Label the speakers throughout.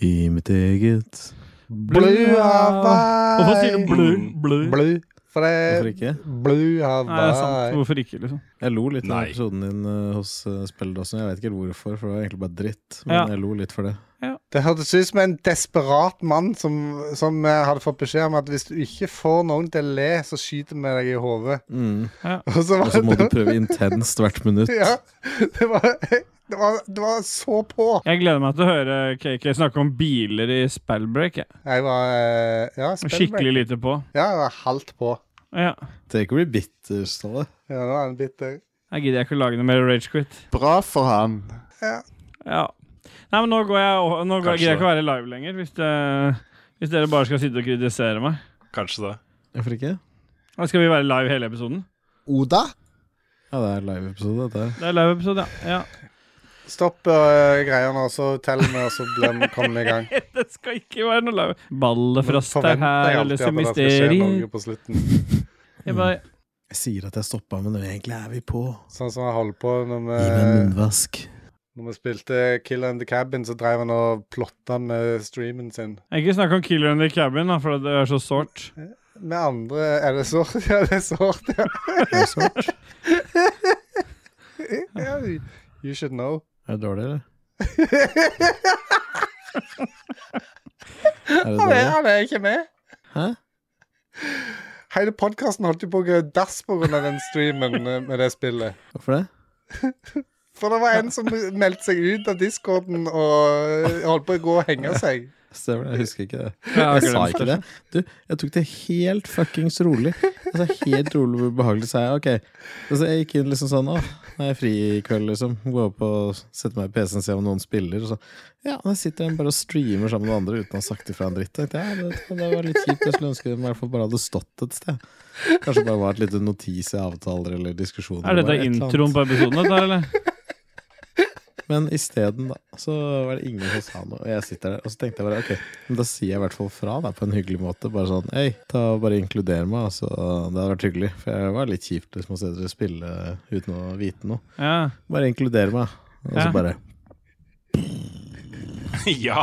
Speaker 1: I mitt eget
Speaker 2: Blue Hawaii.
Speaker 3: Hvorfor sier du blø? blø?
Speaker 2: Blue Fred.
Speaker 1: Hvorfor ikke?
Speaker 2: Blue
Speaker 3: Nei, det er sant.
Speaker 2: Hawaii.
Speaker 3: Hvorfor ikke, liksom?
Speaker 1: Jeg lo litt av
Speaker 4: Nei.
Speaker 1: episoden din eh, hos uh, Spelledassen. Jeg vet ikke helt hvorfor, for det var egentlig bare dritt. Men
Speaker 3: Ja.
Speaker 1: jeg lo litt for det.
Speaker 2: Det hørtes ut som en desperat mann som, som eh, hadde fått beskjed om at hvis du ikke får noen til å le, så skyter vi deg i hodet.
Speaker 1: Mm.
Speaker 2: Og så
Speaker 1: Og så må
Speaker 2: var
Speaker 1: du
Speaker 2: det
Speaker 1: prøve intenst hvert minutt.
Speaker 2: Ja, det var, det var, det var så på.
Speaker 3: Jeg gleder meg til å høre KK snakke om biler i spellbreak. jeg.
Speaker 2: Jeg var eh, ja,
Speaker 3: Skikkelig lite på.
Speaker 2: Ja, jeg var halvt på.
Speaker 3: Ja.
Speaker 1: Take away bitter, Ståle.
Speaker 2: Ja, nå er han bitter.
Speaker 3: Jeg gidder ikke å lage noe mer ragequit.
Speaker 4: Bra for han.
Speaker 3: Ja. Nei, men nå går jeg Nå går,
Speaker 4: Kanskje.
Speaker 3: gidder jeg ikke å være live lenger, hvis, det, hvis dere bare skal sitte og kritisere meg.
Speaker 4: Kanskje det.
Speaker 1: Hvorfor ikke?
Speaker 3: Da skal vi være live hele episoden?
Speaker 5: Oda?
Speaker 1: Ja, det er live-episode, dette her.
Speaker 3: Det er live-episode, ja.
Speaker 2: Stopp eh, greia nå, så tell meg, og så blir vi kommet i gang.
Speaker 3: ja. Det skal ikke være noe live. Ballefrost er
Speaker 2: Forventer jeg
Speaker 3: her,
Speaker 2: alltid
Speaker 3: eller
Speaker 2: at det skal skje
Speaker 3: semisteri.
Speaker 2: noe på slutten.
Speaker 3: Jeg bare
Speaker 1: Jeg sier at jeg stoppa, men egentlig er vi på.
Speaker 2: Sånn som han holdt på når vi,
Speaker 1: Gi meg en munnvask.
Speaker 2: når vi spilte Kill in the Cabin, så drev han og plotta med streamen sin.
Speaker 3: Ikke snakk om Killer in the Cabin, da, for det er så sårt.
Speaker 2: Med andre Er det sårt? Ja, det er sårt, ja.
Speaker 1: Er det svart?
Speaker 2: ja. You should know.
Speaker 1: Er det dårlig, eller? Er det
Speaker 2: Han er,
Speaker 1: dårlig?
Speaker 2: han er ikke med.
Speaker 1: Hæ?
Speaker 2: Hele podkasten holdt jo på å gå i dass på grunn av den streamen eh, med det spillet.
Speaker 1: Hvorfor det?
Speaker 2: For det var en som meldte seg ut av discorden og eh, holdt på å gå og henge seg.
Speaker 1: Stemmer det, jeg husker ikke det.
Speaker 3: Ja,
Speaker 1: Jeg sa
Speaker 3: glemt
Speaker 1: ikke det. Du, jeg tok det helt fuckings rolig. Altså Helt rolig hvor behagelig sa jeg ok. Altså, jeg gikk inn liksom sånn Å, nå er jeg fri i kveld, liksom. Gå opp og sette meg i PC-en og se om noen spiller. Og så Ja, der sitter de bare og streamer sammen med andre uten å ha sagt ifra en dritt. Jeg tenkte, ja, det, det var litt kjipt. Jeg skulle ønske de i hvert fall bare hadde stått et sted. Kanskje bare var et lite notis i avtaler eller diskusjoner.
Speaker 3: Er dette
Speaker 1: bare et eller annet.
Speaker 3: introen på episoden, dette her, eller?
Speaker 1: Men isteden, da, så var det ingen som sa noe. Og jeg sitter der, og så tenkte jeg bare ok, men da sier jeg i hvert fall fra da, på en hyggelig måte. Bare sånn hei, ta og bare inkluder meg. Altså, det hadde vært hyggelig. For jeg var litt kjipt liksom, å se dere spille uten å vite noe.
Speaker 3: Ja.
Speaker 1: Bare inkluder meg. Og så
Speaker 3: Ja.
Speaker 1: bare
Speaker 4: ja!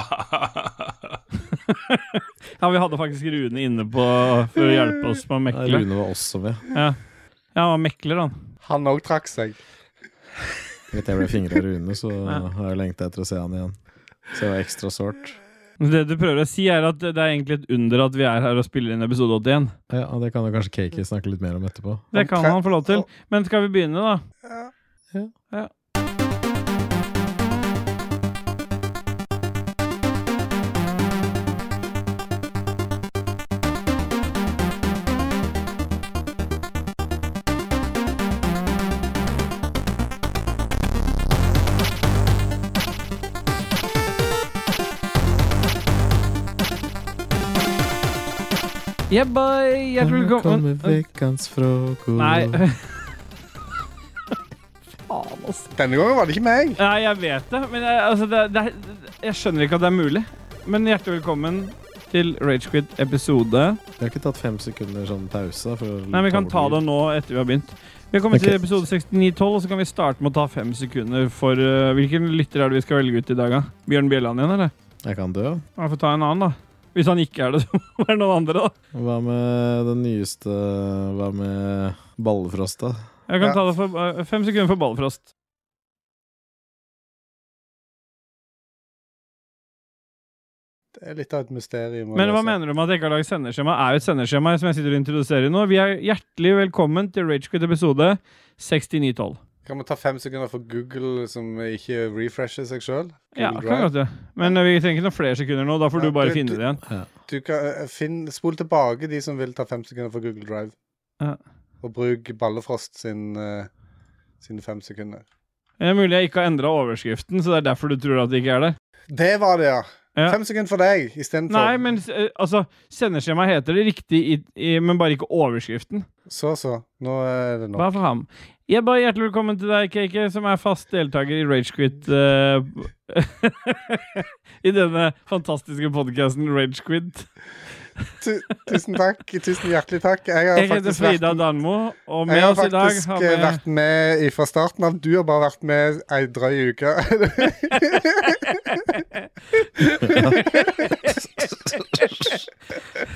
Speaker 3: ja, vi hadde faktisk Rune inne på for å hjelpe oss med
Speaker 1: ja,
Speaker 3: å mekle.
Speaker 1: Rune var også med.
Speaker 3: Ja, ja han var mekler, han.
Speaker 2: Han òg trakk seg.
Speaker 1: Etter jeg ble fingra av Rune, så
Speaker 3: Ja.
Speaker 1: har jeg lengta etter å se han igjen. Så det var ekstra sårt.
Speaker 3: Det du prøver å si, er at det er egentlig et under at vi er her og spiller inn episode 81.
Speaker 1: Ja, og det kan jo kanskje Kaki snakke litt mer om etterpå.
Speaker 3: Det kan han få lov til. Men skal vi begynne, da? Yeah, bye! Hjertelig
Speaker 1: Nå kommer
Speaker 3: velkommen.
Speaker 1: ukens frokost.
Speaker 3: Nei. Faen, ass.
Speaker 2: Denne gangen var det ikke meg.
Speaker 3: Nei, jeg vet det, men jeg, altså, det, det, er- jeg skjønner ikke at det er mulig. Men hjertelig velkommen til Ragequit episode
Speaker 1: Vi har ikke tatt fem sekunder sånn pause. For å
Speaker 3: Nei, vi kan
Speaker 1: bort
Speaker 3: ta
Speaker 1: lyd.
Speaker 3: det nå etter vi har begynt. Vi har kommet
Speaker 1: Ok.
Speaker 3: til episode 69.12, og så kan vi starte med å ta fem sekunder for eh, Hvilken lytter er det vi skal velge ut i dag, da? Bjørn Bjelland igjen, eller?
Speaker 1: Jeg kan dø.
Speaker 3: Jeg får ta en annen, da. Hvis han ikke er det, så må det være noen andre, da.
Speaker 1: Hva med den nyeste Hva med Ballefrost, da?
Speaker 3: Jeg kan
Speaker 2: Ja.
Speaker 3: ta det for eh, fem sekunder for Ballefrost.
Speaker 2: Det er litt av et mysterium. å
Speaker 3: Men hva
Speaker 2: løse.
Speaker 3: mener du med at jeg ikke har lagd sendeskjema? Er jo et sendeskjema som jeg sitter og introduserer nå. Vi er hjertelig velkommen til Ragequit episode 69.12.
Speaker 2: Kan vi ta fem sekunder for Google som ikke refresher seg sjøl?
Speaker 3: Ja, kan godt det. Men eh, vi trenger ikke noen flere sekunder nå. Da får
Speaker 2: Ja,
Speaker 3: du bare
Speaker 2: du-
Speaker 3: finne
Speaker 2: du-
Speaker 3: det igjen.
Speaker 2: Du kan, eh, finn, spol tilbake de som vil ta fem sekunder for Google Drive.
Speaker 3: Ja.
Speaker 2: Og bruk Ballefrost sin, eh, sine fem sekunder.
Speaker 3: Det er mulig jeg ikke har endra overskriften, så det er derfor du tror at det ikke er der.
Speaker 2: Det var det, ja!
Speaker 3: Ja.
Speaker 2: Fem sekunder for deg istedenfor.
Speaker 3: Nei, men eh, altså, sendeskjemaet heter det riktig, i, i, men bare ikke overskriften.
Speaker 2: Så, så. Nå er det nok.
Speaker 3: Hva for ham? Jeg bare Hjertelig velkommen til deg, KK, som er fast deltaker i Ragequit. eh, I denne fantastiske podkasten Ragequit.
Speaker 2: Tu, tusen takk. Tusen hjertelig takk. Jeg har
Speaker 3: Jeg heter
Speaker 2: faktisk vært,
Speaker 3: Frida Danmo, og
Speaker 2: jeg
Speaker 3: med
Speaker 2: har
Speaker 3: oss i dag
Speaker 2: faktisk
Speaker 3: har
Speaker 2: eh,
Speaker 3: vi
Speaker 2: vært med fra starten av. Du har bare vært med ei drøy uke.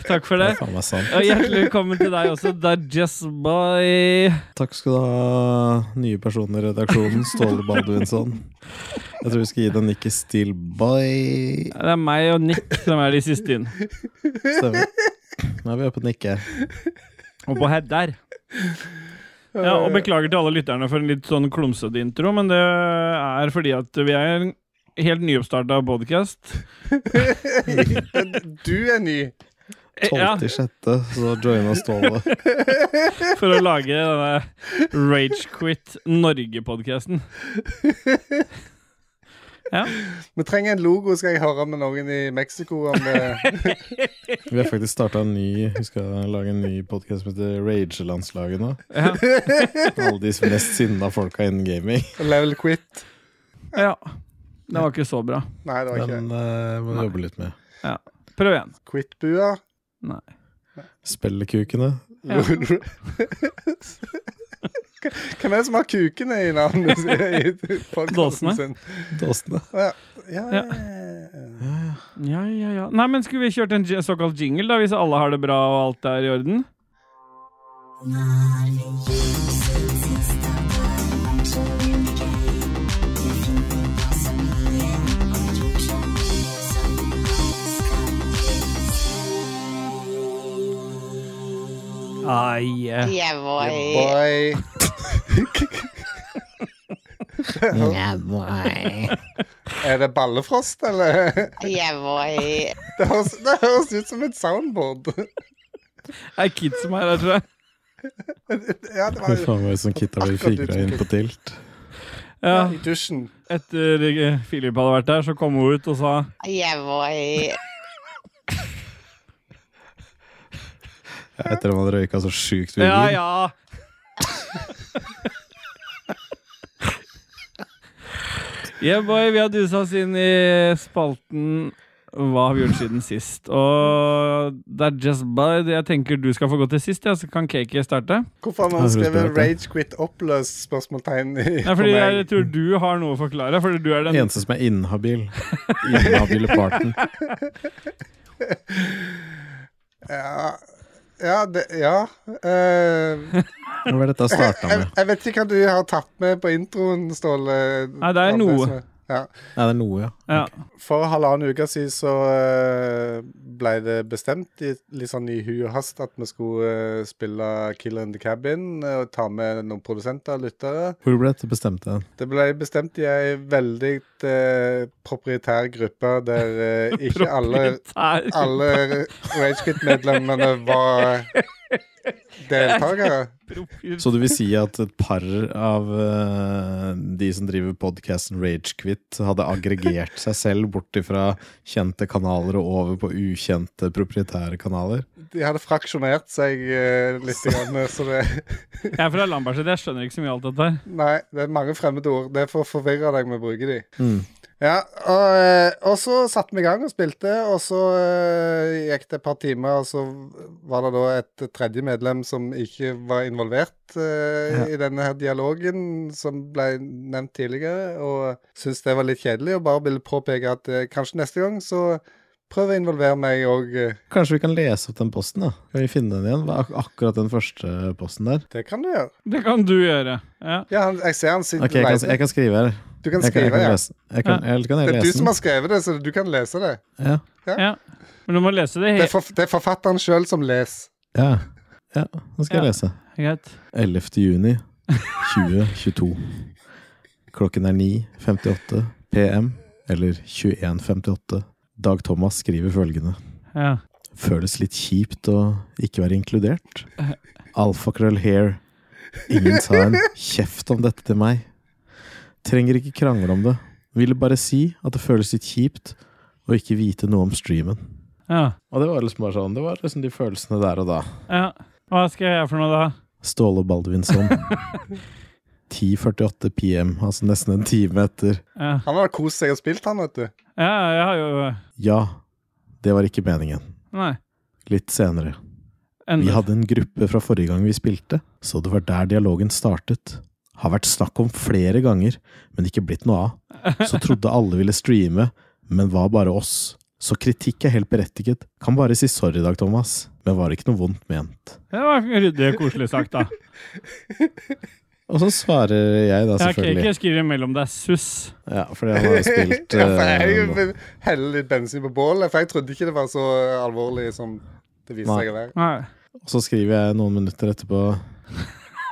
Speaker 3: Takk for
Speaker 1: Det
Speaker 3: det.
Speaker 1: er faen meg sant.
Speaker 3: Og hjertelig velkommen til deg også, Dajas Boy.
Speaker 1: Takk skal du ha, nye personer i redaksjonen, Ståle Baldwinsson. Jeg tror vi skal gi deg nikket Stillboy.
Speaker 3: Det er meg og Nick som er de siste inn.
Speaker 1: Stemmer. Nå er vi oppe og nikker.
Speaker 3: Og på head der. Ja, og beklager til alle lytterne for en litt sånn klumsete intro, men det er fordi at vi er en helt nyoppstarta podkast.
Speaker 2: Du er ny.
Speaker 3: Eh, Ja,
Speaker 1: 12.6., så joina Ståle.
Speaker 3: for å lage denne Ragequit Norge-podkasten. Ja.
Speaker 2: Vi trenger en logo, skal jeg høre med noen i Mexico om eh, det.
Speaker 1: Vi har faktisk starta en ny Vi skal lage en ny podkast som heter Ragelandslaget nå.
Speaker 3: ja.
Speaker 1: Alle de mest sinna folka innen gaming.
Speaker 2: Level quit.
Speaker 3: ja. Det var ikke så bra.
Speaker 2: Nei, det var ikke
Speaker 1: Den eh, må vi jobbe litt med.
Speaker 3: Prøv igjen.
Speaker 2: Quit-bua.
Speaker 1: Spellekukene.
Speaker 3: Ja.
Speaker 2: Hvem er det som har kukene i navnet sitt- i podcasten
Speaker 3: Dåsene.
Speaker 2: sin?
Speaker 1: Dåsene.
Speaker 2: Ja,
Speaker 3: Ja.
Speaker 2: ja. ja.
Speaker 3: Ja, ja, ja. Nei, men skulle vi kjørt en j- såkalt jingle, da, hvis alle har det bra og alt er i orden? Ai, eh.
Speaker 4: Yeah, boy.
Speaker 2: Boy.
Speaker 4: Yeah, boy.
Speaker 2: Er det ballefrost, eller?
Speaker 4: Yeah, boy.
Speaker 2: Det høres, det høres ut som et soundboard.
Speaker 3: Det er kids som er her, tror jeg.
Speaker 2: Ja, det
Speaker 1: Hvor
Speaker 2: var jo
Speaker 1: faen var det som kitta ble figra inn på tilt?
Speaker 3: Ja,
Speaker 2: i dusjen.
Speaker 3: etter eh, Philip hadde vært der, så kom hun ut og sa
Speaker 4: Yeah, boy.
Speaker 1: Ja, Etter at man røyka så sjukt mye.
Speaker 3: Ja, ja. yeah, boy, vi har dusa oss inn i spalten Hva har vi gjort siden sist? Og det er just by Jeg tenker du skal få gå til sist, ja, så kan Cakey starte.
Speaker 2: Hvorfor har man
Speaker 1: Jeg tror det
Speaker 2: skrevet
Speaker 1: spiller, ja.
Speaker 2: 'Rage Quit Oppløs?' spørsmålstegn i-
Speaker 3: Nei,
Speaker 2: på
Speaker 3: fordi jeg
Speaker 2: meg?
Speaker 3: tror du har noe å forklare, fordi du er den
Speaker 1: Den eneste som er inhabil. Inhabile parten.
Speaker 2: Ja, ja, det, ja. Eh,
Speaker 1: Hva var dette jeg starta
Speaker 2: jeg,
Speaker 1: med?
Speaker 2: jeg vet ikke hva du har tatt med på introen, Ståle.
Speaker 3: Nei, det er noe.
Speaker 2: Ja.
Speaker 1: Nei, det er noe, ja.
Speaker 3: ja.
Speaker 2: For halvannen uke siden så eh, ble det bestemt i, litt sånn i hu og hast at vi skulle eh, spille Killer in the Cabin eh, og ta med noen produsenter og lyttere.
Speaker 1: Hvor ble dette bestemt hen?
Speaker 2: Det ble bestemt i ei veldig eh, proprietær gruppe der eh, ikke alle,
Speaker 3: proprietær.
Speaker 2: alle Ragequit-medlemmene var deltakere.
Speaker 3: Proprietær.
Speaker 1: Så du vil si at et par av eh, de som driver podkasten Ragequit, hadde aggregert seg selv bort ifra kjente kanaler og over på ukjente proprietære kanaler?
Speaker 2: De hadde fraksjonert seg eh, litt, grann, så det
Speaker 3: Jeg er fra Lambertseter, jeg skjønner ikke så mye av alt dette her.
Speaker 2: Nei, det er mange fremmede ord. Det er for å forvirre deg med å bruke de.
Speaker 1: Mm.
Speaker 2: Ja, og, eh, og så satte vi i gang og spilte, og så eh, gikk det et par timer, og så var det da et tredje medlem som ikke var involvert eh, i denne her dialogen som ble nevnt tidligere, og syntes det var litt kjedelig, og bare ville påpeke at eh, kanskje neste gang så prøv å involvere meg eh, òg.
Speaker 1: Kanskje vi kan lese opp den posten? da? Kan vi finne den igjen? Hva er ak- akkurat den første posten der?
Speaker 2: Det kan du gjøre.
Speaker 3: Det kan du gjøre. Ja.
Speaker 2: Ja, han, jeg ser han sitter
Speaker 1: Ok, jeg kan, jeg kan skrive her.
Speaker 2: Du kan
Speaker 1: Jeg kan, jeg
Speaker 2: skrive,
Speaker 1: kan
Speaker 2: ja.
Speaker 1: lese. Jeg kan, eller kan jeg
Speaker 2: Det er du
Speaker 1: lese
Speaker 2: som
Speaker 1: den?
Speaker 2: har skrevet det, så du kan lese det.
Speaker 1: Ja.
Speaker 3: ja. Men du må lese det
Speaker 2: Det er,
Speaker 3: helt
Speaker 2: forf det er forfatteren sjøl som leser.
Speaker 1: Ja. ja, nå skal jeg
Speaker 3: Ja.
Speaker 1: lese.
Speaker 3: greit.
Speaker 1: 11. juni 2022. Klokken er 9.58 PM, eller 21.58. Dag Thomas skriver følgende.
Speaker 3: Ja.
Speaker 1: Føles litt kjipt å ikke være inkludert. Alfakrøll hair. Ingen sa en kjeft om dette til meg. Trenger ikke krangle om det. Ville bare si at det føles litt kjipt å ikke vite noe om streamen.
Speaker 3: ja.
Speaker 1: Og det var liksom bare sånn, det var liksom de følelsene der og da.
Speaker 3: Ja. Hva skal jeg gjøre for noe, da?
Speaker 1: Ståle Baldvinsson. 10.48 PM, altså nesten en time etter.
Speaker 3: Ja.
Speaker 2: Han har kost seg og spilt, han, vet du.
Speaker 3: ja, jeg har jo
Speaker 1: Ja, det var ikke meningen.
Speaker 3: Nei.
Speaker 1: litt senere. Vi
Speaker 3: Enda.
Speaker 1: hadde en gruppe fra forrige gang vi spilte, så det var der dialogen startet. Har vært snakk om flere ganger, men ikke blitt noe av. Så trodde alle ville streame, men var bare oss. Så kritikk er helt berettiget. Kan bare si sorry i dag, Thomas, men var ikke noe vondt ment.
Speaker 3: Det var ryddig og koselig sagt, da.
Speaker 1: Og så svarer jeg da,
Speaker 3: Jeg har ikke-
Speaker 1: selvfølgelig.
Speaker 3: ikke skrevet mellom deg, suss.
Speaker 1: Ja, fordi han har jo spilt
Speaker 2: ja, for jeg
Speaker 1: eh,
Speaker 2: vil helle litt bensin på bålet, for jeg trodde ikke det var så alvorlig som det viste
Speaker 1: Nei.
Speaker 2: seg å være.
Speaker 3: Nei.
Speaker 1: Og så skriver jeg noen minutter etterpå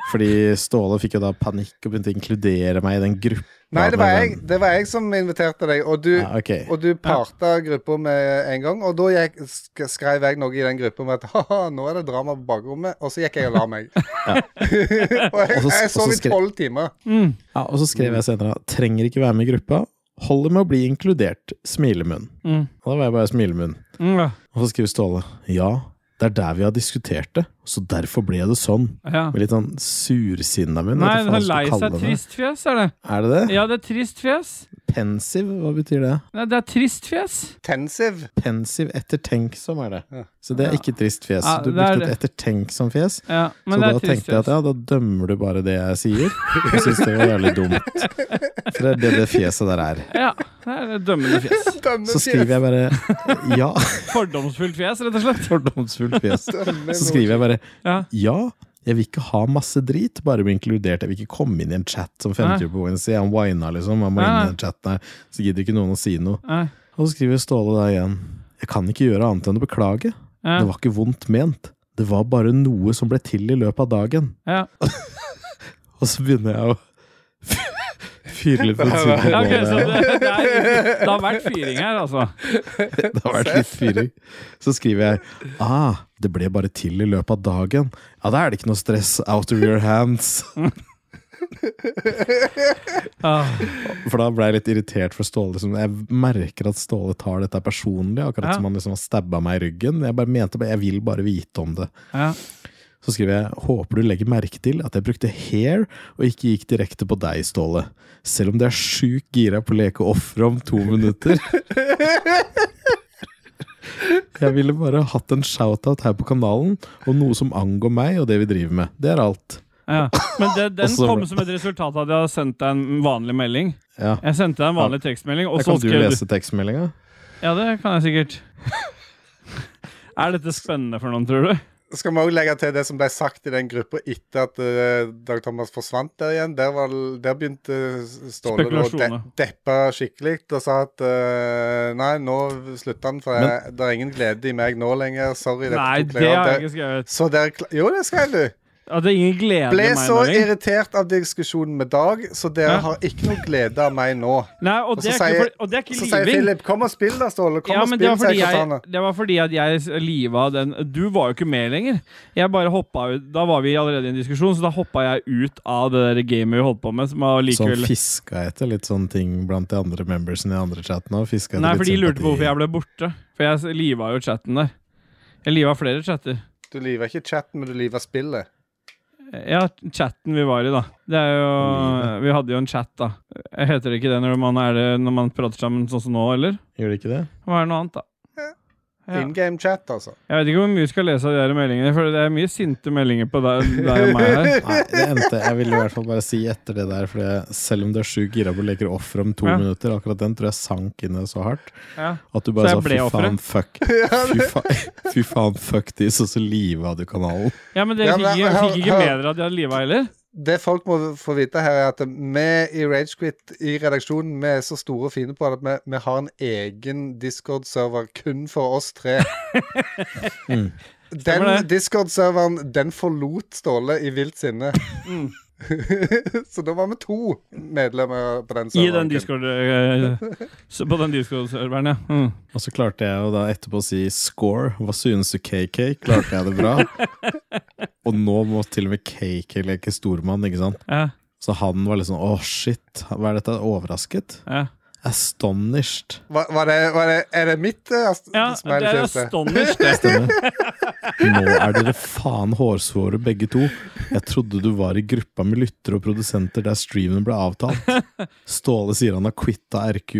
Speaker 1: Fordi Ståle fikk jo da panikk og begynte å inkludere meg i den gruppa.
Speaker 2: Nei, det var
Speaker 1: med
Speaker 2: jeg,
Speaker 1: venn-
Speaker 2: det var jeg som inviterte deg, og du,
Speaker 1: Ja, ok.
Speaker 2: og du parta gruppa med en gang. Og da gikk, sk- skrev jeg noe i den gruppa om at haha, nå er det drama på bakrommet, og så gikk jeg og la meg. og jeg,
Speaker 1: Og så-
Speaker 2: jeg
Speaker 1: og
Speaker 2: sov
Speaker 1: så
Speaker 2: i
Speaker 1: skre-
Speaker 2: tolv timer.
Speaker 3: Mm.
Speaker 1: Ja, og så skrev jeg senere Trenger ikke være med i gruppa Holder med å bli inkludert Smilemunn
Speaker 3: Mm.
Speaker 1: Og da var jeg bare smilemunn
Speaker 3: Mm, ja.
Speaker 1: Og så skriver Ståle Ja, det er der vi har diskutert det Så derfor ble det sånn
Speaker 3: ja.
Speaker 1: Med litt sånn sursinnet min
Speaker 3: Nei,
Speaker 1: vet du
Speaker 3: den
Speaker 1: faen
Speaker 3: har
Speaker 1: hva jeg
Speaker 3: lei
Speaker 1: skal
Speaker 3: seg
Speaker 1: kalle det.
Speaker 3: trist-fjes, er det.
Speaker 1: Er det det?
Speaker 3: Ja, det er trist-fjes.
Speaker 1: Pensiv, hva betyr det?
Speaker 3: Nei, det er trist-fjes.
Speaker 2: Tensiv.
Speaker 1: Pensiv ettertenksom er det
Speaker 2: Ja.
Speaker 1: Så det er ikke trist fjes
Speaker 3: Ja,
Speaker 1: Du
Speaker 3: det er
Speaker 1: brukte et ettertenksom fjes
Speaker 3: Ja,
Speaker 1: Så
Speaker 3: men det
Speaker 1: da
Speaker 3: er
Speaker 1: tenkte jeg at
Speaker 3: trist-fjes.
Speaker 1: ja, da dømmer du bare det jeg sier Jeg synes det var jævlig dumt For det er det det fjeset der er
Speaker 3: Ja, det er et dømmende fjes.
Speaker 1: Så skriver jeg bare Ja
Speaker 3: Fordomsfullt fjes, rett og slett.
Speaker 1: Fordomsfullt fjes. Så skriver jeg bare
Speaker 3: Ja.
Speaker 1: ja, jeg vil ikke ha masse drit, bare bli inkludert. Jeg vil ikke komme inn i en chat som 50-åringen sier. Han whina, liksom. Han må inn
Speaker 3: Nei.
Speaker 1: i den chatten her. Så gidder ikke noen å si noe.
Speaker 3: Nei.
Speaker 1: Og så skriver Ståle da igjen. Jeg kan ikke gjøre annet enn å beklage.
Speaker 3: Ja.
Speaker 1: Det var ikke vondt ment. Det var bare noe som ble til i løpet av dagen.
Speaker 3: Ja.
Speaker 1: Og så begynner jeg å fyre litt bensin på
Speaker 3: Ja, ok, så
Speaker 1: bålet.
Speaker 3: det, det, er, det har vært fyring her, altså.
Speaker 1: Det har vært litt fyring. Så skriver jeg ah, det ble bare til i løpet av dagen. Ja, da er det ikke noe stress. Out of your hands.
Speaker 3: Ah,
Speaker 1: For da ble jeg litt irritert for Ståle. Liksom. Jeg merker at Ståle tar dette personlig, akkurat
Speaker 3: Ja.
Speaker 1: som han liksom har stabba meg i ryggen. Jeg bare mente bare, jeg vil bare vite om det.
Speaker 3: ja.
Speaker 1: Så skriver jeg håper du legger merke til at jeg brukte hair og ikke gikk direkte på deg, Ståle. Selv om det er sjukt gira på å leke offer om to minutter. Jeg ville bare hatt en shout-out her på kanalen og noe som angår meg og det vi driver med. Det er alt.
Speaker 3: ja. Men det,
Speaker 1: Og
Speaker 3: den
Speaker 1: så-
Speaker 3: kom som et resultat av at jeg hadde sendt deg en vanlig melding.
Speaker 1: Ja.
Speaker 3: Jeg sendte deg en vanlig tekstmelding, og
Speaker 1: Da
Speaker 3: så
Speaker 1: kan du
Speaker 3: skrev du
Speaker 1: lese tekstmeldinga.
Speaker 3: Ja, det kan jeg sikkert. Er dette spennende for noen, tror du?
Speaker 2: Skal vi òg legge til det som ble sagt i den gruppa etter at eh, Dag Thomas forsvant der igjen? Der, var, der begynte eh, Ståle å de
Speaker 3: Spekulasjoner.
Speaker 2: deppe skikkelig og sa at eh, nei, nå slutter han, for jeg, det er ingen glede i meg nå lenger. Sorry. dette
Speaker 3: Nei,
Speaker 2: tok
Speaker 3: det har jeg
Speaker 2: lenger.
Speaker 3: ikke skrevet.
Speaker 2: Så der kla- Jo, det skrev du.
Speaker 3: At det er ingen glede i
Speaker 2: Ble
Speaker 3: meg
Speaker 2: så
Speaker 3: nå lenger.
Speaker 2: irritert av diskusjonen med Dag, så dere
Speaker 3: Ja.
Speaker 2: har ikke noe glede av meg nå.
Speaker 3: Nei, og
Speaker 2: Og
Speaker 3: det
Speaker 2: så
Speaker 3: er ikke,
Speaker 2: sier-
Speaker 3: for, og det er ikke
Speaker 2: Så
Speaker 3: living.
Speaker 2: sier Philip 'kom og spill da, Ståle'. Kom
Speaker 3: ja,
Speaker 2: og
Speaker 3: men det
Speaker 2: spill,
Speaker 3: var, fordi
Speaker 2: sier Cortana.
Speaker 3: jeg, det var fordi at jeg liva den Du var jo ikke med lenger. Jeg bare hoppa ut Da var vi allerede i en diskusjon, så da hoppa jeg ut av det der gamet vi holdt på med. Som var
Speaker 2: Sånn
Speaker 1: Som
Speaker 3: likevel
Speaker 1: Sånn fiska etter litt sånne ting blant de andre membersene i andre chatten òg.
Speaker 3: Nei, for de lurte på hvorfor jeg ble borte. For jeg liva jo chatten der. Jeg liva flere chatter.
Speaker 2: Du liver ikke chatten, men du liver spillet.
Speaker 3: Ja, chatten vi var i, da. Det er jo Vi hadde jo en chat, da. Heter det ikke det når man, er det, når man prater sammen sånn som nå, eller?
Speaker 1: Gjør de ikke det?
Speaker 3: Det må være noe annet, da. Ja.
Speaker 2: In game chat, altså.
Speaker 3: Jeg vet ikke hvor mye vi skal lese av de her meldingene, for det er mye sinte meldinger på deg, deg og meg her.
Speaker 1: Nei, det endte Jeg ville i hvert fall bare si etter det der, for jeg- selv om du er sjukt gira på å leke offer om to
Speaker 3: Ja.
Speaker 1: minutter, akkurat den tror jeg sank inn i deg så hardt
Speaker 3: Ja.
Speaker 1: at du bare
Speaker 3: Så
Speaker 1: sa
Speaker 3: jeg ble
Speaker 1: fy faen,
Speaker 3: offeret.
Speaker 1: fuck. Fy faen, fy faen fuck this, og så liva du kanalen.
Speaker 3: Ja, men dere
Speaker 2: Ja, men
Speaker 3: fikk, ikke-
Speaker 2: hør-
Speaker 3: fikk ikke
Speaker 2: hør.
Speaker 3: med dere at de hadde liva heller?
Speaker 2: Det folk må få vite her, er at vi i Ragequit i redaksjonen vi er så store og fine på at vi, vi har en egen Discord-server kun for oss tre.
Speaker 1: Mm.
Speaker 2: Den
Speaker 3: Stemmer det.
Speaker 2: Discord-serveren den forlot Ståle i vilt sinne.
Speaker 3: Mm.
Speaker 2: så da var vi to medlemmer på den
Speaker 3: I
Speaker 2: serveren.
Speaker 3: den
Speaker 2: kun.
Speaker 3: Discord eh, s- På den Discord-serveren, ja. Mm.
Speaker 1: Og så klarte jeg jo da etterpå å si score. Hva synes du, KK? Klarte jeg det bra? Og nå må til og med KK leke stormann, ikke sant?
Speaker 3: ja,
Speaker 1: Så han var liksom åh, shit. Hva er dette? Overrasket?
Speaker 3: ja.
Speaker 1: Astonished.
Speaker 2: Var, var, det, var det, er det mitt eh, ast-
Speaker 3: ja
Speaker 2: smiley
Speaker 3: det er
Speaker 2: fjes, det?
Speaker 3: astonished, det.
Speaker 1: Stemmer. Nå er dere faen hårsåre begge to. Jeg trodde du var i gruppa med lyttere og produsenter der streamen ble avtalt. Ståle sier han har quitta RQ.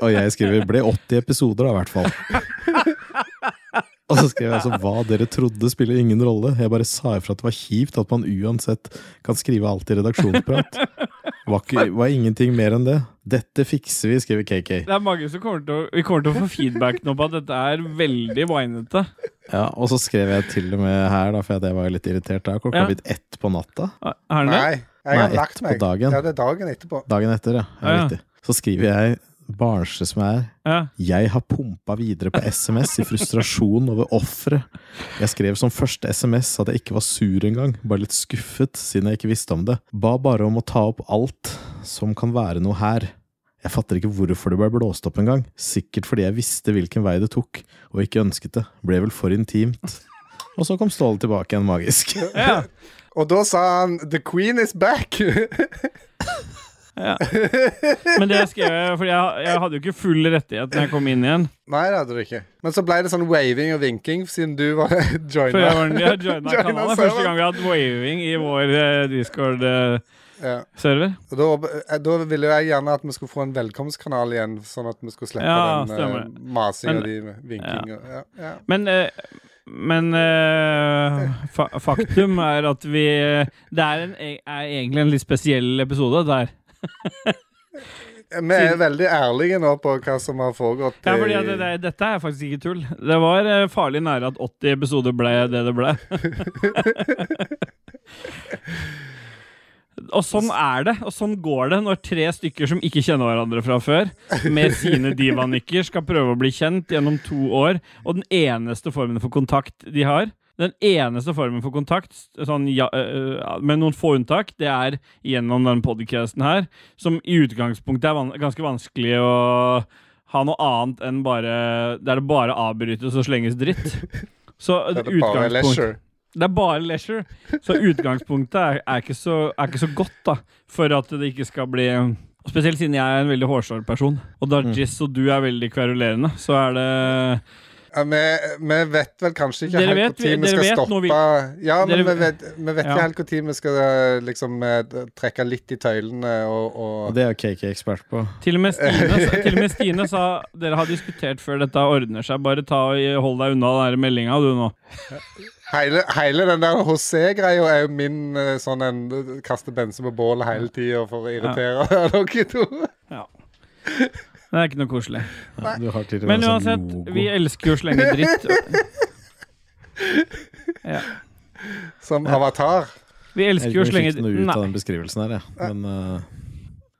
Speaker 1: Og jeg skriver ble 80 episoder da, i hvert fall. Og så skrev jeg altså hva dere trodde spiller ingen rolle. Jeg bare sa ifra at det var kjipt at man uansett kan skrive alt i redaksjonsprat. Var, ikke, var ingenting mer enn det. Dette fikser vi, skriver KK.
Speaker 3: Det er mange som kommer til å, vi kommer til å få feedback nå på at dette er veldig whinete.
Speaker 1: Ja, Og så skrev jeg til og med her, da, for at jeg var jo litt irritert da. Klokka
Speaker 3: Ja.
Speaker 1: ja. blitt ett på natta.
Speaker 3: Er den det?
Speaker 2: Nei, jeg har
Speaker 1: Nei,
Speaker 2: lagt
Speaker 1: etterpå
Speaker 2: meg.
Speaker 1: dagen.
Speaker 2: Ja, det er dagen etterpå.
Speaker 1: Dagen etter, ja. ja,
Speaker 3: Ja, ja.
Speaker 1: riktig. Så skriver jeg barnslig som jeg er.
Speaker 3: Ja.
Speaker 1: Jeg har pumpa videre på SMS i frustrasjon over offeret. Jeg skrev som første SMS at jeg ikke var sur engang, bare litt skuffet siden jeg ikke visste om det. Ba bare om å ta opp alt som kan være noe her. Jeg fatter ikke hvorfor det ble blåst opp engang, sikkert fordi jeg visste hvilken vei det tok, og ikke ønsket det, ble vel for intimt. Og så kom Ståle tilbake igjen magisk.
Speaker 3: Ja.
Speaker 2: Og da sa han 'The queen is back'.
Speaker 3: Men det skrev jeg, for jeg, jeg hadde jo ikke full rettighet når jeg kom inn igjen.
Speaker 2: Nei, det hadde du ikke. Men så ble det sånn waving og vinking siden du var
Speaker 3: Før jeg var
Speaker 2: joina.
Speaker 3: jeg joina
Speaker 2: Joina
Speaker 3: kanalen. Det er første gang vi har hatt waving i vår eh, Discord-server.
Speaker 2: Ja. Og Da, eh, da ville jo jeg gjerne at vi skulle få en velkomstkanal igjen, sånn at vi skulle slippe
Speaker 3: Ja,
Speaker 2: den
Speaker 3: stemmer
Speaker 2: eh, masing
Speaker 3: Men-
Speaker 2: og de vinking og ja, ja.
Speaker 3: Men, eh, men eh, fa faktum er at vi eh, Det er, en, er egentlig en litt spesiell episode der.
Speaker 2: Vi er veldig ærlige nå på hva som har foregått.
Speaker 3: Ja, fordi at
Speaker 2: i-
Speaker 3: det, det, dette er faktisk ikke tull. Det var eh, farlig nære at 80 episoder ble det det ble. Og sånn er det, og sånn går det når tre stykker som ikke kjenner hverandre fra før, med sine divanikker, skal prøve å bli kjent gjennom to år, og den eneste formen for kontakt de har den eneste formen for kontakt, sånn, ja, øh, øh, med noen få unntak, det er gjennom den podcasten her, som i utgangspunktet er van ganske vanskelig å ha noe annet enn bare Der det bare avbrytes og slenges dritt. Så
Speaker 2: Det er bare
Speaker 3: utgangspunkt
Speaker 2: leisure.
Speaker 3: det er bare leisure. Så utgangspunktet er, er, ikke så, er ikke så godt, da. For at det ikke skal bli Spesielt siden jeg er en veldig hårsår person. Og
Speaker 2: Mm.
Speaker 3: Dargis og du er veldig kverulerende. Så er det
Speaker 2: Ja, vi, vi vet vel kanskje ikke
Speaker 3: Dere vet-
Speaker 2: helt når vi
Speaker 3: dere
Speaker 2: skal
Speaker 3: vet
Speaker 2: stoppe
Speaker 3: når vi-
Speaker 2: Ja, men
Speaker 3: Dere-
Speaker 2: vi vet, vi vet
Speaker 3: Ja.
Speaker 2: ikke helt når vi skal eh, liksom eh, trekke litt i tøylene og,
Speaker 1: Og
Speaker 2: og
Speaker 1: det er jo KK ekspert på.
Speaker 3: Til og med Stine, til og med Stine sa dere har diskutert før dette ordner seg. Bare ta og hold deg unna den meldinga, du nå.
Speaker 2: hele, hele den der José-greia er jo min eh, sånn en eh, kaste bensin på bålet hele tida for å irritere dere to.
Speaker 3: Det er ikke noe koselig.
Speaker 1: Ja, du har til og
Speaker 3: Men
Speaker 1: med en
Speaker 3: uansett,
Speaker 1: sånn logo.
Speaker 3: vi elsker jo å slenge dritt.
Speaker 2: Som avatar.
Speaker 3: Vi
Speaker 1: Jeg
Speaker 3: elsker jo å
Speaker 1: vet ikke om jeg
Speaker 3: slenge
Speaker 1: fikk noe ut av
Speaker 3: Nei.
Speaker 1: den beskrivelsen her, jeg. Men eh,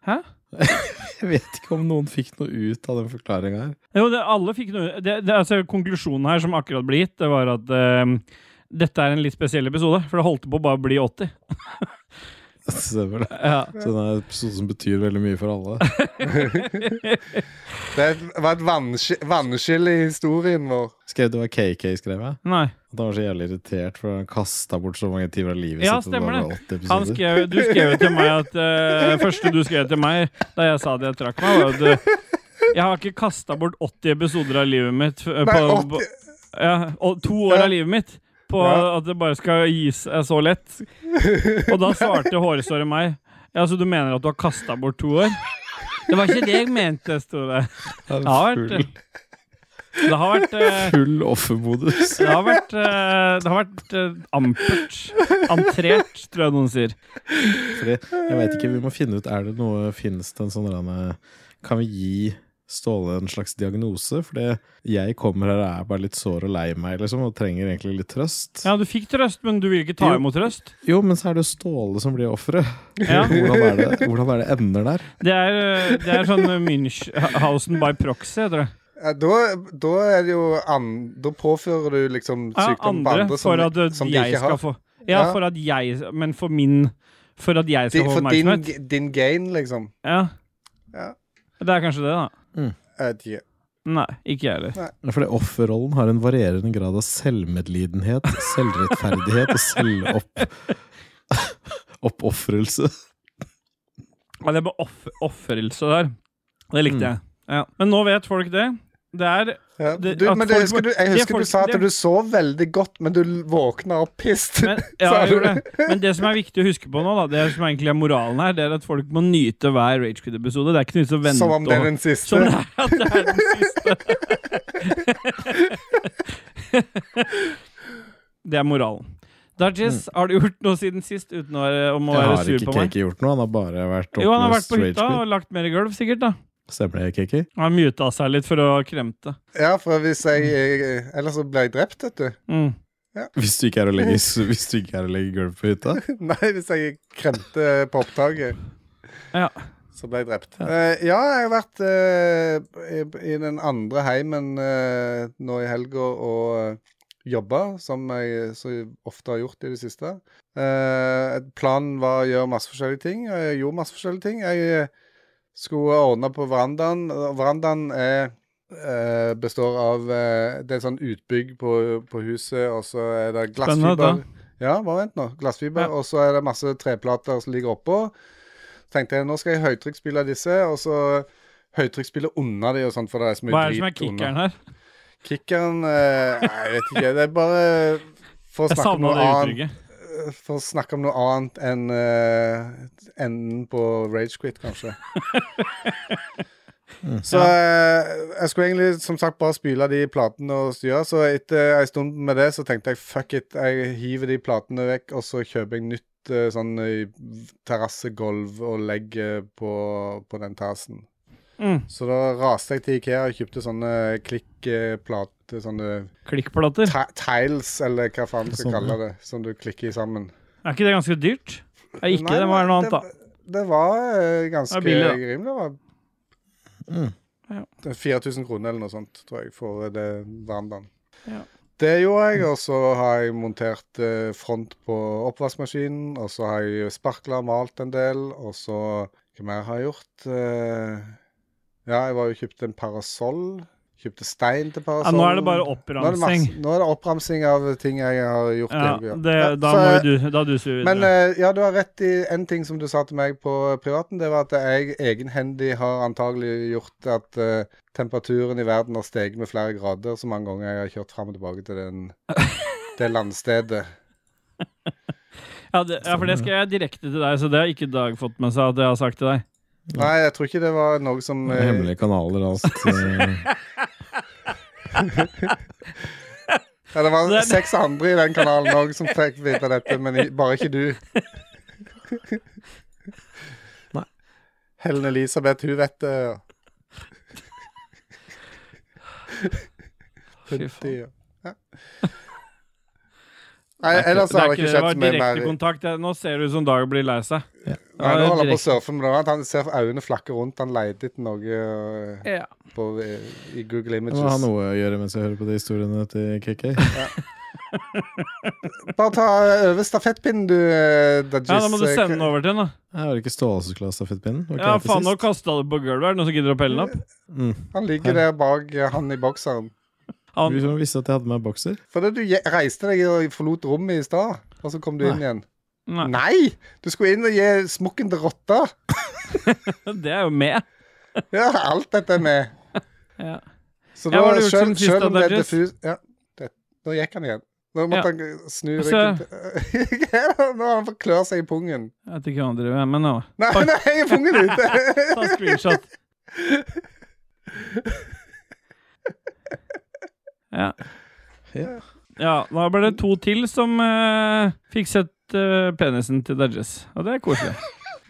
Speaker 3: Hæ?
Speaker 1: Jeg vet ikke om noen fikk noe ut av den forklaringa her.
Speaker 3: Jo, det, alle fikk noe det, det, altså, Konklusjonen her som akkurat ble gitt, det var at ehm, dette er en litt spesiell episode, for det holdt på å bare bli 80.
Speaker 1: Stemmer det.
Speaker 3: Ja.
Speaker 1: Så den er en episode som betyr veldig mye for alle.
Speaker 2: Det var et vannski- vannskille i historien vår.
Speaker 1: Skrev det var KK, skrev jeg.
Speaker 3: Nei.
Speaker 1: At han var så jævlig irritert for at han kasta bort så mange timer av livet
Speaker 3: Ja,
Speaker 1: sitt. og det
Speaker 3: stemmer
Speaker 1: var
Speaker 3: det.
Speaker 1: 80
Speaker 3: Han
Speaker 1: episoder.
Speaker 3: skrev, du skrev jo til meg at eh, første du skrev til meg da jeg sa det jeg trakk meg, var at eh, jeg har ikke kasta bort 80 episoder av livet mitt eh,
Speaker 2: Nei,
Speaker 3: på, på
Speaker 2: 80,
Speaker 3: ja, og to år
Speaker 2: Ja.
Speaker 3: av livet mitt på
Speaker 2: Ja.
Speaker 3: at det bare skal gis eh, så lett. Og da svarte hårsåret meg Ja, så du mener at du har kasta bort to år? Det var ikke det jeg mente, Store.
Speaker 1: Han
Speaker 3: Det har
Speaker 1: full,
Speaker 3: vært eh, Det har vært eh,
Speaker 1: full offermodus.
Speaker 3: det har vært, eh, det har vært eh, ampert. Antrert, tror jeg noen sier.
Speaker 1: Fordi jeg vet ikke, vi må finne ut Er det noe, finnes det en sånn der med- Kan vi gi Ståle en slags diagnose? Fordi jeg kommer her og er bare litt sår og lei meg liksom, og trenger egentlig litt trøst.
Speaker 3: Ja, du fikk trøst, men du vil ikke ta
Speaker 1: Jo.
Speaker 3: imot trøst.
Speaker 1: Jo, men så er det jo Ståle som blir offeret.
Speaker 3: Ja.
Speaker 1: Hvordan, er det- hvordan er det ender der?
Speaker 3: Det er, eh, det er sånn eh, Münchhausen by proxy, heter det.
Speaker 2: Ja, da, da er det jo an, Da påfører du liksom
Speaker 3: Ja,
Speaker 2: sykdom på
Speaker 3: andre
Speaker 2: andre som,
Speaker 3: for at eh,
Speaker 2: som de
Speaker 3: jeg
Speaker 2: ikke
Speaker 3: skal
Speaker 2: har.
Speaker 3: få Ja,
Speaker 2: Ja.
Speaker 3: for at jeg Men for min For at jeg
Speaker 2: Di-
Speaker 3: skal få
Speaker 2: for din,
Speaker 3: oppmerksomhet.
Speaker 2: din gain, liksom.
Speaker 3: Ja.
Speaker 2: Ja.
Speaker 3: Det er kanskje det, da.
Speaker 2: Jeg vet ikke.
Speaker 3: Nei, ikke jeg heller.
Speaker 1: Fordi offerrollen har en varierende grad av selvmedlidenhet, selvrettferdighet og selvopp... Oppofrelse.
Speaker 3: Ja, det med off ofrelse der, det
Speaker 1: Mm.
Speaker 3: likte jeg. Ja. Men nå vet folk det. Det er
Speaker 2: Ja.
Speaker 3: Det-
Speaker 2: Du,
Speaker 3: at
Speaker 2: men det,
Speaker 3: folk-
Speaker 2: husker du, jeg
Speaker 3: det
Speaker 2: husker
Speaker 3: folk-
Speaker 2: du sa at
Speaker 3: det-
Speaker 2: du sov veldig godt, men du l- våkna opp pissed.
Speaker 3: Men, ja,
Speaker 2: Sa
Speaker 3: jeg
Speaker 2: du
Speaker 3: gjorde det. Men det som er viktig å huske på nå, da, det som egentlig er moralen her, det er at folk må nyte hver Ragequid-episode. Det er ikke noe vits å vente
Speaker 2: Som om det
Speaker 3: og-
Speaker 2: er den
Speaker 3: Som
Speaker 2: siste.
Speaker 3: det er at det er den siste. Det er moralen. Dodges,
Speaker 2: Mm.
Speaker 3: har du gjort noe siden sist uten å være, om å
Speaker 1: Jeg
Speaker 3: være
Speaker 1: har
Speaker 3: sur
Speaker 1: ikke
Speaker 3: på meg?
Speaker 1: Keki gjort noe, han har bare vært
Speaker 3: Jo, han har
Speaker 1: oppløst
Speaker 3: vært på
Speaker 1: rage
Speaker 3: hytta
Speaker 1: quit.
Speaker 3: og lagt mer i gulv, sikkert. da
Speaker 1: Stemmer det, Keki?
Speaker 3: Han muta seg litt for å kremte.
Speaker 2: Ja, for hvis jeg, jeg Ellers så ble jeg drept, vet du.
Speaker 3: Mm.
Speaker 1: Hvis du ikke er å legge, hvis du ikke er å legge gulv på hytta?
Speaker 2: Nei, hvis jeg kremte på opptaket.
Speaker 3: Ja.
Speaker 2: Så ble jeg drept. Ja, ja jeg har vært eh, i, i den andre heimen eh, nå i helga og uh, jobba, som jeg så ofte har gjort i det siste. Eh, planen var å gjøre masse forskjellige ting, og jeg gjorde masse forskjellige ting. Jeg eh, skulle ordne på verandaen. og Verandaen er eh, består av eh, Det er sånn utbygg på, på huset, og så er det
Speaker 3: Spennende, da.
Speaker 2: glassfiber. Ja, bare vent nå. Glassfiber.
Speaker 3: Ja.
Speaker 2: Og så er det masse treplater som ligger oppå. Så tenkte jeg nå skal jeg høytrykksspille disse, og så høytrykksspille under de og sånn, for det er så mye
Speaker 3: Hva er det som er
Speaker 2: drit under.
Speaker 3: kickeren her?
Speaker 2: Kickeren eh, Nei, jeg vet ikke. Det er bare for å
Speaker 3: Jeg
Speaker 2: snakke om
Speaker 3: savna
Speaker 2: noe
Speaker 3: det
Speaker 2: annet
Speaker 3: uttrykket.
Speaker 2: For å eh, snakke om noe annet enn eh, enden på Ragequit, kanskje.
Speaker 1: Mm.
Speaker 2: Så eh, jeg skulle egentlig som sagt bare spyle de platene og styre, så etter ei stund med det så tenkte jeg fuck it, jeg hiver de platene vekk, og så kjøper jeg nytt eh, sånn eh, terrassegulv og legger på, på den terrassen.
Speaker 3: Mm.
Speaker 2: Så da raste jeg til Ikea og kjøpte sånne klikkplater, sånne
Speaker 3: Klikkplater.
Speaker 2: ti- tiles, eller hva faen du skal
Speaker 1: Sånn, ja.
Speaker 2: kalle det, som du klikker sammen.
Speaker 3: Er ikke det ganske dyrt? Er ikke
Speaker 2: Nei,
Speaker 3: det, må være noe annet, da.
Speaker 2: det, det var eh, ganske
Speaker 3: Det er billig, da.
Speaker 2: rimelig. Det var
Speaker 1: Mm.
Speaker 3: Ja.
Speaker 2: Det er 4000 kroner eller noe sånt, tror jeg, for eh, det verandaen.
Speaker 3: Ja.
Speaker 2: Det gjorde jeg, og så har jeg montert eh, front på oppvaskmaskinen, og så har jeg sparkla og malt en del, og så Hva mer har jeg gjort? Eh, ja, jeg var jo kjøpt en parasoll. Kjøpte stein til
Speaker 3: Ja,
Speaker 2: parasollen.
Speaker 3: nå er det bare
Speaker 2: altså, Nå er det,
Speaker 3: oppramsing.
Speaker 2: masse, nå er det oppramsing av ting jeg har gjort. i
Speaker 3: Ja,
Speaker 2: helga.
Speaker 3: det,
Speaker 2: Ja,
Speaker 3: da
Speaker 2: så
Speaker 3: må
Speaker 2: jeg-
Speaker 3: jo du, da er du sur videre.
Speaker 2: men eh, ja, du har rett i en ting som du sa til meg på privaten. Det var at jeg egenhendig har antagelig gjort at eh, temperaturen i verden har steget med flere grader så mange ganger jeg har kjørt fram og tilbake til den, det landstedet.
Speaker 3: ja, det, ja, for det skal jeg direkte til deg, så det har ikke Dag fått med seg at jeg har sagt til deg.
Speaker 2: Nei, jeg tror ikke det var noe som
Speaker 1: Det er
Speaker 2: eh,
Speaker 1: Hemmelige kanaler og alt. eh,
Speaker 2: ja, Det var
Speaker 3: Det er-
Speaker 2: seks andre i den kanalen òg som fikk vite dette, men i- bare ikke du.
Speaker 1: Nei.
Speaker 2: Helen Elisabeth, hun vet det. ja.
Speaker 3: Fy faen.
Speaker 2: Ja. Nei, Eh, ellers
Speaker 3: Det er
Speaker 2: har det ikke skjedd
Speaker 3: var
Speaker 2: så mye mer.
Speaker 3: direkte kontakt. Ja, Nå ser det ut som Dag blir lei seg.
Speaker 1: Ja.
Speaker 2: Nei, nå holder han på å
Speaker 3: direkte-
Speaker 2: surfe med noe annet. Han ser øynene flakke rundt. Han leter etter noe øh,
Speaker 3: Ja.
Speaker 2: på, i Google
Speaker 1: Jeg eh, må ha
Speaker 2: Images.
Speaker 1: noe å gjøre mens jeg hører på de historiene til Keki.
Speaker 2: Bare ta eh, over stafettpinnen, du, øh, Dajis.
Speaker 3: ja, da må du sende den over til henne.
Speaker 1: Jeg har ikke ståelsesklassestafettpinnen. Var ikke
Speaker 3: Ja,
Speaker 1: det til
Speaker 3: faen, nå
Speaker 1: sist?
Speaker 3: kasta du på gulvet. Er det noen som gidder å pelle den opp?
Speaker 1: Mm.
Speaker 2: Han ligger der bak øh, han i bokseren.
Speaker 3: Han,
Speaker 1: Hvis man visste at jeg hadde med bokser.
Speaker 2: Fordi du je- reiste deg og forlot rommet i stad, og så kom du inn igjen.
Speaker 3: nei,
Speaker 2: Nei! Du skulle inn og gi smokken til rotta.
Speaker 3: det er jo med.
Speaker 2: Ja, alt dette er med.
Speaker 3: Ja.
Speaker 2: Så
Speaker 3: Ja,
Speaker 2: da,
Speaker 3: hva har du gjort
Speaker 2: selv,
Speaker 3: siden sist,
Speaker 2: selv om
Speaker 3: da,
Speaker 2: det er
Speaker 3: Dodges?
Speaker 2: diffus ja, det, Nå gikk han igjen. Nå
Speaker 3: Ja.
Speaker 2: måtte han snu
Speaker 3: Så-
Speaker 2: ryggen til Nå har han fått klør seg i pungen.
Speaker 3: Jeg vet ikke hva han driver med, men ja.
Speaker 2: Nei,
Speaker 3: Oi.
Speaker 2: nei, jeg er pungen ute!
Speaker 3: Ta screenshot. Ja.
Speaker 1: Ja.
Speaker 3: ja. Da ble det to til som eh, fikk sett eh, penisen til Dodges, og det er koselig.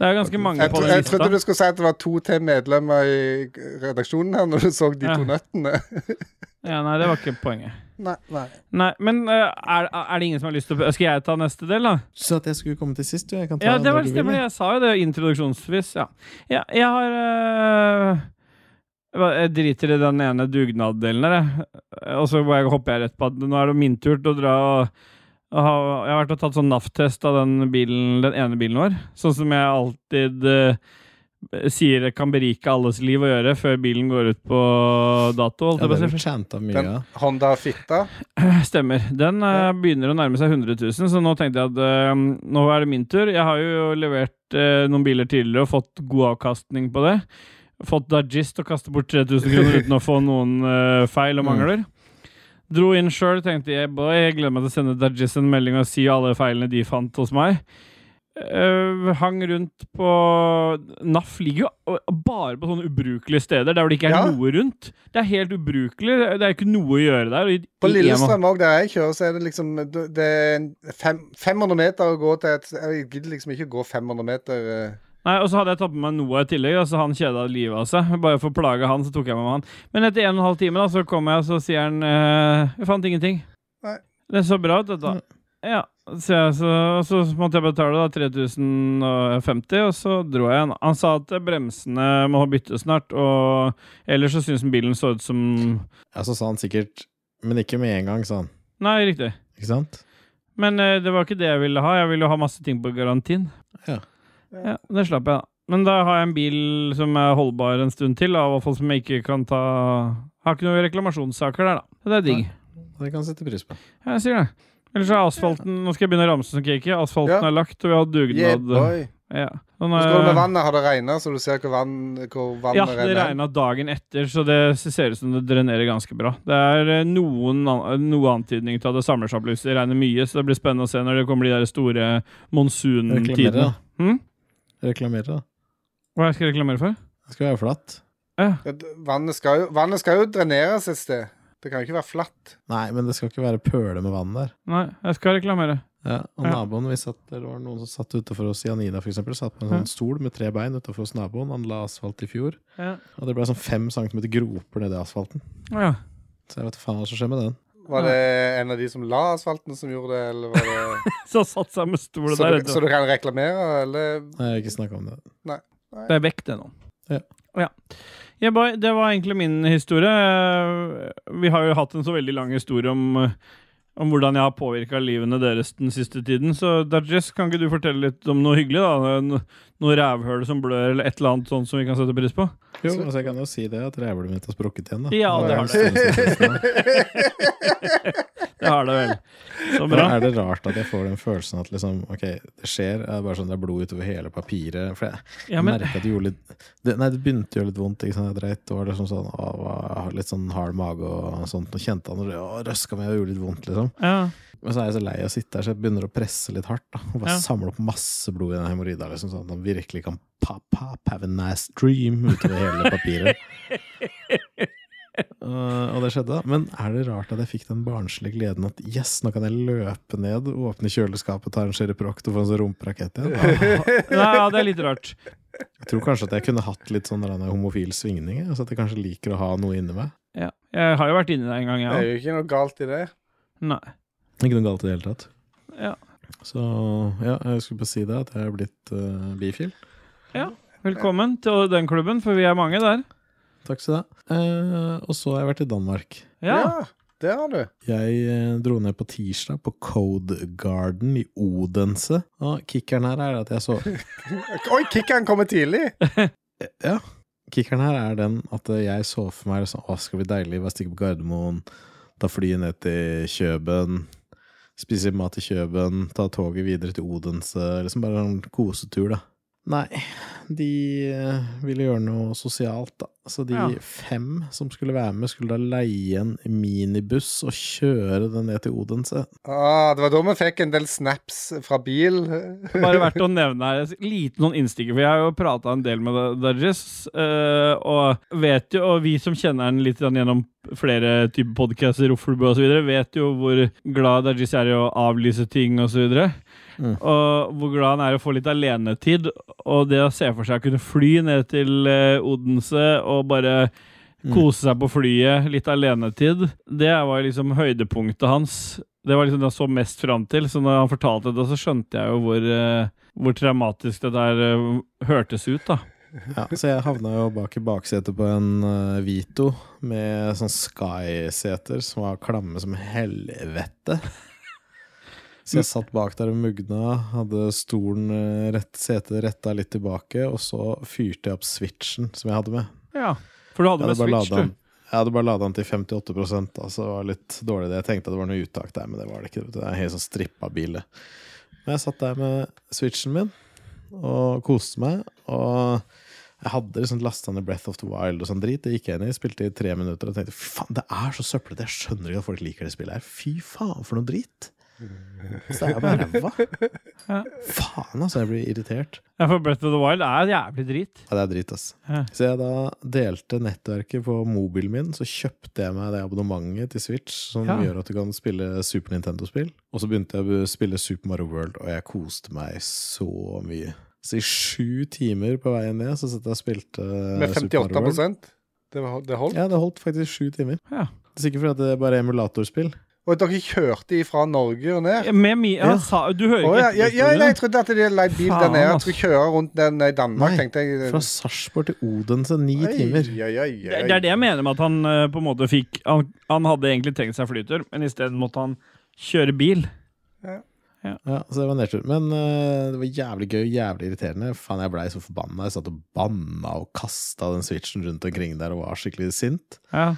Speaker 3: Det er ganske mange
Speaker 2: Jeg,
Speaker 3: på
Speaker 2: tro,
Speaker 3: den
Speaker 2: jeg trodde
Speaker 3: lista.
Speaker 2: du skulle si at det var to til medlemmer i redaksjonen her når du så de
Speaker 3: Ja.
Speaker 2: to nøttene.
Speaker 3: Ja, nei, det var ikke poenget.
Speaker 2: Nei, nei.
Speaker 3: Nei, men eh, er, er det ingen som har lyst til å Skal jeg ta neste del, da?
Speaker 1: Du sa at jeg skulle komme til sist. Du. Jeg kan ta
Speaker 3: Ja, det
Speaker 1: når
Speaker 3: var
Speaker 1: du vil,
Speaker 3: stemmer.
Speaker 1: jeg.
Speaker 3: Jeg sa jo det introduksjonsvis. Ja. Ja, jeg har øh, hva- Jeg driter i den ene dugnaddelen her, jeg. Og så bare hopper jeg rett på at nå er det min tur til å dra og og ha, Jeg har vært og tatt sånn NAF-test av den, bilen, den ene bilen vår. Sånn som jeg alltid øh, sier kan berike alles liv å gjøre før bilen går ut på dato. holdt
Speaker 1: Ja,
Speaker 3: jeg på å si.
Speaker 1: det har vi chanta mye
Speaker 2: Den
Speaker 1: av.
Speaker 2: Honda Fitta.
Speaker 3: Stemmer. Den eh, begynner å nærme seg 100 000, så nå tenkte jeg at eh, nå er det min tur. Jeg har jo levert eh, noen biler tidligere og fått god avkastning på det. Fått Dajist til å kaste bort 3000 kroner uten å få noen eh, feil og
Speaker 2: Mm.
Speaker 3: mangler. Dro inn sjøl, tenkte jeg boy, jeg gleder meg til å sende Dajist en melding og si alle feilene de fant hos meg. eh, hang rundt på NAF ligger jo bare på sånne ubrukelige steder der hvor det ikke er
Speaker 2: Ja.
Speaker 3: noe rundt. Det er helt ubrukelig. Det er ikke noe å gjøre der. og i-
Speaker 2: På
Speaker 3: i-
Speaker 2: Lillestrøm òg, der jeg kjører, så er det liksom Det er en fem, 500 meter å gå til et Jeg gidder liksom ikke gå 500 meter. eh.
Speaker 3: Nei, Og så hadde jeg tatt med meg Noah i tillegg, og så han kjeda livet av seg. Bare for å plage han, så tok jeg med meg han. Men etter en og en halv time da, så kom jeg, og så sier han eh, Jeg fant ingenting.
Speaker 2: Nei.
Speaker 3: Det så bra ut, dette. Ja. Så, jeg, så, og så måtte jeg betale da 3050, og så dro jeg igjen. Han sa at bremsene må bytte snart, og ellers så syns han bilen så ut som
Speaker 1: Ja, så sa han sikkert Men ikke med en gang, sa han.
Speaker 3: Nei, riktig.
Speaker 1: Ikke sant?
Speaker 3: Men eh, det var ikke det jeg ville ha. Jeg ville jo ha masse ting på garantien.
Speaker 1: Ja.
Speaker 3: Ja, Det slapp jeg, da. Men da har jeg en bil som er holdbar en stund til. Da, i hvert fall som jeg ikke kan ta Har ikke noen reklamasjonssaker der, da. Så det er digg.
Speaker 1: Det kan jeg sette pris på.
Speaker 3: Jeg sier det. Ellers er asfalten Nå skal jeg begynne å ramse som cake. Asfalten
Speaker 2: Ja.
Speaker 3: er lagt, og vi har
Speaker 2: Yeah,
Speaker 3: dugnad.
Speaker 2: boy.
Speaker 3: ja. Sånn,
Speaker 2: Nå skal du med
Speaker 3: eh,
Speaker 2: vannet. Har det regna, så du ser hvor, vann, hvor vannet
Speaker 3: ja, det
Speaker 2: renner?
Speaker 3: regna dagen etter, så det ser ut som det drenerer ganske bra. Det er eh, noen an- noe antydning til at det samler seg opp lus. Det regner mye, så det blir spennende å se når det kommer de der store
Speaker 1: Reklamere,
Speaker 3: monsuntidene.
Speaker 1: da.
Speaker 3: Mm, Hm?
Speaker 1: Reklamere, da.
Speaker 3: Hva skal jeg reklamere for?
Speaker 1: Det skal være flatt.
Speaker 2: Ja, d- Vannet skal, jo, vannet skal jo dreneres et sted. Det kan jo ikke være flatt.
Speaker 1: Nei, men det skal ikke være pøle med vann der.
Speaker 3: Nei, jeg skal reklamere.
Speaker 1: Ja, og
Speaker 3: Ja.
Speaker 1: naboen vi satt der, det var noen som satt utenfor oss i Anida, for eksempel. Satt på en sånn stol med tre bein utenfor hos naboen. Han la asfalt i fjor.
Speaker 3: Ja.
Speaker 1: Og det ble sånn fem centimeter groper nedi asfalten.
Speaker 3: ja.
Speaker 1: Så jeg vet faen hva som skjer med den.
Speaker 2: Var det en av de som la asfalten, som gjorde det, eller var det
Speaker 3: Så satt seg med stol
Speaker 2: så,
Speaker 3: der.
Speaker 2: du, så du kan reklamere, eller
Speaker 1: Nei, Jeg har ikke snakka om det.
Speaker 3: Det er vekk, det nå.
Speaker 1: Ja.
Speaker 3: Ja. Ja, boy, det var egentlig min historie. Eh, Vi har jo hatt en så veldig lang historie om, eh, om hvordan jeg har påvirka livene deres den siste tiden. Så Dajess, kan ikke du fortelle litt om noe hyggelig? da? No- Noe rævhøl som blør, eller et eller annet sånt som vi kan sette pris på?
Speaker 1: Jo, altså jeg kan jo si det, at rævhullet mitt har sprukket igjen, da.
Speaker 3: Ja, det har det. Det har det vel. Så
Speaker 1: Men
Speaker 3: bra.
Speaker 1: er det rart at jeg får den følelsen at liksom, ok, det skjer, det er bare sånn det er blod utover hele papiret. For jeg
Speaker 3: Ja, men
Speaker 1: merket at det gjorde litt det, Nei, det begynte å gjøre litt vondt. Ikke sant? Jeg dreit. Det var liksom sånn, å, var litt sånn hard mage og sånt. Og kjente han og det røska meg og gjorde litt vondt, liksom.
Speaker 3: ja.
Speaker 1: Men så er jeg så lei av å sitte her, så jeg begynner å presse litt hardt. Da, og bare
Speaker 3: Ja.
Speaker 1: samle opp masse blod i den hemoroida, liksom, sånn at han virkelig kan pop, pop, have a nice dream utover hele papiret. Uh, og det skjedde. da. Men er det rart at jeg fikk den barnslige gleden at yes, nå kan jeg løpe ned, åpne kjøleskapet, ta en Cheriproct og få en sånn rumperakett igjen? Ah,
Speaker 3: Nei, ja, det er litt rart.
Speaker 1: Jeg tror kanskje at jeg kunne hatt litt sånn der en homofil svingning. jeg, Altså at jeg kanskje liker å ha noe inni meg.
Speaker 3: Ja. Jeg har jo vært inni det en gang,
Speaker 2: Det er
Speaker 3: jeg òg.
Speaker 2: jo ikke noe galt i det.
Speaker 3: Nei.
Speaker 1: Ikke noe galt i det hele tatt.
Speaker 3: Ja.
Speaker 1: Så ja, jeg skulle bare si det, at jeg er blitt eh, bifil.
Speaker 3: Velkommen til den klubben, for vi er mange der.
Speaker 1: Takk skal du ha. Eh, og så har jeg vært i Danmark.
Speaker 3: Ja.
Speaker 2: det har du.
Speaker 1: Jeg eh, dro ned på tirsdag på Code Garden i Odense. Og kickeren her er at jeg så
Speaker 2: Oi, kickeren kommer tidlig!
Speaker 1: Ja. Kickeren her er den at eh, jeg så for meg sånn, Å, det skal bli deilig. Bare stikke på Gardermoen, ta flyet ned til Kjøben. Spise mat i Kjøben, ta toget videre til Odense. Liksom bare en kosetur, da. Nei, de eh, ville gjøre noe sosialt, da. Så de
Speaker 3: Ja.
Speaker 1: fem som skulle være med, skulle da leie en minibuss og kjøre den ned til Odense.
Speaker 2: Ah, det var da vi fikk en del snaps fra bil. eh,
Speaker 3: Bare verdt å nevne her en liten sånn innstikker, for jeg har jo prata en del med Dajis, og vet jo, og vi som kjenner han litt grann gjennom flere typer podcaster, Ruffelbø og så videre, vet jo hvor glad Dajis er i å avlyse ting og så videre.
Speaker 1: Mm.
Speaker 3: Og hvor glad han er i å få litt alenetid, og det å se for seg å kunne fly ned til eh, Odense og bare
Speaker 1: Mm.
Speaker 3: Kose seg på flyet, litt alenetid. Det var liksom høydepunktet hans. Det var liksom det han så mest fram til. Så når han fortalte det, så skjønte jeg jo hvor, eh, hvor traumatisk det der eh, hørtes ut, da.
Speaker 1: Ja, så jeg havna jo bak i baksetet på en eh, Vito med sånn Sky-seter som var klamme som helvete. Så jeg satt bak der og mugna, hadde stolen eh, rett, setet retta litt tilbake, og så fyrte jeg opp switchen som jeg hadde med.
Speaker 3: Ja. For du hadde
Speaker 1: Jeg
Speaker 3: med
Speaker 1: hadde bare
Speaker 3: Switch,
Speaker 1: lada den,
Speaker 3: du.
Speaker 1: jeg hadde bare ladet den til 58 altså det var litt dårlig. det Jeg tenkte at det var noe uttak der, men det var det ikke. vet du. Det er en helt sånn strippa bil. det. Men jeg satt der med switchen min og koste meg. Og jeg hadde liksom lasta ned Breath of the Wild og sånn drit. Det gikk jeg inn i, spilte i tre minutter og tenkte fy faen, det er så søplete. Jeg skjønner ikke at folk liker det spillet her. Fy faen, for noe drit. Så det er bare ræva.
Speaker 3: Ja.
Speaker 1: Faen, altså. Jeg blir irritert.
Speaker 3: Ja, for Breath of the Wild er jævlig drit.
Speaker 1: Ja, det er dritt, ass.
Speaker 3: Ja.
Speaker 1: Så jeg da delte nettverket på mobilen min, så kjøpte jeg meg det abonnementet til Switch som
Speaker 3: Ja.
Speaker 1: gjør at du kan spille Super Nintendo-spill. Og så begynte jeg å bu- spille Super Mario World, og jeg koste meg så mye. Så i sju timer på veien ned så satt jeg og spilte
Speaker 2: Med
Speaker 1: Super Mario World.
Speaker 2: 58 Det, var- det holdt.
Speaker 1: Ja, det holdt faktisk sju timer.
Speaker 3: Ja.
Speaker 1: Det er sikkert fordi at det er bare emulatorspill.
Speaker 2: Og dere kjørte ifra Norge og ned?
Speaker 3: Med mi, ja,
Speaker 1: Ja.
Speaker 3: Sa, du hører
Speaker 2: Å
Speaker 3: ikke
Speaker 2: ja,
Speaker 3: etter
Speaker 2: ja, ja,
Speaker 3: historien.
Speaker 2: nei, jeg trodde at de hadde leid bil der
Speaker 3: Faen,
Speaker 2: nede. Jeg
Speaker 3: ass.
Speaker 2: skulle kjøre rundt den i Danmark,
Speaker 1: Nei,
Speaker 2: tenkte jeg.
Speaker 1: Fra Sarpsborg til Odense, ni timer.
Speaker 2: Oi, oi, oi,
Speaker 3: Det
Speaker 2: oi.
Speaker 3: det er det jeg mener med at han eh, på en måte fikk Han, han hadde egentlig trengt seg flytur, men isteden måtte han kjøre bil.
Speaker 1: Ja, så det var nedtur. Men eh, det var jævlig gøy, jævlig irriterende. Faen, jeg blei så forbanna. Jeg satt og banna og kasta den switchen rundt omkring der og var skikkelig sint.
Speaker 3: Ja.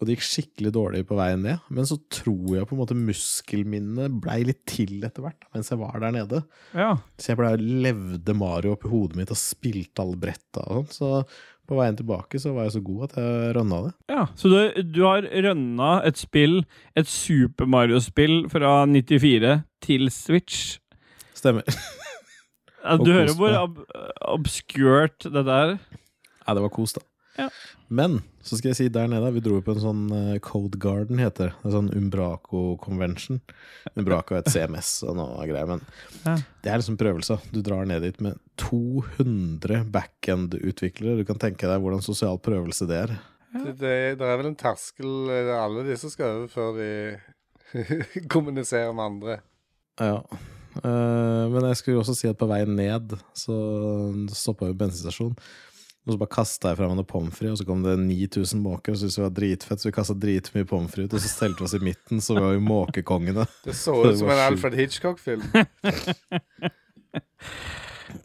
Speaker 1: Og det gikk skikkelig dårlig på veien ned. Men så tror jeg på en måte muskelminnet blei litt til etter hvert da, mens jeg var der nede.
Speaker 3: ja.
Speaker 1: Så jeg blei levde Mario oppi hodet mitt og spilte alle bretta og sånn. Så på veien tilbake så var jeg så god at jeg rønna det.
Speaker 3: Ja, Så du, du har rønna et spill, et Super Mario-spill fra 94 til Switch.
Speaker 1: Stemmer.
Speaker 3: Ja,
Speaker 1: Og
Speaker 3: Du hører
Speaker 1: kost
Speaker 3: hvor
Speaker 1: deg.
Speaker 3: ob obskurt det der
Speaker 1: Ja, det var kos, da.
Speaker 3: Ja.
Speaker 1: Men så skal jeg si der nede, vi dro jo på en sånn eh, Code Garden, heter det. En sånn Umbraco Convention. Umbraco er et CMS og noe greier, men
Speaker 3: Ja.
Speaker 1: det er liksom prøvelse. Du drar ned dit med 200 backend-utviklere. Du kan tenke deg hvordan sosial prøvelse det er.
Speaker 2: Det, det, det er vel en terskel eh, alle disse skal over før de kommuniserer med andre.
Speaker 1: Ja. Eh, men jeg skulle også si at på vei ned så stoppa vi bensinstasjonen. Og så bare kasta jeg fra meg noe pommes frites, og så kom det 9000 måker. Og så syntes vi det var dritfett, så vi kasta dritmye pommes frites, og så stelte vi oss i midten, så var vi måkekongene.
Speaker 2: Det så
Speaker 1: Det
Speaker 2: ut som
Speaker 1: var
Speaker 2: en
Speaker 1: sjukt.
Speaker 2: Alfred Hitchcock-film.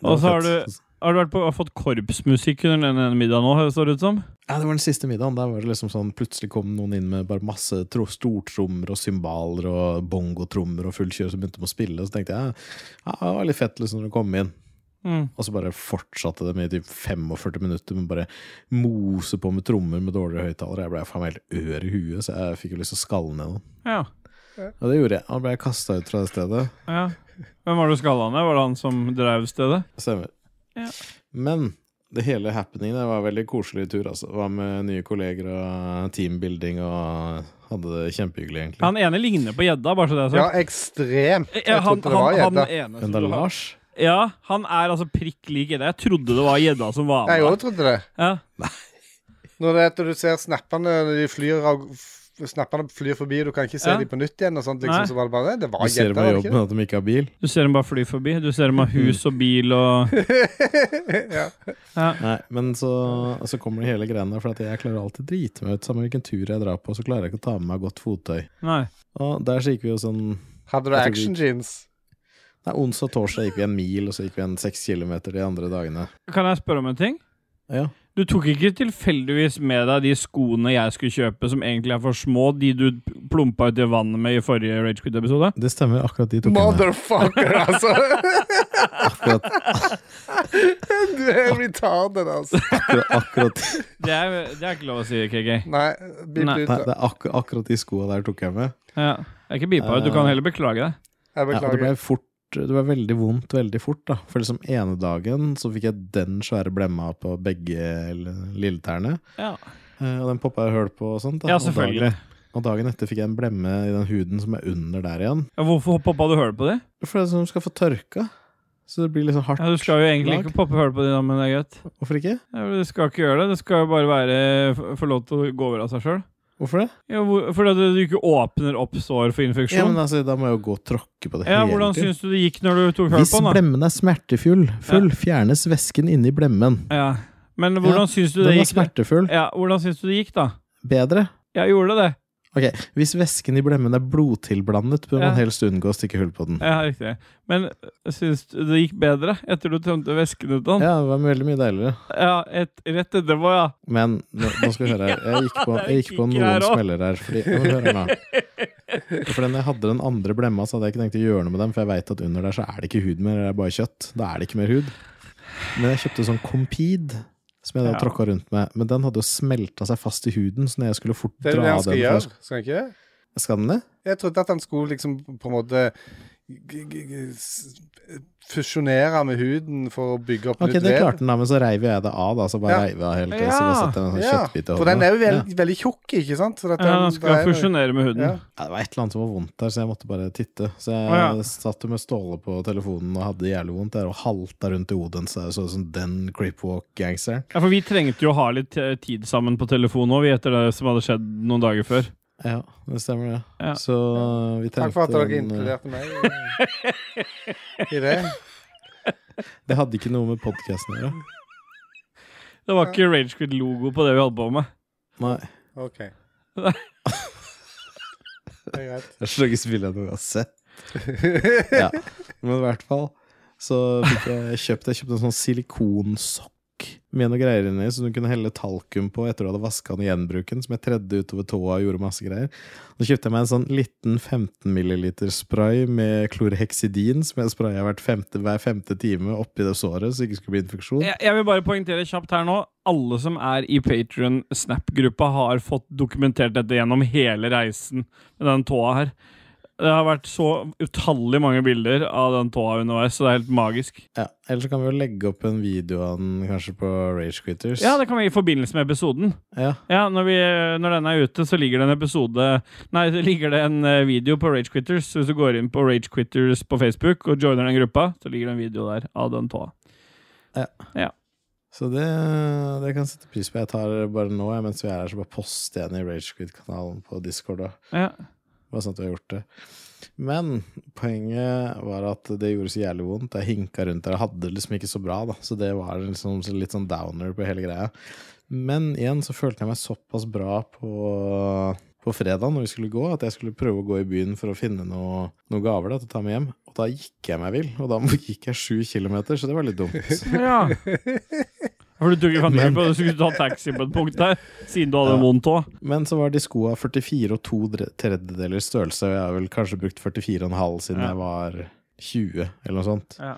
Speaker 3: Og så har
Speaker 1: Det var
Speaker 3: du,
Speaker 1: fett.
Speaker 3: har du vært på, har fått korpsmusikk under den ene middagen nå, ser det ut som.
Speaker 1: Ja, det var den siste middagen. Der var det liksom sånn Plutselig kom noen inn med bare masse tro- stortrommer og cymbaler og bongotrommer og full kjør, så begynte de å spille, og så tenkte jeg ja, det var litt fett liksom når de kom inn.
Speaker 3: Mm.
Speaker 1: Og så bare fortsatte de i typ 45 minutter med bare mose på med trommer med dårligere høyttalere. Jeg ble faen meg helt ør i huet, så jeg fikk jo lyst til å skalle ned noen.
Speaker 3: Ja,
Speaker 1: Og det gjorde jeg. Da ble jeg kasta ut fra det stedet.
Speaker 3: ja. Hvem var det du skalla ned? Var det han som drev stedet?
Speaker 1: Stemmer.
Speaker 3: Ja.
Speaker 1: Men det hele happeningen det var en veldig koselig tur. Altså. Var med nye kolleger og teambuilding og hadde det kjempehyggelig, egentlig.
Speaker 3: Han ene ligner på gjedda, bare så det er
Speaker 2: Ja,
Speaker 3: sagt.
Speaker 2: ekstremt. Jeg
Speaker 3: Ja, Eh, han,
Speaker 2: trodde
Speaker 3: han,
Speaker 2: det var
Speaker 3: han
Speaker 2: gjedda.
Speaker 3: ene som
Speaker 1: Men da
Speaker 3: du har-
Speaker 1: Lars
Speaker 3: Ja, han er altså prikk lik gjedda. Jeg trodde det var gjedda som var
Speaker 2: Jeg òg
Speaker 3: med.
Speaker 2: trodde det.
Speaker 3: Ja.
Speaker 2: Når det er at du ser snappene de flyr av f- Snappene flyr forbi, du kan ikke se
Speaker 3: Ja.
Speaker 2: dem på nytt igjen. og sånt,
Speaker 3: Nei.
Speaker 2: liksom, så var det bare, det var
Speaker 1: Du ser
Speaker 2: gjedda,
Speaker 1: på
Speaker 2: var det ikke
Speaker 1: jobben at de ikke har bil.
Speaker 3: Du ser dem bare fly forbi. Du ser dem ha hus og bil og
Speaker 2: det? ja.
Speaker 1: Nei, men så, så kommer det hele greiene der, for at jeg klarer alltid å drite meg ut. Samme hvilken tur jeg drar på, så klarer jeg ikke å ta med meg godt fottøy.
Speaker 3: Nei.
Speaker 1: Og der så gikk vi jo sånn
Speaker 2: Hadde du
Speaker 1: Jeg tror
Speaker 2: action jeans?
Speaker 1: Nei, onsdag og torsdag gikk vi en mil, og så gikk vi en seks kilometer de andre dagene.
Speaker 3: Kan jeg spørre om en ting?
Speaker 1: Ja.
Speaker 3: Du tok ikke tilfeldigvis med deg de skoene jeg skulle kjøpe, som egentlig er for små, de du plumpa uti vannet med i forrige Ragequid-episode?
Speaker 1: Det stemmer, akkurat de tok jeg med.
Speaker 2: Motherfucker, altså!
Speaker 1: Akkurat,
Speaker 2: Du er retarded, altså.
Speaker 1: akkurat, akkurat,
Speaker 3: Det, er- det er ikke lov å si, KK.
Speaker 2: Nei, bip
Speaker 3: Nei.
Speaker 2: ut.
Speaker 1: nei,
Speaker 2: da.
Speaker 1: det er akkurat, akkurat de skoa der tok jeg med.
Speaker 3: Ja. Det er ikke beepa ut. Du kan heller beklage deg.
Speaker 2: Jeg
Speaker 1: Ja, og det
Speaker 2: beklager.
Speaker 1: ble fort det ble veldig vondt veldig fort, da. For liksom ene dagen så fikk jeg den svære blemma på begge l- lilletærne.
Speaker 3: Ja,
Speaker 1: eh, Og den poppa jeg hull på og sånt. Da.
Speaker 3: ja
Speaker 1: Og
Speaker 3: selvfølgelig.
Speaker 1: Dagen, og dagen etter fikk jeg en blemme i den huden som er under der igjen.
Speaker 3: Ja, Hvorfor poppa du høl på de?
Speaker 1: For det er sånn du skal få tørka. Så det blir liksom hardt.
Speaker 3: Ja, du skal jo egentlig
Speaker 1: lag.
Speaker 3: ikke poppe høl på de, da, men det er greit.
Speaker 1: Hvorfor ikke?
Speaker 3: Ja, men Du skal ikke gjøre det. Det skal jo bare være f- få lov til å gå over av seg sjøl.
Speaker 1: Hvorfor det?
Speaker 3: Ja, hvor- fordi at du ikke åpner opp sår for
Speaker 1: Ja, men
Speaker 3: infeksjon.
Speaker 1: altså, Da må jeg jo gå og tråkke på det
Speaker 3: Ja,
Speaker 1: hele
Speaker 3: Hvordan
Speaker 1: tiden.
Speaker 3: syns du det gikk når du tok høl
Speaker 1: Hvis
Speaker 3: på den? da?
Speaker 1: blemmen er smertefull, full, fjernes væsken inni blemmen.
Speaker 3: Ja. Men
Speaker 1: Ja,
Speaker 3: hvordan syns du
Speaker 1: Den
Speaker 3: det
Speaker 1: var
Speaker 3: gikk? da?
Speaker 1: smertefull.
Speaker 3: Ja, hvordan syns du det gikk, da?
Speaker 1: Bedre.
Speaker 3: Jeg gjorde det.
Speaker 1: Ok, Hvis væsken i blemmen er blodtilblandet, bør
Speaker 3: Ja.
Speaker 1: man helst unngå å stikke hull på den.
Speaker 3: Ja, riktig. Men syns du det gikk bedre etter du tømte væsken ut av den? Ja,
Speaker 1: Ja, det var veldig mye deiligere.
Speaker 3: et, rett etterpå, ja.
Speaker 1: Men nå, nå skal vi høre her. Jeg gikk på, jeg gikk på
Speaker 3: Ja, det er
Speaker 1: noen
Speaker 3: kikker her også.
Speaker 1: smeller her. Fordi, nå må du høre meg. For den jeg hadde den andre blemma, så hadde jeg ikke tenkt å gjøre noe med den. For jeg veit at under der så er det ikke hud mer, det er bare kjøtt. Da er det ikke mer hud. Men jeg kjøpte sånn Compede, som jeg da
Speaker 3: Ja.
Speaker 1: tråkka rundt med. Men den hadde jo smelta seg fast i huden, så når jeg skulle fort
Speaker 2: Det er
Speaker 1: dra
Speaker 2: det
Speaker 1: den
Speaker 2: han skal
Speaker 1: for jeg
Speaker 2: gjøre, skal han ikke?
Speaker 1: Skal den det?
Speaker 2: Jeg trodde at han skulle liksom på en måte g- g- g- s- fusjonere med huden for å bygge opp
Speaker 1: Ok,
Speaker 2: nytt
Speaker 1: det
Speaker 2: vev.
Speaker 1: klarte den, da, men så reiv jo jeg det av, da. Så bare
Speaker 2: Ja.
Speaker 1: reiv jeg av hele tiden. Så
Speaker 3: Ja.
Speaker 1: bare satte jeg en sånn
Speaker 2: Ja,
Speaker 1: kjøttbit i
Speaker 2: for
Speaker 1: hånda.
Speaker 2: den er jo
Speaker 1: Ja.
Speaker 2: veldig, veldig tjukk, ikke sant? Så dette-
Speaker 3: Ja, han
Speaker 2: det
Speaker 3: skal
Speaker 2: er-
Speaker 3: fusjonere med huden.
Speaker 2: Ja.
Speaker 1: Ja, det var et eller annet som var vondt der, så jeg måtte bare titte. Så jeg
Speaker 3: Å, ja.
Speaker 1: satt jo med Ståle på telefonen og hadde jævlig vondt der, og halta rundt i Oden, så jeg så ut som den creepwalk-gangsteren.
Speaker 3: Ja, for vi trengte jo å ha litt eh, tid sammen på telefon òg, etter det som hadde skjedd noen dager før.
Speaker 1: Ja, det stemmer det.
Speaker 3: Ja.
Speaker 1: Så vi
Speaker 2: Takk for at
Speaker 1: tenkte
Speaker 2: dere
Speaker 1: en, eh,
Speaker 2: inkluderte meg i det.
Speaker 1: Det hadde ikke noe med podkasten å gjøre.
Speaker 3: Det var ikke Ragequid-logo på det vi holdt på med.
Speaker 1: Nei.
Speaker 2: OK. Det er greit.
Speaker 1: Det er så lenge spillet jeg noen gang har sett. Ja. Men i hvert fall så fikk jeg kjøpt Jeg kjøpte en sånn silikonsokk med noe greier inni, som du kunne helle talkum på etter du hadde vaska den og gjenbrukt den, som jeg tredde utover tåa og gjorde masse greier. Så kjøpte jeg meg en sånn liten 15 milliliter spray med klorheksidin, som jeg spraya hvert femte, hver femte time oppi det såret, så det ikke skulle bli infeksjon.
Speaker 3: Jeg, jeg vil bare poengtere kjapt her nå. Alle som er i Patrion-Snap-gruppa, har fått dokumentert dette gjennom hele reisen med den tåa her. Det har vært så utallig mange bilder av den tåa underveis, så det er helt magisk.
Speaker 1: Ja. Eller så kan vi jo legge opp en video av den kanskje på Rage Quitters.
Speaker 3: Ja, det kan vi i forbindelse med episoden.
Speaker 1: ja.
Speaker 3: Ja, når, vi, når den er ute, så ligger det en episode Nei, det ligger det en eh, video på Rage Quitters. Hvis du går inn på Rage Quitters på Facebook og joiner den gruppa, så ligger det en video der av den tåa.
Speaker 1: Så det, det kan jeg sette pris på. Jeg tar bare nå, jeg, mens vi er her, så bare poster jeg den i Ragequid-kanalen på Discord. Da.
Speaker 3: Ja.
Speaker 1: Bare sånn at vi har gjort det. Men poenget var at det gjorde så jævlig vondt. Jeg hinka rundt der. Jeg hadde det liksom ikke så bra, da. Så det var liksom litt sånn downer på hele greia. Men igjen så følte jeg meg såpass bra på, på fredag når vi skulle gå, at jeg skulle prøve å gå i byen for å finne noe, noen gaver da, til å ta med hjem. Og da gikk jeg meg vill. Og da gikk jeg sju kilometer, så det var litt dumt.
Speaker 3: ja. For du tok ikke fantasi på at du skulle ta taxi på et punkt der, siden du hadde en vond tå.
Speaker 1: Men så var de skoa 44 og to dre- tredjedeler størrelse, og jeg har vel kanskje brukt 44,5 siden
Speaker 3: Ja.
Speaker 1: jeg var 20, eller noe sånt.
Speaker 3: Ja.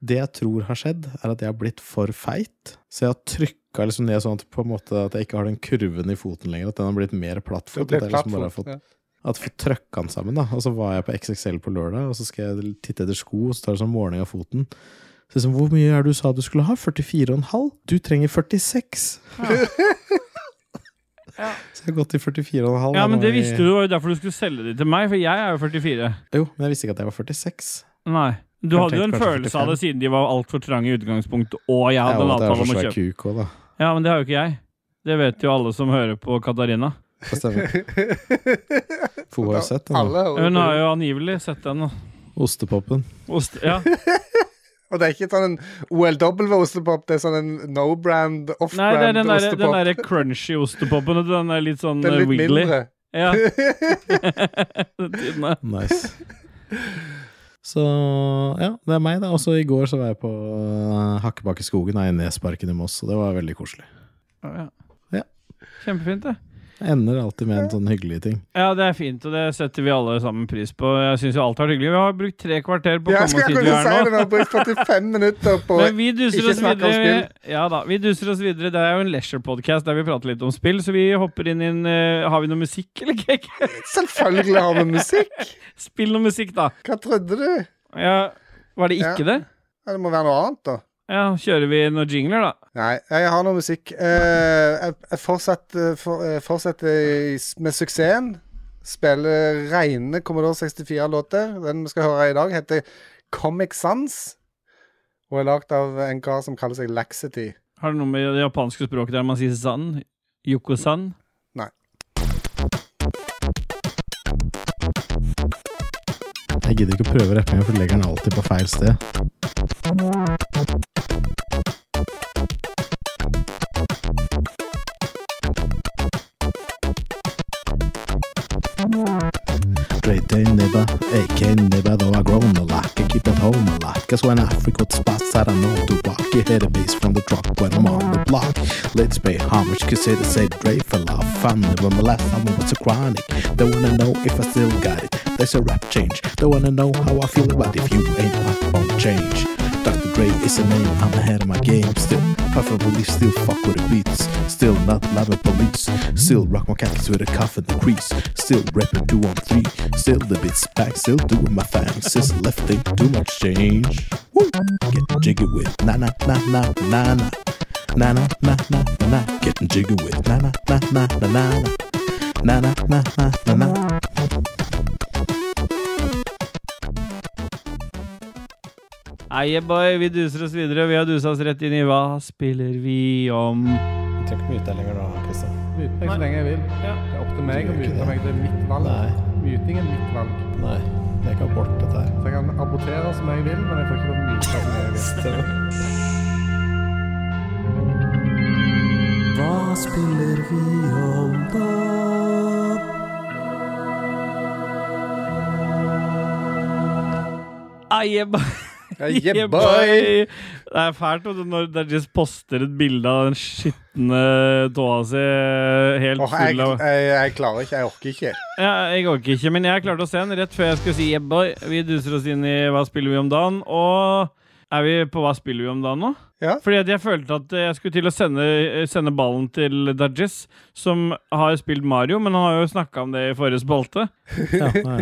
Speaker 1: Det jeg tror har skjedd, er at jeg har blitt for feit. Så jeg har trykka liksom ned sånn at, på en måte at jeg ikke har den kurven i foten lenger, at den har blitt mer
Speaker 2: Det
Speaker 1: plattfot.
Speaker 2: ble
Speaker 1: At jeg liksom bare har
Speaker 2: plattfot.
Speaker 1: fått,
Speaker 2: Ja.
Speaker 1: at jeg har fått trøkka den sammen, da. Og så var jeg på XXL på lørdag, og så skal jeg titte etter sko, og så tar det sånn måling av foten. Så liksom, hvor mye er det du sa du skulle ha? 44,5? Du trenger 46! Så jeg har gått til 44,5.
Speaker 3: Ja, men
Speaker 1: nå
Speaker 3: det
Speaker 1: i-
Speaker 3: visste du, det var jo derfor du skulle selge de til meg, for jeg er jo 44.
Speaker 1: Jo, men jeg visste ikke at jeg var 46.
Speaker 3: Nei. Du
Speaker 1: Jeg
Speaker 3: hadde jo en
Speaker 1: tenkte kanskje
Speaker 3: følelse av det siden de var altfor trange i utgangspunktet, og jeg hadde
Speaker 1: og
Speaker 3: en
Speaker 1: at jeg har
Speaker 3: avtale
Speaker 1: så
Speaker 3: om å
Speaker 1: svær
Speaker 3: kjøpe.
Speaker 1: kuk også, da.
Speaker 3: Ja, men det har jo ikke jeg. Det vet jo alle som hører på Katarina.
Speaker 1: Det stemmer. For hun har jo sett den da.
Speaker 2: Alle hører
Speaker 3: Hun
Speaker 2: på
Speaker 3: har
Speaker 2: det.
Speaker 3: jo angivelig sett den. altså. da.
Speaker 1: ostepopen.
Speaker 3: Ost, ja.
Speaker 2: Og det er ikke sånn en OLW-ostepop, det er sånn en no-brand,
Speaker 3: Nei, det er den derre den
Speaker 2: off-brand-ostepop.
Speaker 3: derre crunchy ostepopen. og Den er litt sånn
Speaker 2: Den
Speaker 3: eh,
Speaker 2: er litt
Speaker 3: wiggly.
Speaker 2: mindre.
Speaker 3: Ja. Den er-
Speaker 1: Nice. Så ja, det er meg, da. Også i går så var jeg på eh, Hakkebakkeskogen her i Nesparken i Moss, og det var veldig koselig. Ja.
Speaker 3: ja. Kjempefint, det.
Speaker 1: Jeg ender alltid med en sånn hyggelig ting.
Speaker 3: Ja, det er fint, og det setter vi alle sammen pris på. Jeg syns jo alt har vært hyggelig. Vi har brukt tre kvarter på å
Speaker 2: Ja,
Speaker 3: komme
Speaker 2: skal
Speaker 3: oss
Speaker 2: jeg
Speaker 3: hit vi
Speaker 2: kunne si
Speaker 3: er nå.
Speaker 2: det, vi har brukt 45 minutter på
Speaker 3: Men vi duser
Speaker 2: ikke
Speaker 3: oss
Speaker 2: snakke om
Speaker 3: videre. Ja da, vi duser oss videre. Det er jo en leisure-podkast der vi prater litt om spill, så vi hopper inn i en eh, Har vi noe musikk, eller ikke?
Speaker 2: Selvfølgelig har vi musikk!
Speaker 3: Spill noe musikk, da.
Speaker 2: Hva trodde du?
Speaker 3: Ja, var det ikke det?
Speaker 2: Ja, Det må være noe annet, da.
Speaker 3: Ja, kjører vi noen jingler, da?
Speaker 2: Nei, jeg har noe musikk. Eh, jeg jeg fortsetter, for, eh, fortsetter i s- med suksessen. Spiller reine Commodore 64-låter. Den vi skal høre i dag, heter Comic Sans. Og er lagd av en kar som kaller seg Laxity.
Speaker 3: Har du noe med det japanske språket der man sier san? Yoko-san?
Speaker 1: Jeg gidder ikke å prøve rappinga, for du legger den alltid på feil sted. Straight in nibba, AK nibba, though I grown a lot, can keep it home a lot. Cause when I frequent spots that I know to walk, you hear the bass from the truck when I'm on the block. Let's pay homage, cause it is a great for love. Fun, when my last time I was a chronic, they wanna know if I still got it. There's a rap change, they wanna know how I feel about if you ain't up on change. Dr. Dre is a name, I'm ahead of my game. Still puff up belief, still fuck with the beats. Still not loving police. Still rock my cactus with a cuff and the crease. Still rapping two on three. Still the bits back, still doing my thing. Since left thing, too much change. Woo! Get jiggy with na na na na na na. Na na na na na na. Getting jiggy with na na na na na na na. Na na na na na na.
Speaker 3: Eieboy, vi duser oss videre. Vi har dusa oss rett inn i Hva spiller vi om?
Speaker 1: Jeg trenger ikke mute deg lenger nå, Kristian.
Speaker 2: Myte meg så lenge jeg vil. Det er opp til meg å myte meg. Det er mitt valg.
Speaker 1: Nei.
Speaker 2: Myting er mitt valg.
Speaker 1: Nei, det er ikke abort, dette her.
Speaker 2: Så jeg kan abortere som jeg vil, men jeg får ikke lov til å myte som jeg vil.
Speaker 3: Eieboy!
Speaker 2: Yeah,
Speaker 3: Eieboy! Det er fælt vet du, når Dajis poster et bilde av den skitne tåa si helt
Speaker 2: Åh, jeg,
Speaker 3: full av
Speaker 2: jeg, jeg klarer ikke. Jeg orker ikke.
Speaker 3: ja, Jeg orker ikke, men jeg klarte å se den rett før jeg skulle si yeah, boy. Vi duser oss inn i Hva spiller vi om dagen? Og er vi på Hva spiller vi om dagen nå?
Speaker 2: Ja.
Speaker 3: Fordi at jeg følte at jeg skulle til å sende, sende ballen til Dajis, som har spilt Mario, men han har jo snakka om det i forrige spalte.
Speaker 1: Ja, nei.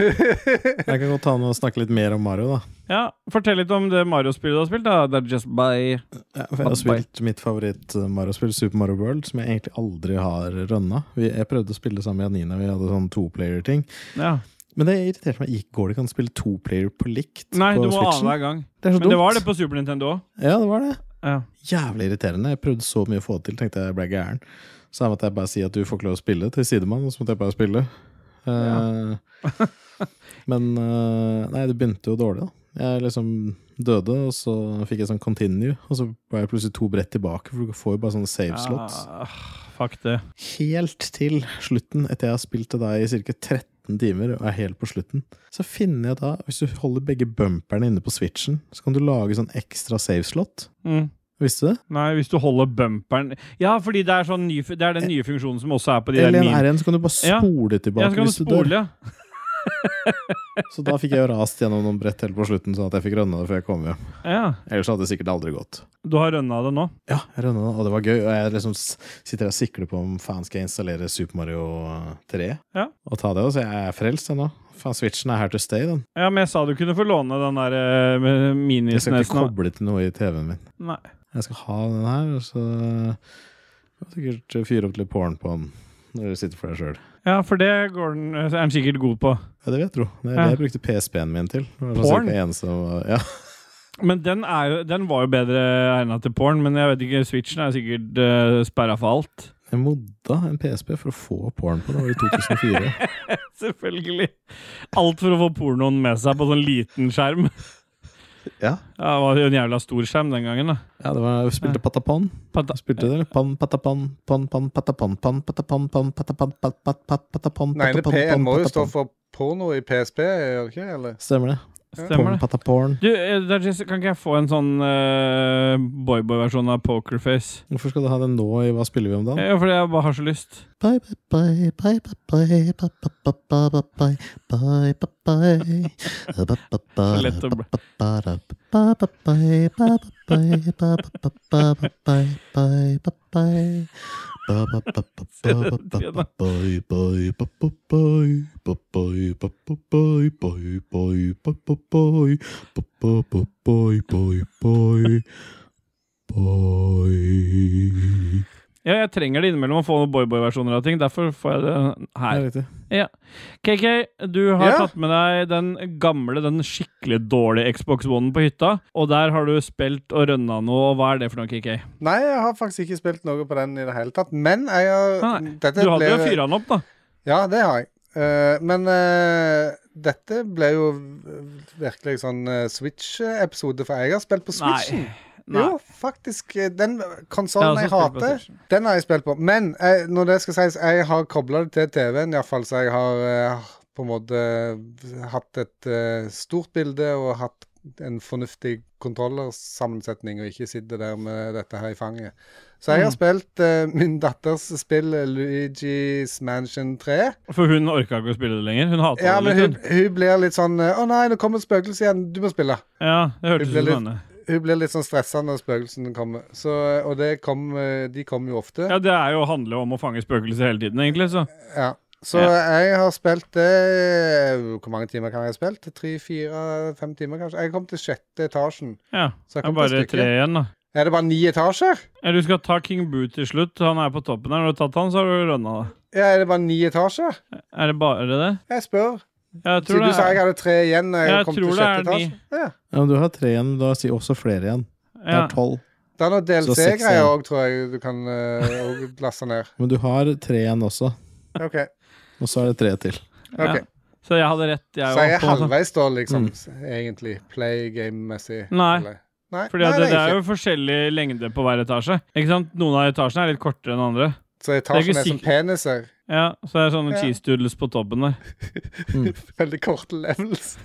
Speaker 1: Jeg kan godt ta med og snakke litt mer om Mario, da.
Speaker 3: Ja, Fortell litt om det Mario-spillet du har spilt. da Dajis by
Speaker 1: Ja, for jeg har spilt mitt favoritt-Mario-spill, Super Mario World, som jeg egentlig aldri har rønna. Vi- Jeg prøvde å spille det sammen med Janina, vi hadde sånn toplayer-ting.
Speaker 3: ja.
Speaker 1: Men det irriterte meg. Gikk- Går det ikke an å spille toplayer på likt?
Speaker 3: Nei,
Speaker 1: på
Speaker 3: du må
Speaker 1: Switchen?
Speaker 3: annenhver gang.
Speaker 1: Det er så
Speaker 3: Men det var det
Speaker 1: dumt.
Speaker 3: på Super Nintendo òg.
Speaker 1: Ja, det var det.
Speaker 3: Ja.
Speaker 1: Jævlig irriterende. Jeg prøvde så mye å få det til, tenkte jeg ble gæren. Så her måtte jeg bare si at du får ikke lov å spille til sidemann, og så måtte jeg bare spille. Eh, men eh, nei, det begynte jo dårlig, da. Jeg liksom døde, og så fikk jeg sånn continue, og så var jeg plutselig to brett tilbake, for du får jo bare sånne save slots.
Speaker 3: Ah, fuck det.
Speaker 1: Helt til slutten, etter jeg har spilt til deg i ca. 13 timer, og er helt på slutten, så finner jeg da, hvis du holder begge bumperne inne på switchen, så kan du lage sånn ekstra save slot.
Speaker 3: Mm.
Speaker 1: Visste du det?
Speaker 3: Nei, hvis du holder bumperen Ja, fordi det er, sånn ny, fu- det er
Speaker 1: Eh,
Speaker 3: den nye funksjonen som også er på de der
Speaker 1: Eller en
Speaker 3: mine...
Speaker 1: R1, så kan du bare
Speaker 3: Ja.
Speaker 1: spole tilbake
Speaker 3: Ja, så kan du
Speaker 1: hvis du dør.
Speaker 3: spole, ja.
Speaker 1: Så da fikk jeg jo rast gjennom noen brett helt på slutten, sånn at jeg fikk rønna det før jeg kom hjem.
Speaker 3: ja.
Speaker 1: Ellers hadde det sikkert aldri gått.
Speaker 3: Du har rønna det nå.
Speaker 1: Ja, jeg rønna det, og det var gøy. Og jeg liksom s- sitter og sikler på om faen skal jeg installere Super Mario 3
Speaker 3: Ja.
Speaker 1: og ta det òg, så jeg er frelst ennå. Faen, switchen er her to stay, den.
Speaker 3: Ja, men jeg sa du kunne få låne den der eh, med
Speaker 1: Jeg skal ikke
Speaker 3: minisnesen.
Speaker 1: koble til noe i TV-en min.
Speaker 3: Nei.
Speaker 1: Jeg skal ha den her, og så kan jeg sikkert fyre opp litt porn på den når du sitter for deg sjøl.
Speaker 3: Ja, for det går den, eh, er den sikkert god på.
Speaker 1: Ja, det vil jeg tro. Det er
Speaker 3: Ja.
Speaker 1: det jeg brukte PSP-en min til. Det var sånn
Speaker 3: Porn?
Speaker 1: cirka en som- Ja.
Speaker 3: Men den, er, den var jo bedre egna til porn, men jeg vet ikke, switchen er sikkert uh, sperra for alt.
Speaker 1: Jeg modda en PSP for å få porn på den. Det var i 2004.
Speaker 3: Selvfølgelig. Alt for å få pornoen med seg på sånn liten skjerm.
Speaker 1: ja.
Speaker 3: Ja, det var jo en jævla stor skjerm den gangen, da.
Speaker 1: ja, det var Spilte patapon.
Speaker 3: Pata-
Speaker 1: Spilte det, eller? Pan, patapon, pan, pan, patapon, pan, patapon, pan, patapon, pat, pat, pat, patapon,
Speaker 2: Nei, det
Speaker 1: patapon,
Speaker 2: P-en
Speaker 1: pan,
Speaker 2: må jo stå
Speaker 1: patapon.
Speaker 2: for porno i PSP, gjør det ikke? Eller?
Speaker 1: Stemmer det. Porn,
Speaker 3: Stemmer det.
Speaker 1: pataporn.
Speaker 3: Du, eh, Dajis, kan ikke jeg få en sånn eh, boyboy-versjon av Pokerface?
Speaker 1: Hvorfor skal du ha det nå i Hva spiller vi om dagen?
Speaker 3: Ja, fordi jeg bare har så lyst.
Speaker 1: Bye, bye, bye, bye, bye, bye, bye, bye, bye, bye, bye, bye, bye. Bye, bye, bye,
Speaker 3: Så lett å bli-
Speaker 1: bye, bye, bye, bye, bye, bye, bye, bye, bye, bye, bye, bye, bye. Bye, bye, bye, bye, bye, bye, bye, bye, bye, bye, bye, bye. Bye, bye, bye, bye, bye, bye, bye, bye, bye. Bye, bye, bye, bye, bye, bye. Bye.
Speaker 3: Ja, jeg trenger det innimellom å få noen boyboy-versjoner av ting. Derfor får jeg det her. KK, du har
Speaker 2: Ja.
Speaker 3: tatt med deg den gamle, den skikkelig dårlige Xbox One på hytta. Og der har du spilt og rønna noe, og hva er det for noe, KK?
Speaker 2: Nei, jeg har faktisk ikke spilt noe på den i det hele tatt. Men jeg har
Speaker 3: Nei,
Speaker 2: dette
Speaker 3: Du hadde jo
Speaker 2: ble-
Speaker 3: fyra den opp, da.
Speaker 2: Ja, det har jeg. Eh, men eh, dette ble jo virkelig sånn eh, Switch-episode, for jeg har spilt på Switchen.
Speaker 3: Nei.
Speaker 2: Jo, faktisk. eh, Den
Speaker 3: Jeg har
Speaker 2: konsollen
Speaker 3: også
Speaker 2: jeg,
Speaker 3: spilt på
Speaker 2: hater,
Speaker 3: Switchen.
Speaker 2: den har jeg spilt på. Men eh, når det skal sies, jeg har kobla det til TV-en, iallfall, så jeg har eh, på en måte hatt et eh, stort bilde og hatt en fornuftig kontrollersammensetning, og ikke sitter der med dette her i fanget. Så jeg har
Speaker 3: Mm.
Speaker 2: spilt eh, min datters spill eh, Luigi's Mansion 3.
Speaker 3: For hun orka ikke å spille det lenger. Hun hater
Speaker 2: Ja,
Speaker 3: det
Speaker 2: men hun,
Speaker 3: litt.
Speaker 2: hun blir litt sånn eh, 'Å nei, nå kommer et spøkelse igjen. Du må spille.'
Speaker 3: Hun. Ja, det hørtes
Speaker 2: hun ble
Speaker 3: ut
Speaker 2: litt-
Speaker 3: som henne.
Speaker 2: Hun blir litt sånn stressa når spøkelsene kommer. Så, eh, og det kom, eh, de kommer jo ofte.
Speaker 3: Ja, det er jo handler jo om å fange spøkelser hele tiden, egentlig. Så
Speaker 2: Ja. Så
Speaker 3: Ja.
Speaker 2: jeg har spilt det Hvor mange timer kan jeg ha spilt? Tre, fire, fem timer, kanskje? Jeg kom til sjette etasjen.
Speaker 3: ja. Det
Speaker 2: Så jeg
Speaker 3: er
Speaker 2: kom til
Speaker 3: bare
Speaker 2: et
Speaker 3: tre
Speaker 2: stykke.
Speaker 3: igjen, da.
Speaker 2: Er det bare ni etasjer?
Speaker 3: Ja, du skal ta King Boo til slutt. Han er på toppen her. Når du har tatt han, så har du rønna det.
Speaker 2: Ja, er det bare ni etasjer?
Speaker 3: Er det bare det?
Speaker 2: Jeg spør.
Speaker 3: Jeg tror
Speaker 2: Siden
Speaker 3: det
Speaker 2: du sa jeg
Speaker 3: er,
Speaker 2: hadde tre igjen når jeg,
Speaker 3: Ja, jeg
Speaker 2: kom
Speaker 3: tror
Speaker 2: til
Speaker 3: det er
Speaker 2: sjette etasje. Ja.
Speaker 1: Ja, men du har tre igjen, men du har si- også flere igjen. Det
Speaker 3: ja.
Speaker 1: er tolv.
Speaker 2: Det er noen
Speaker 1: Så seks
Speaker 2: DLC-greier
Speaker 1: igjen.
Speaker 2: òg, tror jeg du kan eh, også laste ned.
Speaker 1: Men du har tre igjen også,
Speaker 2: OK.
Speaker 1: og så er det tre til.
Speaker 2: ok.
Speaker 3: Ja. Så jeg hadde rett, jeg
Speaker 2: Så jeg er
Speaker 3: også, altså.
Speaker 2: halvveis da, liksom,
Speaker 1: Mm.
Speaker 2: egentlig. Play game-messig.
Speaker 3: Nei.
Speaker 2: Eller- Nei,
Speaker 3: Fordi at
Speaker 2: nei,
Speaker 3: det, det
Speaker 2: er
Speaker 3: er
Speaker 2: jeg
Speaker 3: jo
Speaker 2: ikke.
Speaker 3: forskjellig lengde på hver etasje. Ikke sant? Noen av etasjene er litt kortere enn andre. det
Speaker 2: Så
Speaker 3: er
Speaker 2: etasjen
Speaker 3: ikke
Speaker 2: er som
Speaker 3: sikkert-
Speaker 2: peniser.
Speaker 3: Ja, Så det er sånne
Speaker 2: Ja.
Speaker 3: cheese doodles på toppen der.
Speaker 2: Veldig korte levels.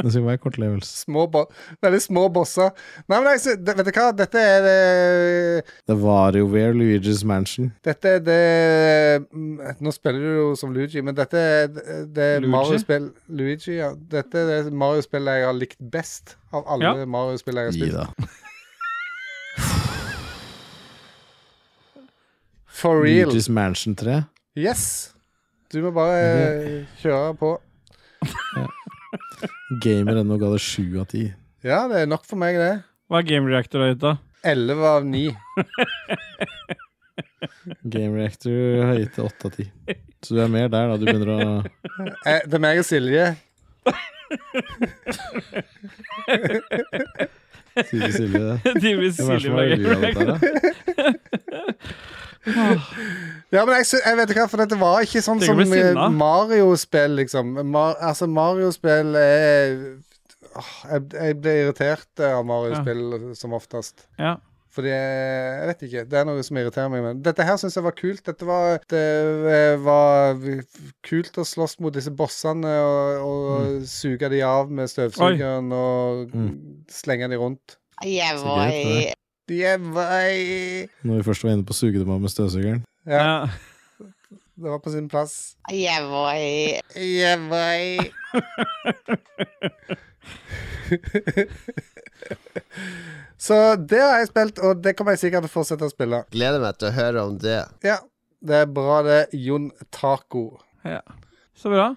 Speaker 1: Det skal være kortlevelse.
Speaker 2: Små bo veldig små bosser. Nei, men jeg, sy- det- vet du hva? Dette er det
Speaker 1: Det var jo Where Luigi's Mansion.
Speaker 2: Dette er det mm, Nå spiller du jo som Luigi, men dette er det- det
Speaker 3: Luigi?
Speaker 2: Mario-spill Luigi, ja. Dette er det Mario-spillet jeg har likt best av alle
Speaker 3: Ja.
Speaker 2: Mario-spill jeg har
Speaker 1: Gi
Speaker 2: spilt.
Speaker 1: da.
Speaker 2: For real.
Speaker 1: Luigi's Mansion 3.
Speaker 2: Yes. Du må bare eh, kjøre på.
Speaker 1: Gamer ennå ga det sju av ti.
Speaker 2: Ja, det er nok for meg, det.
Speaker 3: Hva er game reactor høyt, da?
Speaker 2: 11 av 9.
Speaker 1: Game Reactor har gitt det åtte av ti. Så du er mer der, da. Du begynner å
Speaker 2: Eh, det er meg og Silje.
Speaker 1: si til Silje det.
Speaker 3: De
Speaker 1: Hvem er
Speaker 3: vil
Speaker 1: det som
Speaker 3: silje
Speaker 1: har
Speaker 3: med game
Speaker 1: ødelagt
Speaker 3: reactor.
Speaker 1: dette, her, da?
Speaker 2: Ja, men jeg, sy- jeg vet ikke hva, for dette var ikke sånn
Speaker 3: Tenk å
Speaker 2: som
Speaker 3: bli sinna.
Speaker 2: eh, Mario-spill, liksom. Mar altså, Mario-spill er Åh, jeg, jeg blir irritert eh, av Mario-spill som oftest.
Speaker 3: Ja.
Speaker 2: Fordi jeg, jeg vet ikke. Det er noe som irriterer meg. Men dette her syns jeg var kult. Dette var, det eh, var kult å slåss mot disse bossene og, og
Speaker 3: Mm.
Speaker 2: suge de av med støvsugeren og
Speaker 3: Mm.
Speaker 2: slenge de rundt.
Speaker 4: Yeah,
Speaker 1: Så
Speaker 4: boy.
Speaker 1: gøy for deg.
Speaker 2: Yeah, boy.
Speaker 1: Når vi først var inne på å suge dem av med støvsugeren.
Speaker 2: Ja.
Speaker 3: Ja.
Speaker 2: Det var på sin plass.
Speaker 4: Yeah, boy.
Speaker 2: Yeah, boy. Så det har jeg spilt, og det kommer jeg sikkert til å fortsette å spille.
Speaker 5: Gleder meg til å høre om det.
Speaker 2: Ja, Det er bra, det. Jon Taco.
Speaker 3: Så bra.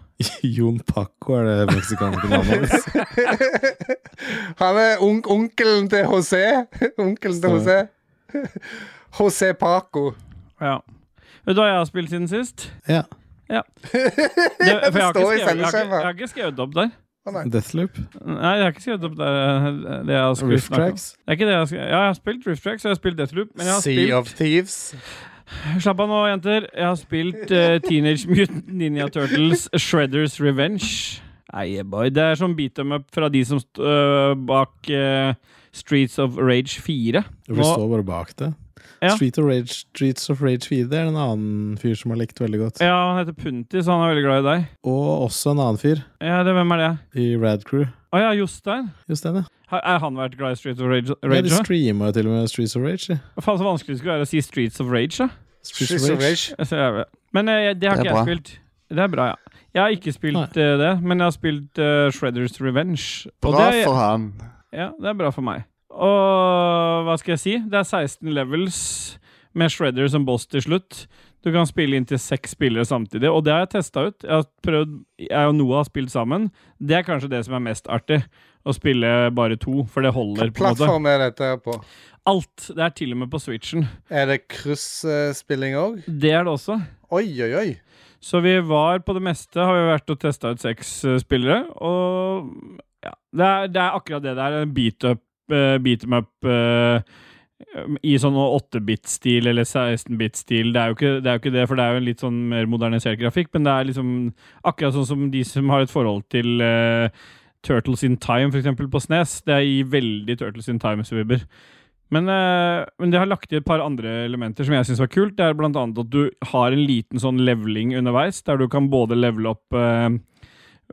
Speaker 1: Jon Paco er det meksikanske navnet hans.
Speaker 2: Han er on onkelen til José. Onkelen til José. José Paco.
Speaker 3: Ja. Vet du hva jeg har spilt siden sist?
Speaker 1: Ja.
Speaker 3: Det, for jeg, har ikke
Speaker 2: Det står i
Speaker 3: skrevet, jeg, har ikke,
Speaker 2: sendeskjemaet.
Speaker 3: jeg har ikke skrevet opp der.
Speaker 1: Deathloop.
Speaker 3: Nei, jeg har ikke skrevet opp der eh, det jeg har skrevet
Speaker 1: Riff
Speaker 3: snakket om.
Speaker 1: Tracks.
Speaker 3: Det er ikke det jeg har skrevet. Ja, jeg har spilt Rift Tracks, og jeg har spilt Deathloop, men jeg har
Speaker 2: Sea
Speaker 3: spilt
Speaker 2: of Thieves.
Speaker 3: Slapp av nå, jenter. Jeg har spilt eh, Teenage Mutant Ninja Turtles Shredders Revenge. Nei, boy. Det er sånn beat them up fra de som st øh, bak eh, Streets of Rage 4.
Speaker 1: Vi
Speaker 3: Nå-
Speaker 1: står bare bak det.
Speaker 3: Ja.
Speaker 1: Street of Rage, Streets of Rage 4 det er en annen fyr som har likt veldig godt.
Speaker 3: Ja, han heter Punti, så han er veldig glad i deg.
Speaker 1: Og også en annen fyr
Speaker 3: Ja, det, Hvem er det?
Speaker 1: i Rad Crew.
Speaker 3: Å ja, Jostein.
Speaker 1: Just den, ja.
Speaker 3: Har er han vært glad i Streets of Rage?
Speaker 1: Ja, de
Speaker 3: Rage også?
Speaker 1: streama jo til og med Streets of Rage. ja.
Speaker 3: Hva faen så vanskelig det skulle være å si Streets of Rage, da?
Speaker 1: Streets of Rage.
Speaker 3: Jeg ser det. Men eh, det har
Speaker 5: Det er
Speaker 3: ikke jeg
Speaker 5: bra.
Speaker 3: spilt. Det er bra, ja. Jeg har ikke spilt eh, det, men jeg har spilt eh, Shredders Revenge. Og
Speaker 5: Bra
Speaker 3: det er-
Speaker 5: for han.
Speaker 3: Ja, det er bra for meg. Og hva skal jeg si? Det er 16 levels med Shredder som boss til slutt. Du kan spille inntil seks spillere samtidig, og det har jeg testa ut. Jeg, har prøvd, jeg og Noah har spilt sammen. Det er kanskje det som er mest artig. Å spille bare to, for det holder. på en måte
Speaker 2: Plattform er dette her på.
Speaker 3: Alt. Det er til og med på Switchen.
Speaker 2: Er det kryssspilling òg?
Speaker 3: Det er det også.
Speaker 2: Oi, oi, oi.
Speaker 3: Så vi var på det meste, har vi vært og testa ut seks eh, spillere, og ja, det er, det er akkurat det der. Beat up, eh, beat em up eh, i sånn 8-bit-stil eller 16-bit-stil. Det, er jo ikke- det er jo ikke det, for det er jo en litt sånn mer modernisert grafikk, men det er liksom akkurat sånn som de som har et forhold til eh, Turtles in Time, for eksempel, på Snes. Det gir veldig Turtles in Time-svibber. Men, eh, men det har lagt i et par andre elementer som jeg syns var kult. Det er blant annet at du har en liten sånn leveling underveis, der du kan både levele opp eh,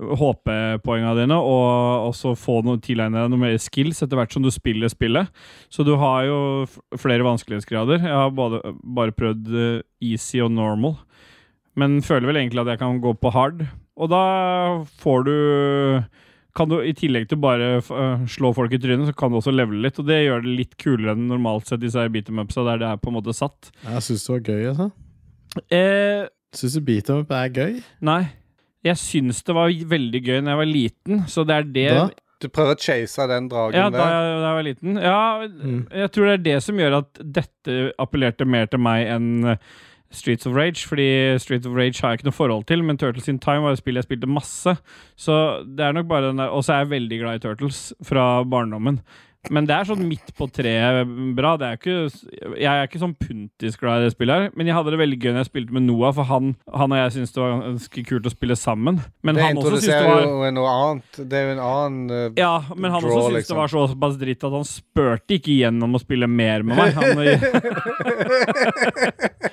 Speaker 3: HP-poenga dine, og også få noe, tilegne deg noe mer skills etter hvert som du spiller spillet. Så du har jo f- flere vanskelighetsgrader. Jeg har både, bare prøvd eh, easy og normal, men føler vel egentlig at jeg kan gå på hard. Og da får du kan du I tillegg til bare f- øh, slå folk i trynet, så kan du også levele litt. Og det gjør det litt kulere enn normalt sett disse beat em upsa der det er på en måte satt.
Speaker 1: Jeg syns det var gøy, altså.
Speaker 3: Eh,
Speaker 1: Syns du beat em up er gøy?
Speaker 3: nei. Jeg syns det var veldig gøy når jeg var liten, så det er det
Speaker 1: Da?
Speaker 2: Du prøver å chase den dragen
Speaker 3: Ja, da
Speaker 2: der.
Speaker 3: jeg, da jeg var liten. Ja,
Speaker 1: Mm.
Speaker 3: jeg tror det er det som gjør at dette appellerte mer til meg enn eh, Streets of Rage, fordi Streets of Rage har jeg ikke noe forhold til, men Turtles in Time var et spill jeg spilte masse. Så det er nok bare den der Og så er jeg veldig glad i Turtles fra barndommen. Men det er sånn midt på treet bra. Det er ikke, jeg er ikke sånn puntis-glad i det spillet her, men jeg hadde det veldig gøy når jeg spilte med Noah, for han, han og jeg syntes det var ganske kult å spille sammen. Men
Speaker 2: Det
Speaker 3: han også syntes det
Speaker 2: introduserer
Speaker 3: var
Speaker 2: jo noe annet. Det er jo en annen eh,
Speaker 3: ja, men han
Speaker 2: Draw,
Speaker 3: også syntes det var såpass dritt at han spurte ikke igjennom å spille mer med meg. Han,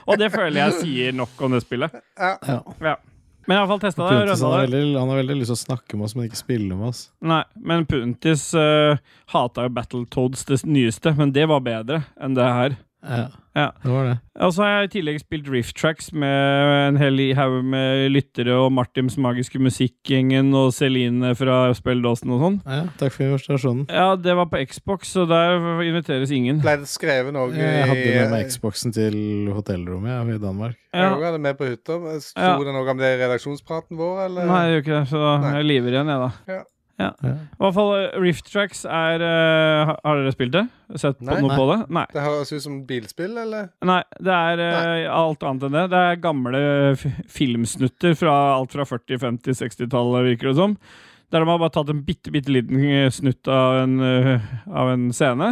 Speaker 3: og det føler jeg sier nok om det spillet.
Speaker 1: Ja.
Speaker 3: Ja. Men jeg har iallfall testa det. og
Speaker 1: Puntis, han,
Speaker 3: rundet
Speaker 1: har
Speaker 3: det.
Speaker 1: veldig, han har veldig lyst til å snakke med oss, men ikke spille med oss.
Speaker 3: Nei, men Puntis uh, hata jo Battletoads, det nyeste, men det var bedre enn det her.
Speaker 1: Ja.
Speaker 3: Ja.
Speaker 1: Det var det.
Speaker 3: Og så har jeg i tillegg spilt Riff Tracks med en hel haug med lyttere og Martins magiske musikkgjengen og Celine fra Spelledåsen og sånn.
Speaker 1: Ja, takk for invitasjonen.
Speaker 3: Ja, det var på Xbox, så der inviteres ingen.
Speaker 2: Ble det skrevet noe
Speaker 1: Jeg hadde med meg
Speaker 2: i
Speaker 1: Xboxen til hotellrommet ja, i Danmark.
Speaker 2: Jeg
Speaker 3: Ja.
Speaker 2: også hadde med på hytta. men Sto
Speaker 3: Ja.
Speaker 2: det noe om det i redaksjonspraten vår, eller?
Speaker 3: Nei, det gjør ikke det, så da
Speaker 2: Nei.
Speaker 3: jeg lever igjen, jeg, da.
Speaker 1: Ja.
Speaker 3: I hvert fall eh, Rift Tracks er eh, ha- Har dere spilt det? Sett på
Speaker 2: Nei.
Speaker 3: noe
Speaker 1: Nei.
Speaker 3: på det? Nei.
Speaker 2: Det høres ut som bilspill, eller?
Speaker 3: Nei, det er eh, alt annet enn det. Det er gamle f- filmsnutter fra alt fra 40-, 50-, 60-tallet, virker det som. Der de har bare tatt en bitte, bitte liten eh, snutt av en, eh, av en scene,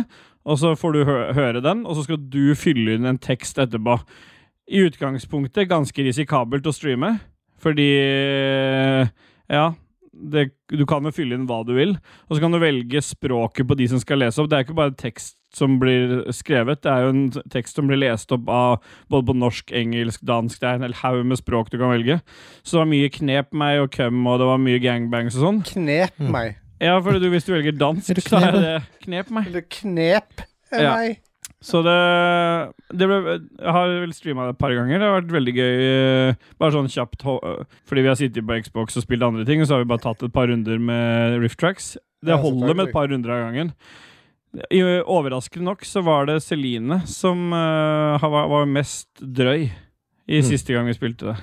Speaker 3: og så får du hø høre den, og så skal du fylle inn en tekst etterpå. I utgangspunktet ganske risikabelt å streame, fordi eh, Ja, det, du kan jo fylle inn hva du vil, og så kan du velge språket på de som skal lese opp. Det er ikke bare tekst som blir skrevet, det er jo en tekst som blir lest opp av både på norsk, engelsk, dansk. Det er en hel haug med språk du kan velge. Så det var mye knep meg og køm, og det var mye gangbangs og sånn.
Speaker 2: Knep
Speaker 1: Mm.
Speaker 2: meg.
Speaker 3: Ja, for du, hvis du velger dansk,
Speaker 1: Er du
Speaker 3: så er
Speaker 1: knep?
Speaker 3: det knep meg.
Speaker 2: Eller knep
Speaker 3: Ja.
Speaker 2: meg.
Speaker 3: Så det, det ble, Jeg har vel streama det et par ganger. Det har vært veldig gøy. eh, Bare sånn kjapt ho- eh, Fordi vi har sittet på Xbox og spilt andre ting, og så har vi bare tatt et par runder med Rift Tracks. Det
Speaker 2: Ja,
Speaker 3: holder med
Speaker 2: selvfølgelig.
Speaker 3: et par runder av gangen. I, overraskende nok så var det Celine som eh, har- var, var mest drøy
Speaker 2: Mm.
Speaker 3: i siste gang vi spilte det.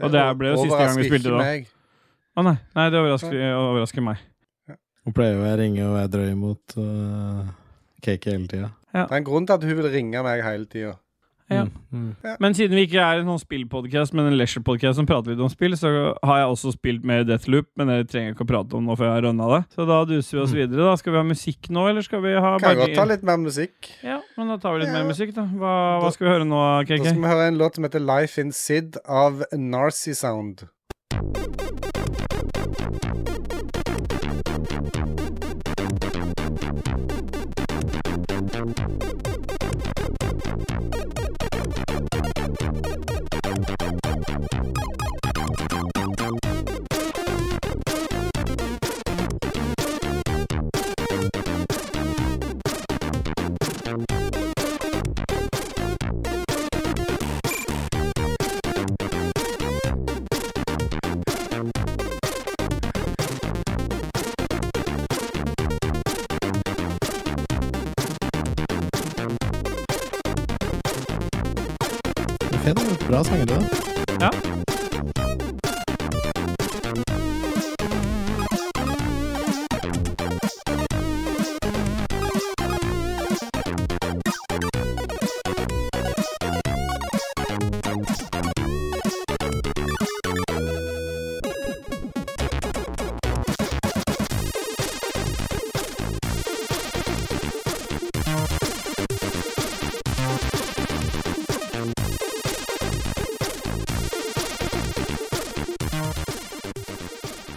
Speaker 3: Og det ble jo siste gang vi
Speaker 2: overrasker
Speaker 3: spilte
Speaker 2: ikke
Speaker 3: da.
Speaker 2: meg.
Speaker 3: Å nei, nei, det overrasker, overrasker meg.
Speaker 1: Hun pleier jo å ringe og være drøy mot øh, cake hele tida.
Speaker 2: Det er en grunn til at hun vil ringe meg hele tida.
Speaker 3: Ja.
Speaker 1: Mm. Mm.
Speaker 3: Men siden vi ikke er en sånn spillpodcast, men en leisure-podcast som prater litt om spill, så har jeg også spilt mer Deathloop, men det trenger jeg ikke å prate om nå før jeg har runda det. Så da duser vi oss videre. da. Skal vi ha musikk nå, eller skal vi ha
Speaker 2: Kan godt ta litt mer musikk.
Speaker 3: Ja, men da tar vi litt
Speaker 2: Ja.
Speaker 3: mer musikk, da. Hva, hva skal vi høre nå,
Speaker 2: Da skal
Speaker 3: KK?
Speaker 2: vi høre en låt som heter Life in Sid av Narcy Sound.
Speaker 1: Men Fin, det er bra sanger, det. da.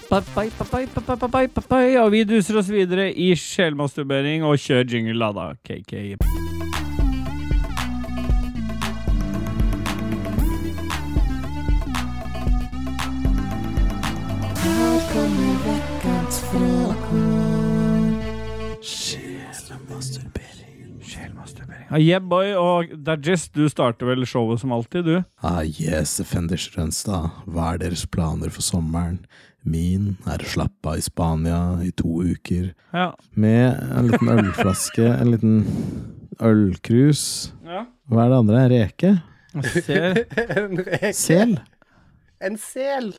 Speaker 3: Papai, papai, papai, papai, papai. Og vi duser oss videre i sjelmasturbering og kjør jingle, da, da, KK.
Speaker 5: kommer veckans frågor.
Speaker 3: Ja, Yeah, boy og Dajis, du starter vel showet som alltid, du?
Speaker 1: Ah, yes, Fenders Rønstad. Hva er deres planer for sommeren? Min er å slappe av i Spania i to uker.
Speaker 3: Ja.
Speaker 1: Med en liten ølflaske, en liten ølkrus. Hva er det andre? Reke?
Speaker 3: Jeg ser.
Speaker 2: en rek.
Speaker 1: Sel?
Speaker 2: En sel!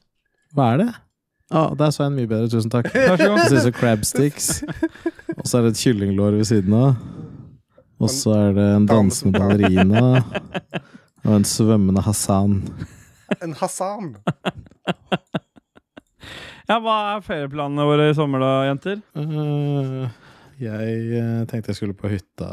Speaker 1: Hva er det? Ah, der sa jeg en mye bedre, tusen takk.
Speaker 3: Vær så
Speaker 1: Det
Speaker 3: god.
Speaker 1: ser ut som crab sticks. Og så er det et kyllinglår ved siden av. Og så er det en dansende ballerina. Og en svømmende Hassan.
Speaker 2: En Hassan.
Speaker 3: Ja, hva er ferieplanene våre i sommer, da, jenter?
Speaker 1: Eh, jeg eh, tenkte jeg skulle på hytta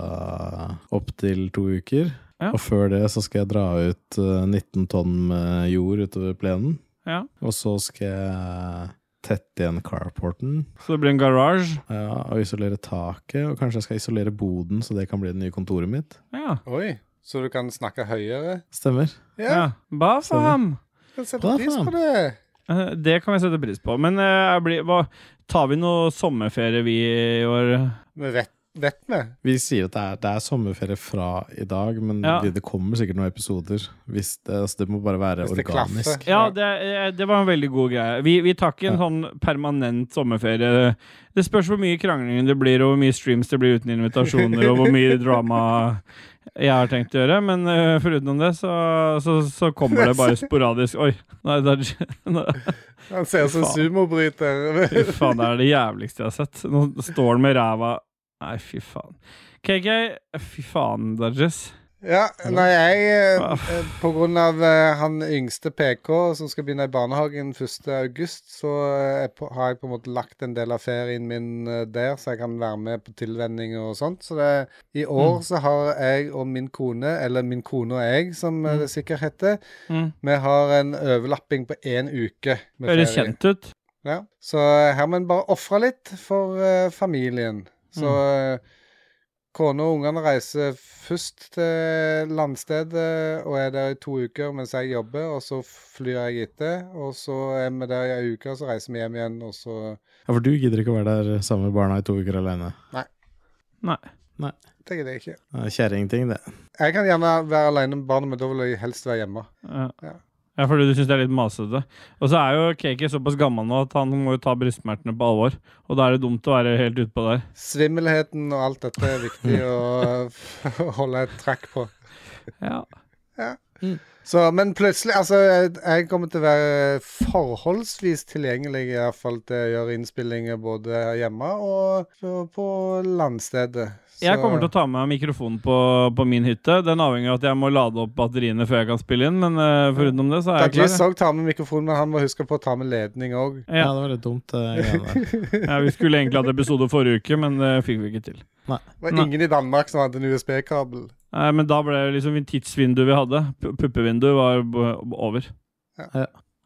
Speaker 1: opptil to uker.
Speaker 3: Ja.
Speaker 1: Og før det så skal jeg dra ut eh, 19 tonn med jord utover plenen.
Speaker 3: Ja.
Speaker 1: Og så skal jeg tette igjen carporten
Speaker 3: Så det blir en garasje?
Speaker 1: ja, og isolere taket. Og kanskje jeg skal isolere boden, så det kan bli det nye kontoret mitt.
Speaker 3: Ja.
Speaker 2: Oi, så du kan snakke høyere?
Speaker 1: Stemmer.
Speaker 3: ja.
Speaker 2: Ja,
Speaker 3: Hva faen?
Speaker 2: jeg setter
Speaker 1: Bra,
Speaker 2: pris
Speaker 1: faen.
Speaker 2: på det.
Speaker 3: Eh, Det kan vi sette pris på. Men eh, jeg blir, hva, tar vi noe sommerferie, vi, i år?
Speaker 2: Vi vet, vet vi.
Speaker 1: Vi sier at det er, det er sommerferie fra i dag, men
Speaker 3: Ja.
Speaker 1: det kommer sikkert noen episoder. Hvis det, altså det må bare være
Speaker 2: Hvis det klaffer.
Speaker 1: organisk.
Speaker 3: Ja, det, eh, det var en veldig god greie. Vi, vi tar ikke en sånn permanent sommerferie. Det spørs hvor mye krangling det blir, og hvor mye streams det blir uten invitasjoner, og hvor mye drama jeg har tenkt å gjøre. Men eh, foruten det, så, så, så kommer det bare sporadisk. Oi, nei, det er, nå-
Speaker 2: Han ser ut som en
Speaker 3: Faen.
Speaker 2: sumobryter.
Speaker 3: fy faen, det er det jævligste jeg har sett. Nå står han med ræva Nei, fy faen. KK, fy faen, Dodges.
Speaker 2: Ja, nei, jeg eh,
Speaker 3: Ah.
Speaker 2: eh, På grunn av eh, han yngste PK som skal begynne i barnehagen 1. august, så eh, er på- har jeg på en måte lagt en del av ferien min eh, der, så jeg kan være med på tilvenning og sånt. Så det, i år så har jeg og min kone, eller min kone og jeg, som eh, det sikkert heter,
Speaker 3: Mm.
Speaker 2: vi har en overlapping på én uke med
Speaker 3: Høres
Speaker 2: ferie.
Speaker 3: kjent ut.
Speaker 2: Ja. Så her må en bare ofre litt for eh, familien. Så mm. kona og ungene reiser først til landstedet og er der i to uker mens jeg jobber, og så flyr jeg etter. Og så er vi der i ei uke, og så reiser vi hjem igjen, og så
Speaker 1: Ja, for du gidder ikke å være der sammen med barna i to uker alene.
Speaker 3: Nei.
Speaker 2: Det gidder jeg ikke.
Speaker 1: Det er Kjerringting, det.
Speaker 2: Jeg kan gjerne være alene med barnet, men da vil jeg helst være hjemme.
Speaker 3: Ja.
Speaker 2: Ja.
Speaker 3: ja, fordi du syns det er litt masete. Og så er jo Kaki såpass gammel nå at han må jo ta brystsmertene på alvor. Og da er det dumt å være helt utpå der.
Speaker 2: Svimmelheten og alt dette er viktig å eh, holde et trakk på.
Speaker 3: Ja.
Speaker 2: Så, men plutselig Altså, jeg, jeg kommer til å være forholdsvis tilgjengelig i hvert fall til å gjøre innspillinger både her hjemme og på- på landstedet. Så,
Speaker 3: Jeg kommer til å ta med meg mikrofonen på, på min hytte. Den avhenger av at jeg må lade opp batteriene før jeg kan spille inn, men uh, foruten det så er jeg
Speaker 2: Dajis
Speaker 3: klar.
Speaker 2: òg tar med mikrofonen, men han må huske på å ta med ledning òg.
Speaker 1: Ja,
Speaker 3: Ja,
Speaker 1: det var litt dumt, det greiene der.
Speaker 3: ja, vi skulle egentlig hatt episode forrige uke, men det fikk vi ikke til.
Speaker 2: Det var
Speaker 3: Nei.
Speaker 2: ingen i Danmark som hadde en USB-kabel.
Speaker 3: Nei, men da ble det liksom tidsvinduet vi hadde, pu- puppevinduet, var b- over.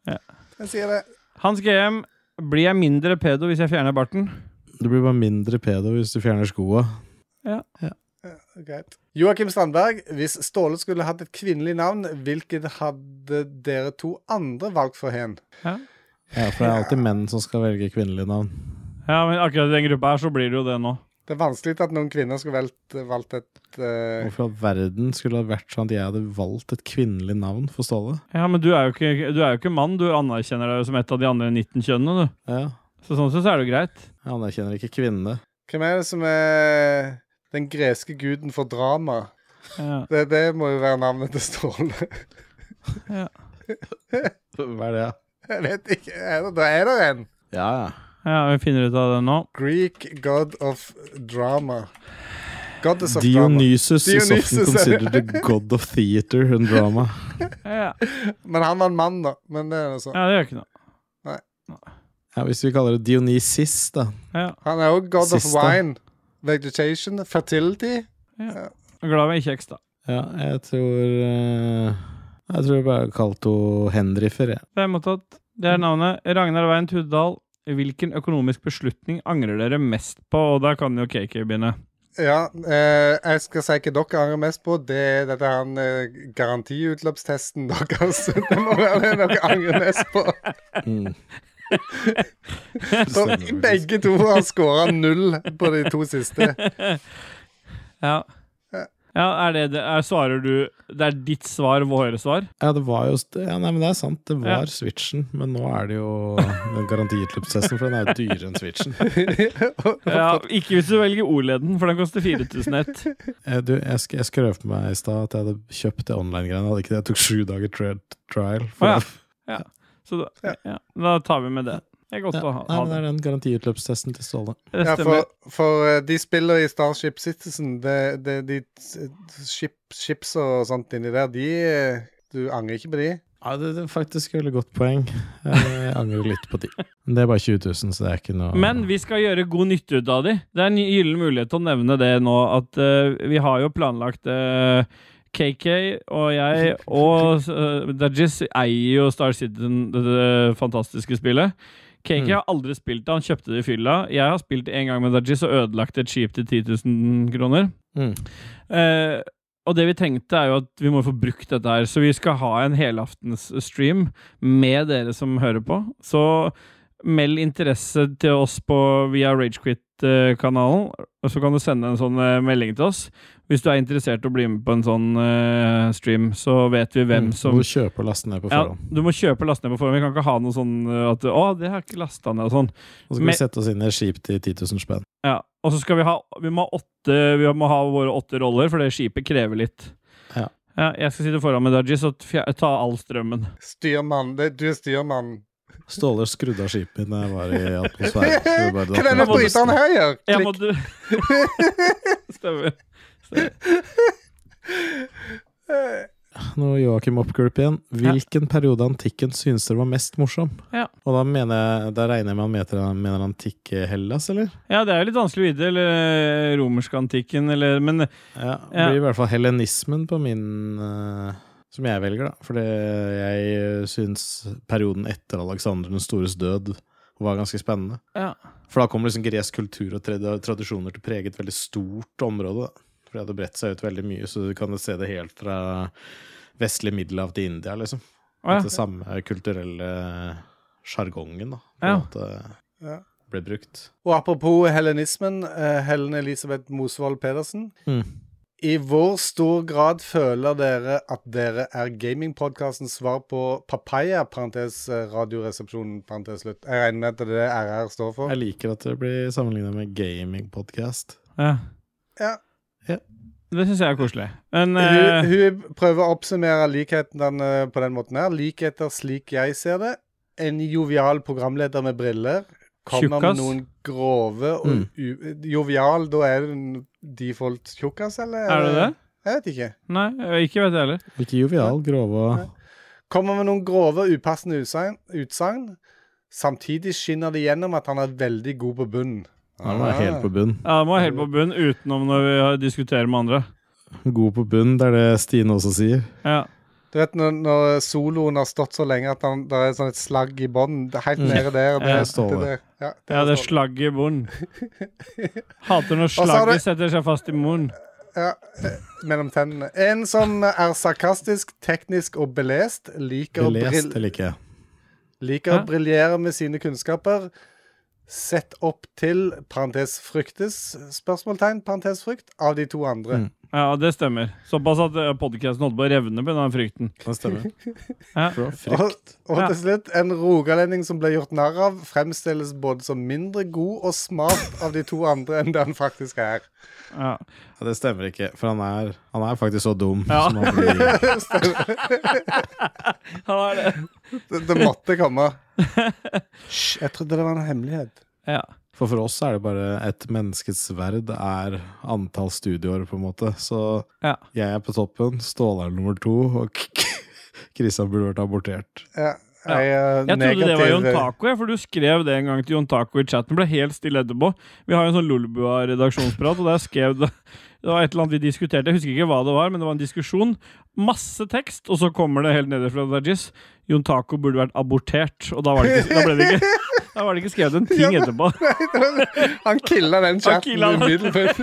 Speaker 2: Jeg sier det.
Speaker 3: Hans GM, blir jeg mindre pedo hvis jeg fjerner barten?
Speaker 1: Du blir bare mindre pedo hvis du fjerner skoa.
Speaker 2: Greit. Joakim Strandberg, hvis Ståle skulle hatt et kvinnelig navn, hvilket hadde dere to andre valgt for hen?
Speaker 1: Ja, for det er alltid menn som skal velge kvinnelige navn.
Speaker 3: Ja, men akkurat i den gruppa her så blir det jo det nå.
Speaker 2: Det er vanskelig at noen kvinner skulle valgt, valgt et eh,
Speaker 1: Hvorfor i all verden skulle det ha vært sånn at jeg hadde valgt et kvinnelig navn for Ståle?
Speaker 3: Ja, men du er jo ikke, du er jo ikke mann. Du anerkjenner deg jo som et av de andre 19 kjønnene, du.
Speaker 1: Ja,
Speaker 3: Så sånn sett så er det jo greit.
Speaker 1: jeg anerkjenner ikke kvinne.
Speaker 2: Hvem er det som er den greske guden for drama?
Speaker 3: Ja.
Speaker 2: Det, det må jo være navnet til Ståle.
Speaker 1: Hva er det?
Speaker 2: Jeg vet ikke. Er det, da er det en.
Speaker 1: Ja, ja.
Speaker 3: ja, vi finner ut av det nå.
Speaker 2: Greek god of drama. Goddess of drama.
Speaker 1: Dionysus is often
Speaker 2: Dionysus, er
Speaker 1: considered
Speaker 2: det.
Speaker 1: the god of theater and drama.
Speaker 3: Ja,
Speaker 2: Men han var en mann, da. Men det er altså- noe sånt.
Speaker 3: ja det gjør ikke noe.
Speaker 1: Ja, Hvis vi kaller det Dionysis, da.
Speaker 3: Ja.
Speaker 2: Han er òg god
Speaker 1: Siste.
Speaker 2: of wine. Vegetation, fertility.
Speaker 3: Jeg er Glad vi ikke er eksta.
Speaker 1: Ja, jeg tror eh, Jeg tror jeg bare kalte henne Henrifer, jeg.
Speaker 3: Det er mottatt. Det er navnet. Ragnar Wein Tuddal. Hvilken økonomisk beslutning angrer dere mest på? Og der kan jo KK begynne.
Speaker 2: Ja, eh, jeg skal si hva dere angrer mest på. Det er dette her eh, garantiutløpstesten deres. Det må være det dere angrer mest på.
Speaker 1: Mm.
Speaker 2: Og begge to har scora null på de to siste.
Speaker 3: Ja. ja er det, det er, svarer du Det er ditt svar, våre svar?
Speaker 1: Ja, det var jo st- ja, nei, men det er sant. Det
Speaker 3: Ja.
Speaker 1: var Switchen, men nå er det jo den garantihjelpstesten, for den er jo dyrere enn Switchen.
Speaker 3: Ja, ikke hvis du velger O-leden, for den koster 4000 ett.
Speaker 1: Eh, Du, jeg, sk jeg skrøv på meg i stad at jeg hadde kjøpt det online-greiene. Hadde ikke det? Jeg tok sju dager tra trial. for-
Speaker 3: Å, Så da, ja, da tar vi med det. Det er godt å ha,
Speaker 1: Ja, nei,
Speaker 3: ha
Speaker 1: men det er
Speaker 3: det.
Speaker 1: den garantiutløpstesten til Ståle.
Speaker 3: Det
Speaker 2: Ja,
Speaker 3: stemmer.
Speaker 2: for, for eh, de spiller i Starship Citizen. Det, det, de s- ship, ships og sånt inni der, de eh, Du angrer ikke på de?
Speaker 1: Ja, det, det er faktisk et veldig godt poeng. Jeg angrer litt på de. Men det er bare 20 000, så det er ikke noe
Speaker 3: Men vi skal gjøre god nytte ut av de. Det er en gyllen mulighet til å nevne det nå, at eh, vi har jo planlagt eh, KK og jeg og uh, Dajis eier jo Star Citizen, det, det fantastiske spillet. KK har aldri spilt det, han kjøpte det i fylla. Jeg har spilt det en gang med Dajis og ødelagt et skip til 10 000 kroner.
Speaker 1: Mm.
Speaker 3: Eh, og det vi tenkte er jo at vi må få brukt dette her, så vi skal ha en helaftens stream med dere som hører på. Så meld interesse til oss på via Ragequit-kanalen, og så kan du sende en sånn eh, melding til oss. Hvis du er interessert i å bli med på en sånn eh, stream, så vet vi hvem
Speaker 1: Mm,
Speaker 3: som
Speaker 1: Må kjøpe og laste ned på
Speaker 3: ja,
Speaker 1: forhånd.
Speaker 3: Du må kjøpe og laste ned på forhånd. Vi kan ikke ha noe sånn eh, at 'Å, det har jeg ikke lasta ned', og sånn.
Speaker 1: Og så skal
Speaker 3: men-
Speaker 1: vi sette oss inn i et skip til 10 000 spenn.
Speaker 3: Ja, og så skal vi ha Vi må ha, åtte, vi må ha våre åtte roller, for det skipet krever litt.
Speaker 1: Ja.
Speaker 3: jeg skal sitte foran med Dajis og fjer- ta all strømmen.
Speaker 2: Styrmann. Det, du er styrmann.
Speaker 1: Ståle skrudde av skipet da jeg var i atmosfæren. så det bare
Speaker 2: Hva er denne
Speaker 1: datt ned på
Speaker 2: bryteren
Speaker 1: listen.
Speaker 2: her gjør?
Speaker 3: Jeg
Speaker 2: Klikk.
Speaker 3: måtte Stemmer.
Speaker 1: Nå er Joakim Oppgulp igjen. Hvilken periode av antikken synes dere var mest morsom?
Speaker 3: Ja.
Speaker 1: Og da, mener jeg, da regner jeg med han mener, mener antikke Hellas, eller?
Speaker 3: Ja, det er jo litt vanskelig å vite, eller romerskantikken, eller Men eh,
Speaker 1: Ja, det
Speaker 3: Ja.
Speaker 1: blir i hvert fall helenismen på min eh, Som jeg velger, da. Fordi jeg syns perioden etter Aleksander den stores død var ganske spennende.
Speaker 3: ja.
Speaker 1: For da kommer liksom gresk kultur og trad- tradisjoner til å prege et veldig stort område. da. For det hadde bredt seg ut veldig mye, så du kan se det helt fra vestlig middelhav til India, liksom.
Speaker 3: Å,
Speaker 1: At det
Speaker 3: ja.
Speaker 1: samme kulturelle sjargongen, da, på
Speaker 3: Ja.
Speaker 1: en måte
Speaker 2: Ja.
Speaker 1: ble brukt.
Speaker 2: Og apropos helenismen, eh, Helen Elisabeth Mosvold Pedersen.
Speaker 1: Mm.
Speaker 2: I hvor stor grad føler dere at dere er gamingpodkastens svar på Papaya, parentes eh, Radioresepsjonen, parentes slutt? Jeg regner med at det er det RR står for?
Speaker 1: Jeg liker at det blir sammenligna med gamingpodkast.
Speaker 3: ja.
Speaker 2: Ja.
Speaker 1: Ja.
Speaker 3: Det syns jeg er koselig. Men
Speaker 2: Hun,
Speaker 3: eh,
Speaker 2: hun prøver å oppsummere likhetene på den måten her. Likheter slik jeg ser det. En jovial programleder med briller.
Speaker 3: Tjukkas.
Speaker 2: Kommer med noen grove og
Speaker 1: Mm.
Speaker 2: u Jovial, da er det en default tjukkas, eller?
Speaker 3: er det det?
Speaker 2: Jeg vet ikke.
Speaker 3: Nei, ikke vet jeg heller.
Speaker 1: Ikke jovial, grove og
Speaker 2: Kommer med noen grove og upassende utsagn- utsagn. Samtidig skinner det gjennom at han er veldig god på bunnen.
Speaker 1: Han var helt på bunn.
Speaker 3: Ja, det må jeg helt på bunn, utenom når vi har- diskuterer med andre.
Speaker 1: God på bunn, det er det Stine også sier.
Speaker 3: Ja.
Speaker 2: Du vet når, når soloen har stått så lenge at han, det er sånn et slagg i bånn det er helt nede
Speaker 1: Mm. Ja,
Speaker 2: der. Det, det,
Speaker 1: det står
Speaker 2: der. Ja,
Speaker 3: Ja,
Speaker 2: der
Speaker 3: det er
Speaker 2: står
Speaker 3: slagget i munnen. Hater når
Speaker 2: så har
Speaker 3: slagget
Speaker 2: du-
Speaker 3: setter seg fast i munnen.
Speaker 2: Ja, eh, mellom tennene. En som er sarkastisk, teknisk og belest. Liker,
Speaker 1: Belest
Speaker 2: å, bril
Speaker 1: eller ikke.
Speaker 2: liker
Speaker 3: Hæ?
Speaker 2: å briljere med sine kunnskaper. Sett opp til parentes fryktes spørsmålstegn, parentes frykt, av de to andre.
Speaker 1: Mm.
Speaker 3: Ja, og det stemmer. Såpass at podkasten holdt på å revne på den frykten.
Speaker 1: Det stemmer.
Speaker 3: Ja.
Speaker 1: For det var
Speaker 2: Og,
Speaker 1: frykt.
Speaker 2: og
Speaker 3: Ja.
Speaker 2: til slutt, en rogalending som ble gjort narr av, fremstilles både som mindre god og smart av de to andre enn det han faktisk er.
Speaker 3: Ja.
Speaker 1: Ja, det stemmer ikke, for han er, han er faktisk så dum
Speaker 3: Ja.
Speaker 1: som han blir.
Speaker 3: Han er det.
Speaker 2: Det, det måtte komme. Hysj, jeg trodde det var en hemmelighet.
Speaker 3: Ja.
Speaker 1: For for oss er det bare et menneskets verd er antall studieår, på en måte. Så
Speaker 3: Ja.
Speaker 1: jeg er på toppen, Ståle er nummer to, og Kristian burde vært abortert.
Speaker 2: Ja,
Speaker 3: Ja.
Speaker 2: jeg, er
Speaker 3: Jeg trodde det var Jon
Speaker 2: negativ- eh,
Speaker 3: Taco, jeg, for du skrev det en gang til Jon Taco i chatten. Ble helt stille etterpå. Vi har jo en sånn Lolbua-redaksjonsprat, og der skrev det Det var et eller annet vi diskuterte, jeg husker ikke hva det var, men det var en diskusjon. Masse tekst, og så kommer det helt nede fra Dajis. Jon Taco burde vært abortert, og da, var det ikke, da ble det ikke da var det ikke skrevet en ting etterpå.
Speaker 2: Han killa den chatten
Speaker 3: killa den.
Speaker 2: umiddelbart.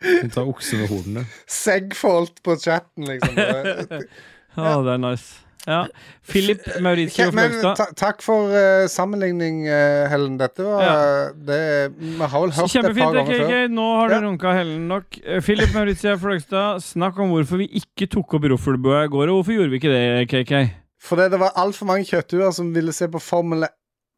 Speaker 1: Hun tar oksen ved hornene.
Speaker 2: Segfault på chatten, liksom.
Speaker 3: Ja, det er nice. Ja. Philip Mauricio
Speaker 2: Ok, men
Speaker 3: Fløgstad.
Speaker 2: ta, takk for eh, sammenligning, eh, Helen. Dette var eh,
Speaker 3: Ja.
Speaker 2: det, Vi har vel hørt det et
Speaker 3: Kjempefint.
Speaker 2: par
Speaker 3: det er
Speaker 2: ganger før.
Speaker 3: KK. Nå har du
Speaker 2: Ja.
Speaker 3: runka Helen nok. Eh, Philip Mauritia Fløgstad, snakk om hvorfor vi ikke tok opp Roffelbøa i går. Og hvorfor gjorde vi ikke det, KK?
Speaker 2: Fordi det var altfor mange kjøttduer som ville se på Formula,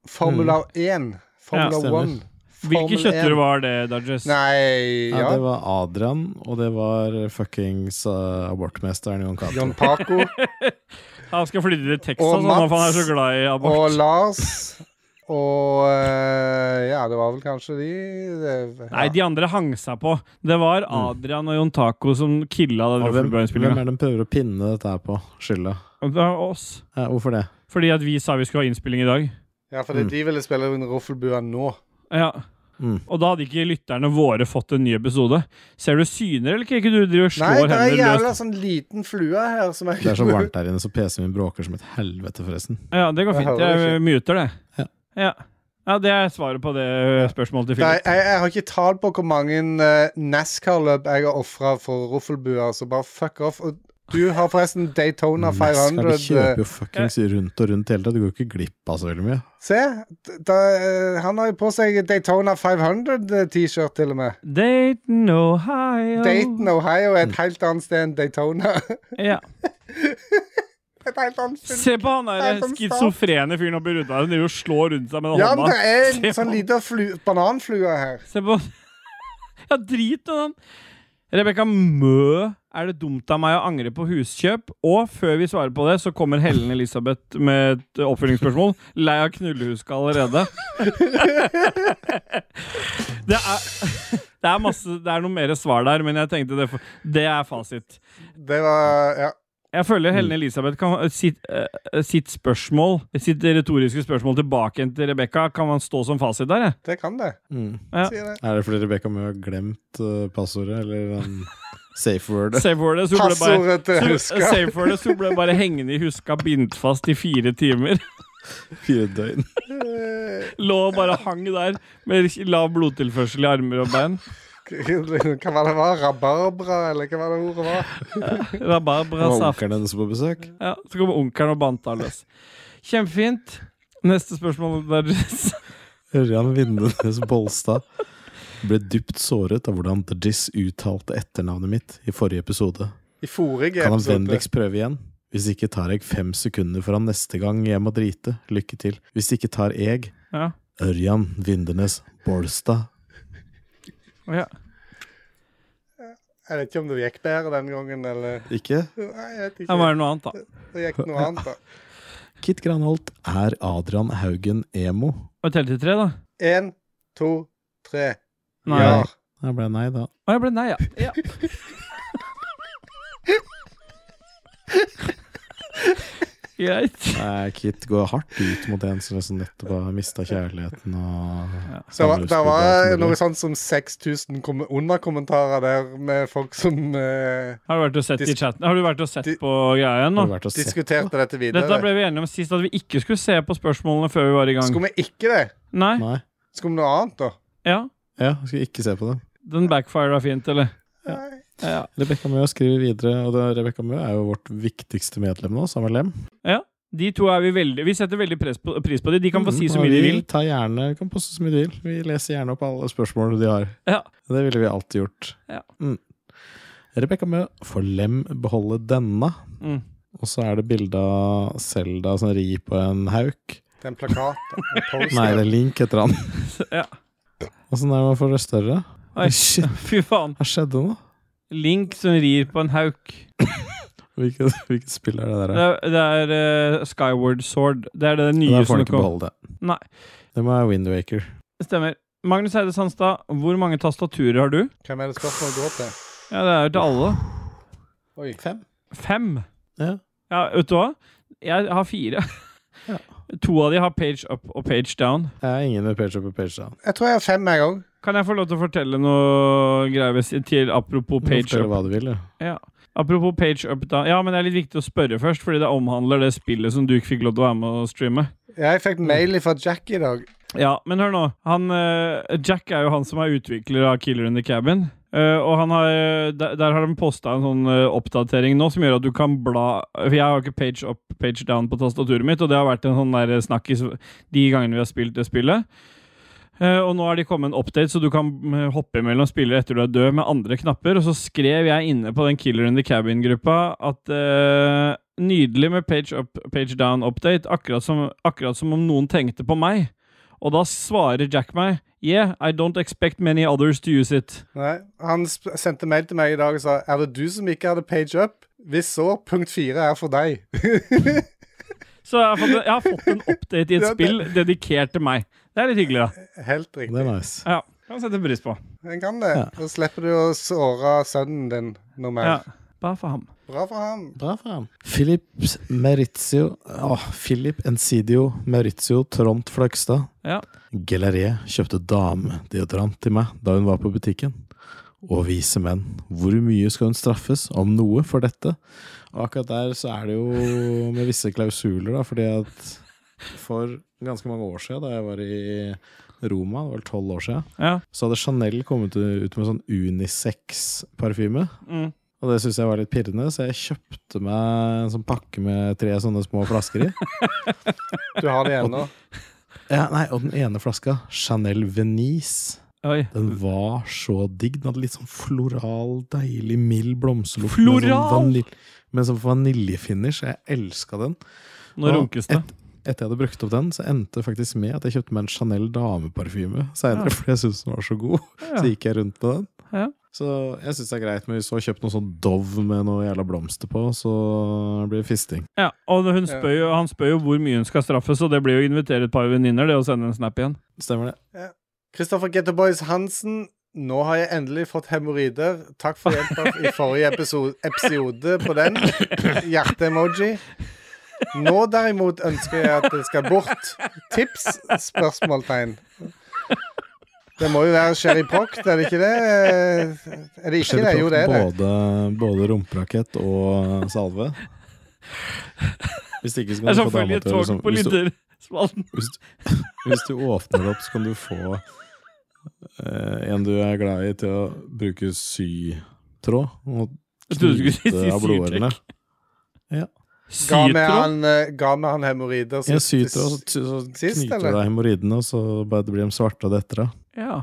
Speaker 2: Formula 1. Formula
Speaker 1: Mm. stemmer.
Speaker 2: 1.
Speaker 3: Hvilke kjøttdyr var det, Dodges?
Speaker 2: Nei
Speaker 1: Ja,
Speaker 2: ja.
Speaker 1: det var Adrian, og det var fuckings eh, abortmesteren Jon Cato.
Speaker 2: John Paco
Speaker 3: Han skal flytte til Texas,
Speaker 2: Og
Speaker 3: han, for han er
Speaker 2: Mats
Speaker 3: så glad i abort.
Speaker 2: og Lars og eh, Ja, det var vel kanskje de det, ja.
Speaker 3: Nei, de andre hang seg på. Det var
Speaker 2: Mm.
Speaker 3: Adrian og Jon Taco som killa
Speaker 1: Og
Speaker 3: den
Speaker 1: Hvem, hvem
Speaker 3: Roffelbø-innspillinga.
Speaker 1: er det de prøver å pinne dette her på? Skylda?
Speaker 3: Det var oss.
Speaker 1: Ja, hvorfor det?
Speaker 3: Fordi at vi sa vi skulle ha innspilling i dag.
Speaker 2: Ja, fordi
Speaker 1: Mm.
Speaker 2: de ville spille under Roffelbua nå.
Speaker 3: Ja.
Speaker 1: Mm.
Speaker 3: Og da hadde ikke lytterne våre fått en ny episode. Ser du syner, eller ikke? Du driver og
Speaker 2: Nei,
Speaker 3: slår
Speaker 2: det er
Speaker 3: hendene løs.
Speaker 2: jævla sånn liten flue her som jeg
Speaker 1: Det er så varmt der inne, så PC-en min bråker som et helvete, forresten.
Speaker 3: Ja, det går
Speaker 2: Jeg
Speaker 3: fint.
Speaker 2: hører det
Speaker 3: Jeg muter det.
Speaker 1: Ja.
Speaker 3: Ja. ja, det er svaret på det eh, spørsmålet til
Speaker 2: Nei,
Speaker 3: Philip.
Speaker 2: jeg, jeg har ikke tall på hvor mange eh, NASCAR-løp jeg har ofra for roffelbuer, så bare fuck off. Og du har forresten Daytona
Speaker 1: Skal de
Speaker 2: 500. eh,
Speaker 1: kjøper jo fuckings rundt og rundt hele tida, du går jo ikke glipp av så veldig mye.
Speaker 2: Se, d- da, eh, han har jo på seg Daytona 500-T-skjort, til og med.
Speaker 3: Dayton, Ohio.
Speaker 2: Dayton, Ohio er et helt annet sted enn Daytona.
Speaker 3: Ja.
Speaker 2: et helt annet sted.
Speaker 3: Se på han der
Speaker 2: Nei, som
Speaker 3: skizofrene fyren oppi ruta. Han driver og slår rundt seg med
Speaker 2: Ja, men
Speaker 3: hånda.
Speaker 2: det er en
Speaker 3: Se på-
Speaker 2: sånn liten flu- bananflue her.
Speaker 3: Se på Ja, drit i den. Rebekka Mø, er det dumt av meg å angre på huskjøp? Og før vi svarer på det, så kommer Helen Elisabeth med et oppfølgingsspørsmål. Lei av knullehuska allerede. det er det er, masse, det er noe mer svar der, men jeg tenkte det, for, det er fasit.
Speaker 2: Det var Ja.
Speaker 3: Jeg føler Helen Elisabeth kan, sitt, eh, sitt spørsmål, sitt retoriske spørsmål tilbake igjen til Rebekka, kan man stå som fasit der, jeg.
Speaker 2: Det kan det.
Speaker 1: Mm.
Speaker 3: Ja.
Speaker 2: Sier det.
Speaker 1: Er det fordi Rebekka Mø har glemt eh, passordet, eller um, safe word?
Speaker 3: Save for det, så blir det bare
Speaker 2: Passordet til
Speaker 3: Så-
Speaker 2: huska.
Speaker 3: Save for det, så ble jeg bare hengende i huska, bindt fast i fire timer.
Speaker 1: Fire døgn.
Speaker 3: Lå og bare hang der med lav blodtilførsel i armer og bein.
Speaker 2: Hva var det var? Rabarbra, eller hva var det ordet var?
Speaker 1: Det
Speaker 3: Rabarbra
Speaker 1: var
Speaker 3: saft.
Speaker 1: onkelen hennes på besøk.
Speaker 3: Ja, så kom onkelen og bandt han løs. Kjempefint. Neste spørsmål. Dodges.
Speaker 1: Ørjan Vindenes Bolstad ble dypt såret av hvordan The Jizz uttalte etternavnet mitt i forrige episode.
Speaker 2: I forrige
Speaker 1: Kan han
Speaker 2: episode.
Speaker 1: vennligst prøve igjen? Hvis ikke tar jeg fem sekunder foran neste gang jeg må drite. Lykke til. Hvis ikke tar jeg
Speaker 3: Ja.
Speaker 1: Ørjan Vindenes Bolstad.
Speaker 3: Å ja.
Speaker 2: Jeg vet ikke om det gikk bedre den gangen, eller
Speaker 1: Ikke?
Speaker 2: Nei, jeg vet
Speaker 3: Ja,
Speaker 2: ikke.
Speaker 3: var det noe annet, da?
Speaker 2: Det gikk noe annet, da.
Speaker 1: Kit Granholt er Adrian Haugen emo.
Speaker 3: Og telle til tre, da?
Speaker 2: Én, to, tre.
Speaker 3: Nei.
Speaker 2: Ja.
Speaker 1: Det ble nei, da.
Speaker 3: Å, jeg ble nei, ja. ja. Greit.
Speaker 1: Nei, Kit går hardt ut mot en som liksom nettopp har mista kjærligheten og
Speaker 2: Det var, det var
Speaker 1: samlivsbruddet og alt
Speaker 2: noe
Speaker 1: mulig.
Speaker 2: sånt som 6000 kom- underkommentarer der med folk som eh,
Speaker 3: Har du vært og sett i
Speaker 2: Dis-
Speaker 3: chatten? Har du vært og sett
Speaker 2: Di-
Speaker 3: på greia igjen
Speaker 1: Har
Speaker 3: nå?
Speaker 1: du vært og sett
Speaker 2: diskuterte dette
Speaker 3: Dette
Speaker 2: videre.
Speaker 3: ble vi enige om sist, at vi ikke skulle se på spørsmålene før vi var i gang.
Speaker 2: Skulle vi ikke det?
Speaker 3: Nei?
Speaker 1: Nei.
Speaker 2: Skulle vi noe annet, da?
Speaker 3: Ja.
Speaker 1: Ja, skal ikke se på det.
Speaker 3: Den backfira fint, eller?
Speaker 2: Nei.
Speaker 3: Ja.
Speaker 1: Rebekka Mø skriver videre, og det- Rebekka Mø er jo vårt viktigste medlem nå, sammen med Lem.
Speaker 3: De to er vi veldig Vi setter veldig pres på, pris på de. De kan få si så
Speaker 1: Mm, og
Speaker 3: mye de
Speaker 1: vi
Speaker 3: vil.
Speaker 1: tar gjerne, vi kan poste så mye de vil. Vi leser gjerne opp alle spørsmålene de har.
Speaker 3: Ja.
Speaker 1: Det ville vi alltid gjort.
Speaker 3: Ja.
Speaker 1: Mm. Rebekka Mø, får Lem beholde denne?
Speaker 3: Mm.
Speaker 1: Og så er det bilde av Selda som rir på en hauk.
Speaker 2: Det er en plakat. da. En poster.
Speaker 1: Nei, det er Link heter han.
Speaker 3: Ja.
Speaker 1: Åssen er det man får det større?
Speaker 3: Oi,
Speaker 1: Shit,
Speaker 3: fy faen.
Speaker 1: hva skjedde nå?
Speaker 3: Link som rir på en hauk.
Speaker 1: Hvilket, hvilket spill er det
Speaker 3: Det
Speaker 1: der?
Speaker 3: er, det er eh, Skyward Sword. Det er det nye
Speaker 1: Da får
Speaker 3: som
Speaker 1: han ikke
Speaker 3: kom.
Speaker 1: beholde det.
Speaker 3: Nei.
Speaker 1: Det må være Windwaker.
Speaker 3: Stemmer. Magnus Eide Sandstad, hvor mange tastaturer har du?
Speaker 2: Hvem er det spørsmålet går til?
Speaker 3: Ja, det er jo til alle.
Speaker 2: Oi.
Speaker 1: Fem?
Speaker 3: Fem.
Speaker 1: Ja.
Speaker 3: ja vet du hva? Jeg har fire.
Speaker 1: Ja.
Speaker 3: To av de har page up og page down.
Speaker 1: Jeg er ingen med page up og page down.
Speaker 2: Jeg tror jeg har fem, jeg òg.
Speaker 3: Kan jeg få lov til å fortelle noe greier ved si- til
Speaker 1: Du
Speaker 3: apropos
Speaker 1: må
Speaker 3: page
Speaker 1: fortelle
Speaker 3: up?
Speaker 1: hva du vil, ja.
Speaker 3: Ja. Apropos page up da. Ja, men det er litt viktig å spørre først, fordi det omhandler det spillet som du ikke fikk lov til å være med og streame.
Speaker 2: Jeg fikk mail fra Jack i dag.
Speaker 3: Ja, men hør nå. Han, eh, Jack er jo han som er utvikler av Killer in the Cabin. Eh, og han har, der, der har de posta en sånn eh, oppdatering nå som gjør at du kan bla For jeg har ikke page up, page down på tastaturet mitt, og det har vært en sånn der snakkis de gangene vi har spilt det spillet. Eh, og nå har de kommet med en update, så du kan mm, hoppe mellom spillere etter du er død med andre knapper. Og så skrev jeg inne på den Killer in the Cabin-gruppa at eh, nydelig med page up, page down-update, akkurat, som- akkurat som om noen tenkte på meg. Og da svarer Jack meg Yeah, I don't expect many others to use it.
Speaker 2: Nei, Han sp sendte mail til meg i dag og sa Er det du som ikke hadde page up. Hvis så, punkt fire er for deg.
Speaker 3: Så jeg har fått, jeg har fått en update i et
Speaker 2: Ja, det-
Speaker 3: spill dedikert til meg. Det er litt hyggelig, da.
Speaker 2: Helt
Speaker 1: Det
Speaker 2: riktig.
Speaker 1: er nice.
Speaker 3: Ja, kan sette pris på.
Speaker 2: En kan det.
Speaker 1: Ja.
Speaker 2: Da slipper du å såre sønnen din noe mer.
Speaker 3: Ja, Bare for ham.
Speaker 2: Bra for ham.
Speaker 1: Bra for ham. Philip Maurizio Åh, Philip Encidio Maurizio Tront Fløgstad.
Speaker 3: Ja.
Speaker 1: Gelleriet kjøpte damedeodorant til meg da hun var på butikken. Å vise menn, hvor mye skal hun straffes, om noe, for dette? Og akkurat der så er det jo med visse klausuler, da, fordi at for ganske mange år siden, da jeg var i Roma, det var tolv år siden,
Speaker 3: Ja.
Speaker 1: så hadde Chanel kommet ut med sånn unisex-parfyme.
Speaker 3: Mm.
Speaker 1: Og det syntes jeg var litt pirrende, så jeg kjøpte meg en sånn pakke med tre sånne små flasker i.
Speaker 2: Du har det ennå.
Speaker 1: Ja, nei, Og den ene flaska, Chanel Venice,
Speaker 3: Oi.
Speaker 1: den var så digg. Den hadde litt sånn floral, deilig, mild blomsterlukt. Med sånn,
Speaker 3: Floral?
Speaker 1: vanil- med sånn vaniljefinish. Jeg elska den.
Speaker 3: Nå
Speaker 1: Og
Speaker 3: runkes det.
Speaker 1: Et, etter jeg hadde brukt opp den, så endte det faktisk med at jeg kjøpte meg en Chanel dameparfyme seinere, fordi jeg syntes den var så god. Så
Speaker 3: Ja.
Speaker 1: gikk jeg rundt med den.
Speaker 3: Ja.
Speaker 1: Så jeg syns det er greit, men hvis du har kjøpt noe sånn Dove med noe jævla blomster på, så blir det fisting.
Speaker 3: ja. Og hun spør jo, han spør jo hvor mye hun skal straffes, og det blir jo å invitere et par venninner, det å sende en snap igjen.
Speaker 1: Stemmer det?
Speaker 2: Kristoffer Getterboys Hansen. Nå har jeg endelig fått hemoroider. Takk for hjelpa i forrige episode, episode på den. Hjerte-emoji. Nå derimot ønsker jeg at det skal bort. Tips? Spørsmålstegn. Det må jo være Sherry Proct, er det ikke det? Er det ikke det? Jo, det er det.
Speaker 1: både, både rumperakett og salve. Hvis ikke så kan
Speaker 3: Det
Speaker 1: du
Speaker 3: er sånn
Speaker 1: få dama til å
Speaker 3: føljetong
Speaker 1: liksom,
Speaker 3: på
Speaker 1: hvis, du,
Speaker 3: lytterspalten.
Speaker 1: hvis, du, hvis du åpner opp, så kan du få eh, en du er glad i, til å bruke sytråd og
Speaker 3: Jeg trodde du skulle si
Speaker 1: knyte av blodårene.
Speaker 3: syrtrekk.
Speaker 2: Ga med
Speaker 3: Sytråd?
Speaker 2: han, eh, ga med han hemoroider
Speaker 1: Ja,
Speaker 2: sist-
Speaker 1: sytråd, så, så
Speaker 2: Sist,
Speaker 1: knyter
Speaker 2: eller?
Speaker 1: du deg hemoroidene, og så bare det blir de svarte av det etter. da.
Speaker 3: Ja.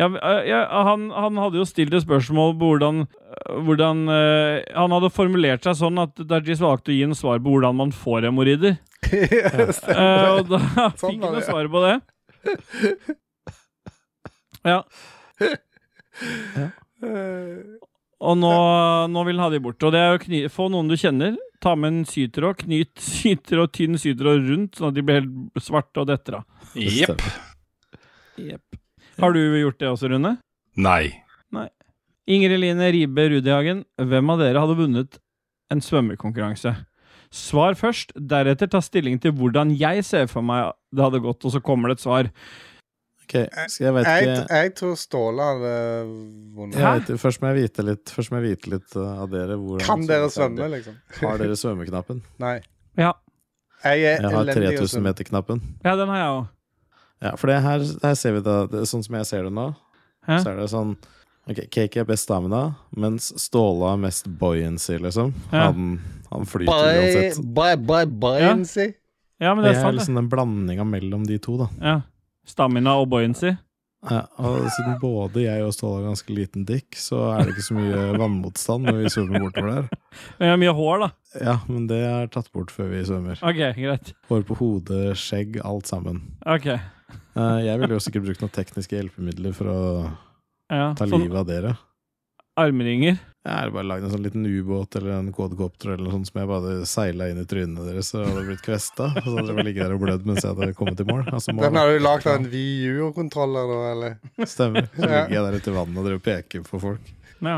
Speaker 3: Ja, eh, ja, han, han hadde jo stilt et spørsmål på hvordan, eh, hvordan eh, Han hadde formulert seg sånn at Dajis valgte å gi en svar på hvordan man får hemoroider.
Speaker 2: Ja.
Speaker 3: Eh, og da
Speaker 2: Sånn
Speaker 3: fikk han
Speaker 2: var
Speaker 3: noe
Speaker 2: det, ja.
Speaker 3: svar på det. Ja,
Speaker 2: Eh,
Speaker 3: og nå, nå vil han ha de bort. Og det er å kny få noen du kjenner. Ta med en sytråd, knyt sytråd, tynn sytråd rundt, sånn at de blir helt svarte og detter av.
Speaker 1: Det
Speaker 6: Jepp.
Speaker 1: stemmer.
Speaker 3: Har du gjort det også, Rune?
Speaker 6: Nei.
Speaker 3: Ingrid Line Ribe Rudihagen, hvem av dere hadde vunnet en svømmekonkurranse? Svar først, deretter ta stilling til hvordan jeg ser for meg det hadde gått, og så kommer det et svar.
Speaker 1: Ok, så jeg vet
Speaker 2: Jeg,
Speaker 1: ikke
Speaker 2: jeg tror Ståle hadde vunnet.
Speaker 1: Jeg vet, først må jeg vite litt, først må jeg vite litt uh, av dere. Hvordan,
Speaker 2: Kan dere svømme, liksom?
Speaker 1: Har dere svømmeknappen?
Speaker 2: Nei.
Speaker 3: Ja,
Speaker 2: Jeg er
Speaker 1: Jeg har
Speaker 2: elendig å
Speaker 1: 3000
Speaker 2: svømme.
Speaker 1: meter-knappen.
Speaker 3: ja den har jeg òg.
Speaker 1: Ja, for det her, her ser vi da, det, sånn som jeg ser det nå,
Speaker 3: Hæ?
Speaker 1: så er det sånn Ok, Cake er best stamina, mens Ståle har mest buoyancy, liksom.
Speaker 3: Ja.
Speaker 1: Han, han flyter uansett.
Speaker 2: bye, bye, bye,
Speaker 3: Ja.
Speaker 2: Nancy.
Speaker 3: Ja,
Speaker 1: Og
Speaker 3: men det
Speaker 1: jeg
Speaker 3: er
Speaker 1: er
Speaker 3: sant, det.
Speaker 1: liksom den blandinga mellom de to, da.
Speaker 3: Ja. Stamina og buoyancy.
Speaker 1: Ja, og siden både jeg og Ståle har ganske liten dick, så er det ikke så mye vannmotstand når vi svømmer bortover der.
Speaker 3: Men jeg har mye hår, da.
Speaker 1: Ja, men det er tatt bort før vi svømmer.
Speaker 3: Ok, greit.
Speaker 1: Hår på hodet, skjegg, alt sammen.
Speaker 3: Ok,
Speaker 1: Eh, Jeg ville jo sikkert brukt noen tekniske hjelpemidler for å
Speaker 3: ja.
Speaker 1: ta
Speaker 3: Sånn
Speaker 1: livet av dere.
Speaker 3: armringer.
Speaker 1: Jeg hadde bare lagd en sånn liten ubåt eller en quadcopter eller noe sånt som jeg bare seila inn i trynene deres, så hadde jeg blitt kvesta. Og så hadde jeg bare ligget der og blødd mens jeg hadde kommet i mål. Altså, mål.
Speaker 2: Den har du lagd av en VU-kontroller, da, eller?
Speaker 1: Stemmer. Så ligger jeg der ute i vannet og driver og peker på folk.
Speaker 3: Ja.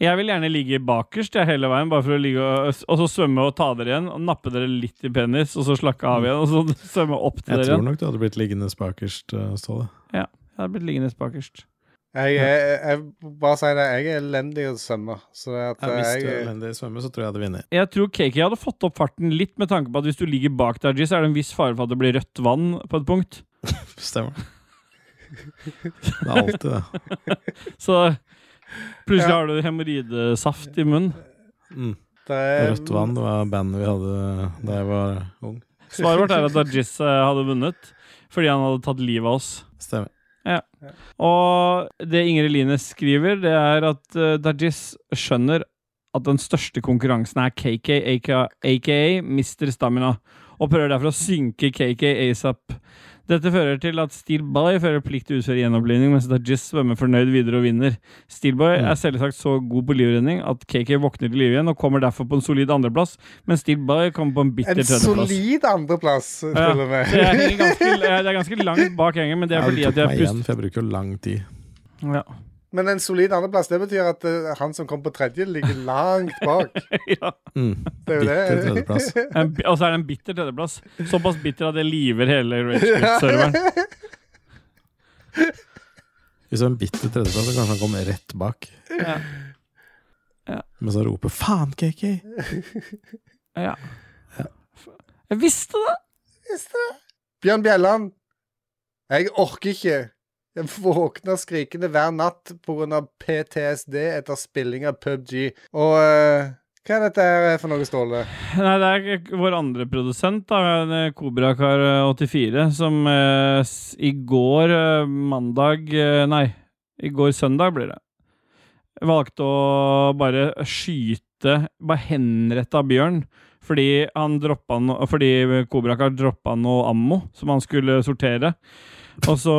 Speaker 3: Jeg vil gjerne ligge bakerst jeg, hele veien, bare for å ligge og, og så svømme og ta dere igjen. Og nappe dere litt i penis, og så slakke av igjen. Og så svømme opp til
Speaker 1: Jeg
Speaker 3: dere
Speaker 1: tror
Speaker 3: igjen.
Speaker 1: nok du hadde blitt liggende spakerst, eh, Ståle.
Speaker 3: Jeg har blitt liggende bakerst.
Speaker 2: Jeg, er- jeg, bare si det, jeg er elendig å svømme. Så det at
Speaker 1: Ja,
Speaker 2: eh,
Speaker 1: Hvis du er
Speaker 2: jeg
Speaker 1: elendig i svømme, så tror jeg jeg hadde vunnet.
Speaker 3: Jeg tror KK hadde fått opp farten litt, med tanke på at hvis du ligger bak Daji, så er det en viss fare for at det blir rødt vann på et punkt.
Speaker 1: Stemmer. Det er alltid det.
Speaker 3: Så Plutselig
Speaker 2: Ja.
Speaker 3: har du hemoroidesaft i munnen.
Speaker 1: Mm.
Speaker 2: Det er-
Speaker 1: Rødt vann det var bandet vi hadde da jeg var ung.
Speaker 3: Svaret vårt er at Dargis eh, hadde vunnet fordi han hadde tatt livet av oss.
Speaker 1: Stemmer.
Speaker 3: Og det Ingrid Line skriver, det er at uh, Dajis skjønner at den største konkurransen er KK, aka, aka Mr. Stamina, og prøver derfor å synke KK asap. Dette fører til at Steelboy føler plikt til å utføre gjenopplivning, mens Dajis svømmer fornøyd videre og vinner. Steelboy
Speaker 1: Mm.
Speaker 3: er selvsagt så god på livredning at KK våkner til live igjen og kommer derfor på en solid andreplass, mens Steelboy kommer på en bitter
Speaker 2: En
Speaker 3: tredjeplass.
Speaker 2: solid andreplass, til
Speaker 3: Ja.
Speaker 2: og med.
Speaker 3: Så jeg henger ganske, jeg- det er ganske langt bak jeg henger, men det er
Speaker 1: Ja,
Speaker 3: fordi
Speaker 1: du
Speaker 3: at
Speaker 1: tok
Speaker 3: jeg
Speaker 1: meg
Speaker 3: puster
Speaker 1: igjen, for jeg bruker jo lang tid.
Speaker 3: ja.
Speaker 2: Men en solid andreplass, det betyr at eh, han som kom på tredje, ligger langt bak.
Speaker 3: ja.
Speaker 1: Mm.
Speaker 2: Det er jo
Speaker 1: Bitter
Speaker 2: det.
Speaker 1: tredjeplass.
Speaker 3: En, bi- og så er det en bitter tredjeplass. Såpass bitter at det liver hele Rage Quit-serveren.
Speaker 1: Hvis det var en bitter tredjeplass, så kanskje han kom rett bak.
Speaker 3: Ja. Ja.
Speaker 1: Men så roper 'faen, KK'!
Speaker 3: Ja. Jeg visste det!
Speaker 2: Visste det. Bjørn Bjelland, jeg orker ikke. Jeg våkner skrikende hver natt pga. PTSD etter spilling av PubG. Og eh, hva er dette her for noe, Ståle?
Speaker 3: Nei, det er k- vår andre produsent, da, Kobrakar84, eh, som eh, s- i går eh, mandag eh, Nei, i går søndag blir det. Valgte å bare skyte Bare henretta bjørn. Fordi han droppa no, Fordi Kobrakar droppa noe ammo som han skulle sortere. Og så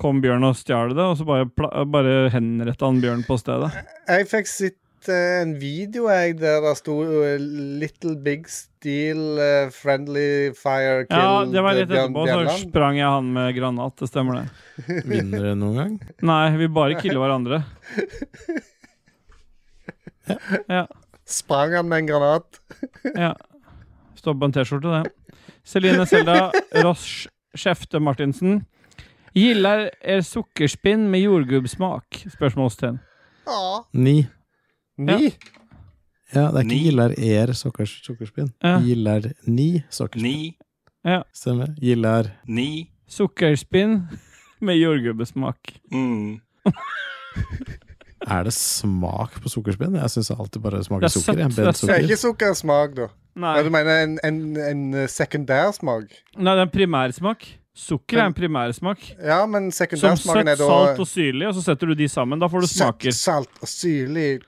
Speaker 3: kom bjørn og stjal det, og så bare, pla- bare henretta han bjørn på stedet.
Speaker 2: Jeg fikk sett eh, en video jeg, der det sto eh, 'Little Big Steel eh, Friendly Fire Kill eh,
Speaker 3: Ja, det var rett
Speaker 2: Bjørn
Speaker 3: etterpå, så
Speaker 2: Bjelland'.
Speaker 3: sprang jeg han med granat. Det stemmer, det.
Speaker 1: Vinner det noen gang?
Speaker 3: Nei, vi bare killer hverandre. Ja,
Speaker 2: Sprang han med en granat?
Speaker 3: ja. Står på en T-skjorte, det. Celine Selda Rosch Skjefte Martinsen. Gillar er sukkerspinn med jordgubbsmak? Spørsmålstegn.
Speaker 2: Ja.
Speaker 1: Ni.
Speaker 2: Ni?
Speaker 1: Ja, det er ikke
Speaker 6: Ni.
Speaker 1: Gillar er sokkers- sukkerspinn.
Speaker 3: Ja.
Speaker 1: Gillar ni sukkerspinn.
Speaker 6: Ni,
Speaker 1: Stemmer. Gillar
Speaker 6: ni.
Speaker 3: Sukkerspinn med jordgubbesmak.
Speaker 6: Mm.
Speaker 1: Er det smak på sukkerspinn? Jeg syns alltid bare det smaker
Speaker 3: Det er
Speaker 1: sukker. Jeg bent
Speaker 3: søtt,
Speaker 2: Det er
Speaker 1: sukker.
Speaker 2: ikke sukkersmak, da.
Speaker 3: Nei,
Speaker 2: Ja, du mener en, en, en sekundærsmak?
Speaker 3: nei det er en primærsmak. Sukker er en primærsmak.
Speaker 2: Ja, men
Speaker 3: Som søtt,
Speaker 2: sekundærsmaken er da
Speaker 3: salt og syrlig, og så setter du de sammen. Da får du
Speaker 2: Søtt,
Speaker 3: smaker.
Speaker 2: salt og syrlig.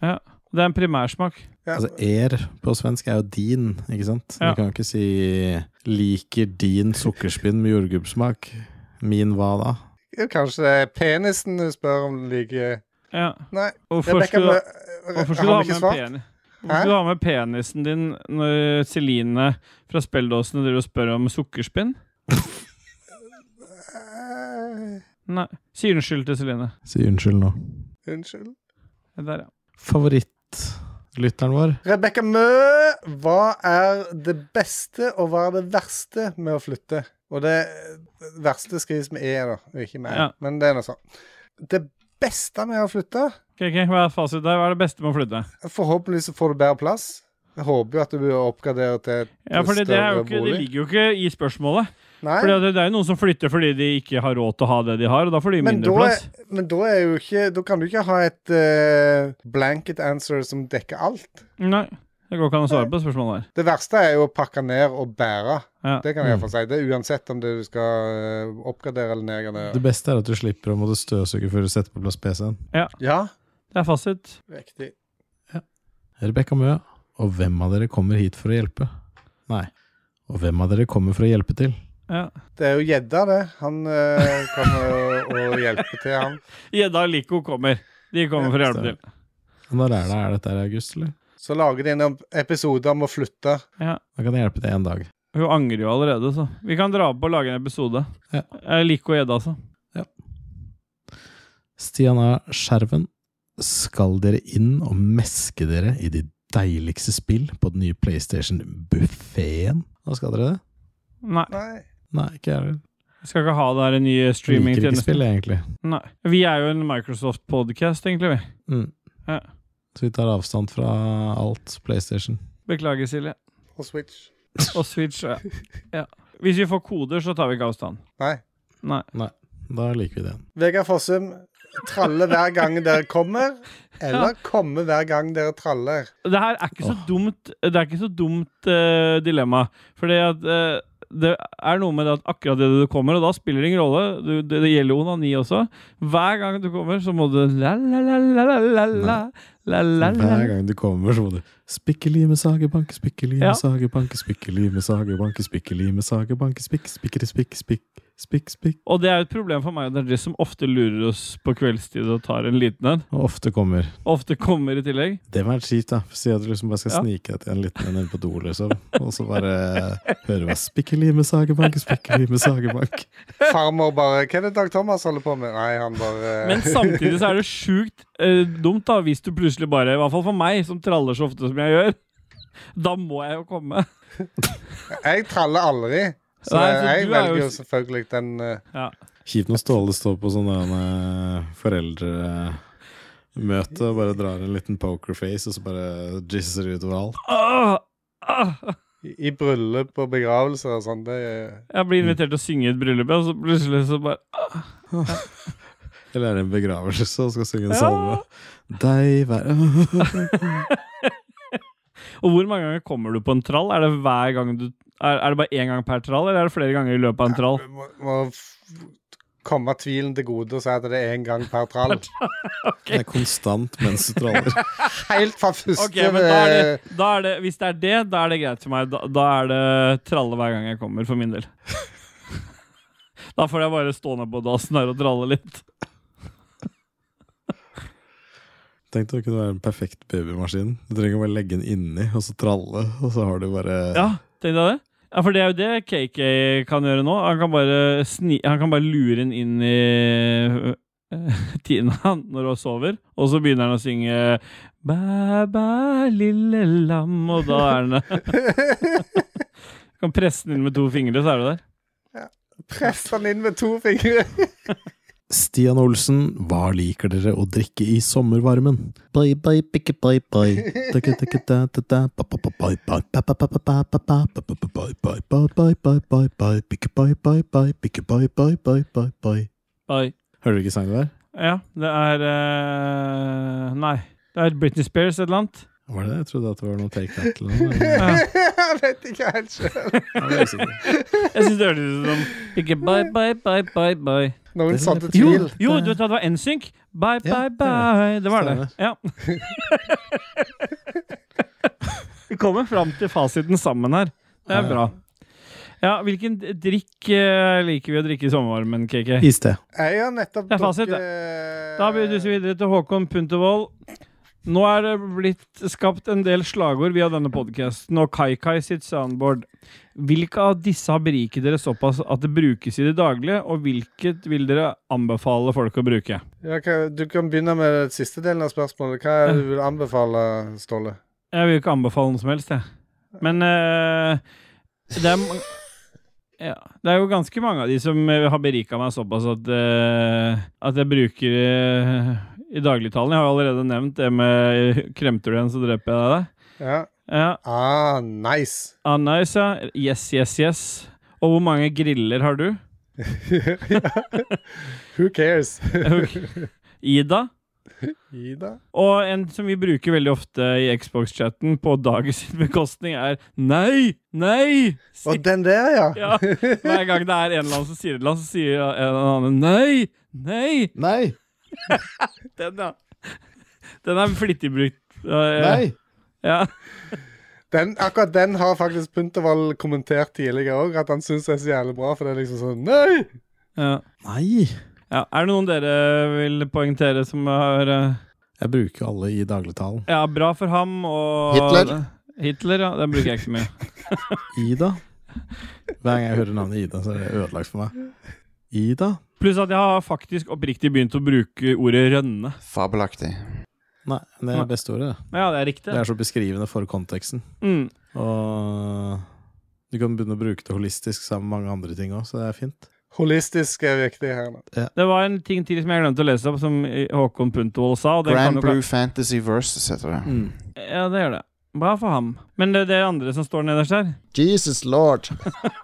Speaker 3: Det er en primærsmak.
Speaker 2: Ja.
Speaker 1: Altså, er på svensk er jo din, ikke sant?
Speaker 3: Ja.
Speaker 1: Du kan jo ikke si 'liker din sukkerspinn med jordgubbsmak'. Min hva da?
Speaker 2: Jo, Kanskje det er penisen du spør om den liker
Speaker 3: Ja.
Speaker 2: Nei,
Speaker 3: Hvorfor
Speaker 2: Rebekka
Speaker 3: skulle Hvorfor skulle du ha
Speaker 2: har vi
Speaker 3: med
Speaker 2: ikke
Speaker 3: en
Speaker 2: svart.
Speaker 3: penis?
Speaker 2: Hæ?
Speaker 3: Hvorfor skulle du ha med penisen din når Celine fra Spelldåsene driver og spør om sukkerspinn?
Speaker 2: Eh,
Speaker 3: Nei. Si unnskyld til Celine.
Speaker 1: Si unnskyld nå.
Speaker 2: Unnskyld.
Speaker 3: Det Der, ja.
Speaker 1: Favorittlytteren vår?
Speaker 2: Rebekka Mø, hva er det beste og hva er det verste med å flytte? Og det verste skrives med E, da, og ikke med E.
Speaker 3: Ja.
Speaker 2: Men det er nå sånn. Det beste med å flytte
Speaker 3: Ok, ok, Hva er fasit der? Hva er det beste med å flytte?
Speaker 2: Forhåpentligvis så får du bedre plass. Jeg håper jo at du oppgraderer til et
Speaker 3: Ja, fordi det, er jo
Speaker 2: større
Speaker 3: ikke, det
Speaker 2: bolig.
Speaker 3: ligger jo ikke i spørsmålet.
Speaker 2: Nei,
Speaker 3: Fordi det, det er jo noen som flytter fordi de ikke har råd til å ha det de har, og da får de
Speaker 2: men da,
Speaker 3: mindre plass.
Speaker 2: er, men da er jo ikke Da kan du ikke ha et eh, blanket answer som dekker alt.
Speaker 3: Nei. Det går ikke an å svare på spørsmålet her.
Speaker 2: Det verste er jo å pakke ned og bære.
Speaker 3: Ja.
Speaker 2: Det kan jeg iallfall si. Det er uansett om det du skal eh, oppgradere eller
Speaker 1: Det
Speaker 2: nedgradere.
Speaker 1: beste er at du slipper å måtte støvsuge før du setter på plass PC-en.
Speaker 2: Ja,
Speaker 3: Det er fasit.
Speaker 2: riktig.
Speaker 1: Rebekka Mø, og hvem av dere kommer hit for å hjelpe? Nei. Og hvem av dere kommer for å hjelpe til?
Speaker 3: Ja.
Speaker 2: Det er jo gjedda, det. Han eh, kommer å, å hjelpe til, han.
Speaker 3: Gjedda og Lico kommer. De kommer for å hjelpe til.
Speaker 1: Når er det er dette her i august, eller?
Speaker 2: Så lager de en episode om å flytte.
Speaker 3: Ja.
Speaker 1: Da kan jeg hjelpe til én dag.
Speaker 3: Hun angrer jo allerede, så. Vi kan dra opp og lage en episode.
Speaker 1: Ja.
Speaker 3: Eh, Lico og Gjedda, altså.
Speaker 1: Stian A. Skjerven, skal dere inn og meske dere i de deiligste spill på den nye PlayStation-buffeen? Hva skal dere det?
Speaker 3: Nei.
Speaker 2: Nei.
Speaker 1: Nei, ikke jeg heller.
Speaker 3: Jeg skal ikke ha det her i nye
Speaker 1: Jeg Liker ikke
Speaker 3: streamingtjenester.
Speaker 1: spill, egentlig.
Speaker 3: Nei. Vi er jo en Microsoft-podcast, egentlig, vi.
Speaker 1: Mm.
Speaker 3: Ja.
Speaker 1: Så vi tar avstand fra alt PlayStation.
Speaker 3: Beklager, Silje.
Speaker 2: Og Switch.
Speaker 3: Og Switch, ja. ja. Hvis vi får koder, så tar vi ikke avstand.
Speaker 2: Nei.
Speaker 3: Nei.
Speaker 1: Da liker vi den.
Speaker 2: Vegard Fossum, tralle hver gang dere kommer, eller komme hver gang dere traller.
Speaker 3: Det her er ikke så dumt Det er ikke så dumt eh, dilemma. Fordi at eh, det er noe med det at akkurat det du kommer, og da spiller det ingen rolle. Du, det, det gjelder onani også. Hver gang du kommer, så må du la, la, la, la, la, la, la, la, la, la.
Speaker 1: Hver gang du kommer, så må du Spikkelime, sage, banke, spikkelime,
Speaker 3: Ja.
Speaker 1: sage, banke, spikkelime, sage, banke, spikkelime, sage, banke, spikk, spikkere, spikk, spikk, spikk, spikk.
Speaker 3: Og det er jo et problem for meg og Darjis, som ofte lurer oss på kveldstid og tar en liten en.
Speaker 1: Og ofte kommer.
Speaker 3: Ofte kommer i tillegg.
Speaker 1: Det var kjipt, da. Si at du liksom bare skal
Speaker 3: Ja.
Speaker 1: snike deg til en liten en inne på do, liksom. Og så bare høre hva Spikkelime, sage, banke, spikkelime, sage, banke.
Speaker 2: Farmor bare Hva er det Dag Thomas holder på med? Nei, han bare eh,
Speaker 3: Men samtidig så er det sjukt eh, dumt da hvis du plutselig bare, i hvert fall for meg, som traller så ofte som jeg gjør, da må jeg jo komme.
Speaker 2: Jeg traller aldri. Så
Speaker 3: Nei, for
Speaker 2: jeg
Speaker 3: du er
Speaker 2: velger
Speaker 3: jo-
Speaker 2: jo selvfølgelig den eh,
Speaker 1: Kjipt når Ståle står på sånn der, eh, foreldremøte og bare drar en liten pokerface, og så bare jizzer utover alt.
Speaker 3: Åh, åh.
Speaker 2: i- i bryllup og begravelser og sånn. Det er-
Speaker 3: Jeg blir invitert til å synge i et bryllup, og så plutselig så bare
Speaker 1: Eller er det en begravelse og skal synge en
Speaker 3: Ja.
Speaker 1: salme? Deg være
Speaker 3: Og hvor mange ganger kommer du på en trall? Er det hver gang du er, er det bare én gang per trall, eller er det flere ganger i løpet av en trall?
Speaker 2: Vi må, må f- komme tvilen til gode og si at det er én gang per trall.
Speaker 1: Det er konstant mens du traller.
Speaker 2: Helt fra første eh,
Speaker 3: Ok, men da er, det, da er det Hvis det er det, da er det greit for meg. Da, da er det tralle hver gang jeg kommer, for min del. Da får jeg bare stå ned på dassen her og tralle litt.
Speaker 1: Tenk deg å kunne være en perfekt babymaskin. Du trenger bare legge den inni, og så tralle, og så har du bare
Speaker 3: Ja, tenkte jeg det. Ja, For det er jo det KK kan gjøre nå. Han kan bare, sni, han kan bare lure den inn i øh, Tina når hun sover, og så begynner han å synge Bæ, bæ, lille lam, og da er den Kan presse den inn med to fingre, så er du der.
Speaker 2: Press han inn med to fingre.
Speaker 1: Stian Olsen, hva liker dere å drikke i sommervarmen? Bye, bye, pikke, bye, bye. Takke, takke, da, da, da. Ba, ba, ba, bye, bye. Ba, ba, ba, ba, ba, ba, ba. Ba, ba, ba, bye, bye, bye, bye, bye, bye, bye. Pikke, bye, bye, bye. Pikke, bye, bye, bye, bye, bye.
Speaker 3: Oi.
Speaker 1: Hører du ikke sangen der?
Speaker 3: Ja, det er øh, Nei. Det er Britney Spears et eller annet.
Speaker 1: Var det det? Jeg trodde at det var noe take that eller noe. men-
Speaker 2: Jeg vet ikke helt sjøl.
Speaker 1: Jeg var usikker.
Speaker 3: Jeg syns det hørtes ut som Ikke bye, bye, bye, bye, bye.
Speaker 2: Noen
Speaker 1: Det er
Speaker 2: sånne
Speaker 1: litt-
Speaker 3: Jo,
Speaker 2: tvil.
Speaker 3: jo, du vet hva, det var NSYNC. Bye,
Speaker 1: Ja,
Speaker 3: bye, bye. Det var det.
Speaker 1: Stemmer.
Speaker 3: Ja. Vi kommer fram til fasiten sammen her. Det er
Speaker 1: Ja.
Speaker 3: bra. Ja, hvilken d- drikk eh, liker vi å drikke i sommervarmen, KK?
Speaker 1: Iste.
Speaker 2: Jeg har nettopp eh,
Speaker 3: Det er fasit, det.
Speaker 2: drukket-
Speaker 3: Da blir vi videre til Håkon Puntervold. Nå er det blitt skapt en del slagord via denne podkasten og Kaikai sitt soundboard. Hvilke av disse har beriket dere såpass at det brukes i det daglige, og hvilket vil dere anbefale folk å bruke?
Speaker 2: Ja, hva- du kan begynne med den siste delen av spørsmålet. Hva er det du vil anbefale, Ståle?
Speaker 3: Jeg vil ikke anbefale noe som helst, jeg. Men eh, det, er, ma- ja, det er jo ganske mange av de som eh, har berika meg såpass at, eh, at jeg bruker eh, i dagligtalen. Jeg har jo allerede nevnt det med kremter du en, så dreper jeg deg.
Speaker 2: Ja.
Speaker 3: Ja,
Speaker 2: Ah, nice.
Speaker 3: ah, nice, ja. Yes, yes, yes. Og hvor mange griller har du?
Speaker 2: Who cares?
Speaker 3: Ida?
Speaker 2: Ida?
Speaker 3: Og en som vi bruker veldig ofte i Xbox-chatten på dagens bekostning, er nei! Nei! Si-
Speaker 2: Og den der, ja.
Speaker 3: Ja, Hver gang det er en eller annen som sier det til han, så sier en annen nei, nei.
Speaker 1: Nei!
Speaker 3: Den, ja. Den er flittig brukt. Eh, Ja.
Speaker 2: Den, akkurat den har faktisk Puntervall kommentert tidligere òg, at han syns er så jævlig bra, for det er liksom sånn Nei!
Speaker 3: Ja.
Speaker 1: Nei!
Speaker 3: ja. Er det noen dere vil poengtere som har eh,
Speaker 1: Jeg bruker alle i dagligtalen.
Speaker 3: Ja, bra for ham og
Speaker 1: Hitler.
Speaker 3: Hitler, ja. Den bruker jeg ikke så mye.
Speaker 1: Ida. Hver gang jeg hører navnet Ida, så er det ødelagt for meg. Ida?
Speaker 3: Pluss at jeg har faktisk oppriktig begynt å bruke ordet rønne.
Speaker 6: Fabelaktig.
Speaker 1: Nei, det er beste ordet. det.
Speaker 3: Ja, det er riktig.
Speaker 1: Det er så beskrivende for konteksten.
Speaker 3: Mm.
Speaker 1: Og du kan begynne å bruke det holistisk sammen med mange andre ting òg, så det er fint.
Speaker 2: Holistisk er viktig her nå.
Speaker 3: Det var en ting til som jeg glemte å lese opp, som Håkon Puntervold sa. Og det kan Mm.
Speaker 6: Grand
Speaker 3: jo ka-
Speaker 6: Blue Fantasy Versus heter det.
Speaker 3: Ja, det gjør det. Bra for ham. Men det, det er andre som står nederst her.
Speaker 6: Jesus Lord.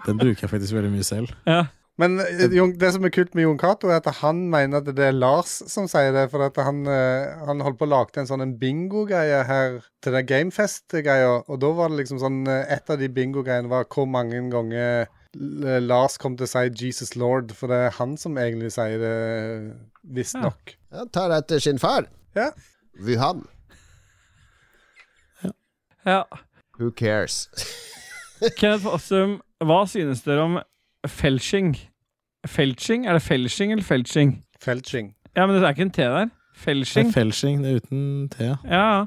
Speaker 1: Den bruker jeg faktisk veldig mye selv.
Speaker 3: Ja.
Speaker 2: Men eh, Jon, det som er kult med Jon Cato, er at han mener at det er Lars som sier det. For at han, eh, han holdt på å lage en sånn en bingo-greie her til den Gamefest-greia. Og da var det liksom sånn eh, Et av de bingo-greiene var hvor mange ganger L- Lars kom til å si 'Jesus Lord', for det er han som egentlig sier det, eh, visstnok.
Speaker 7: Han tar etter sin far.
Speaker 2: Ja.
Speaker 7: Wuhan.
Speaker 3: Ja.
Speaker 7: Who cares?
Speaker 3: Kenneth Fossum, hva synes dere om felching? Felching? Er det felching eller felching?
Speaker 2: Felching.
Speaker 3: Ja, men det er ikke en T der.
Speaker 1: Det
Speaker 3: Felching.
Speaker 1: er felching, det er uten T. ja.
Speaker 3: Ja.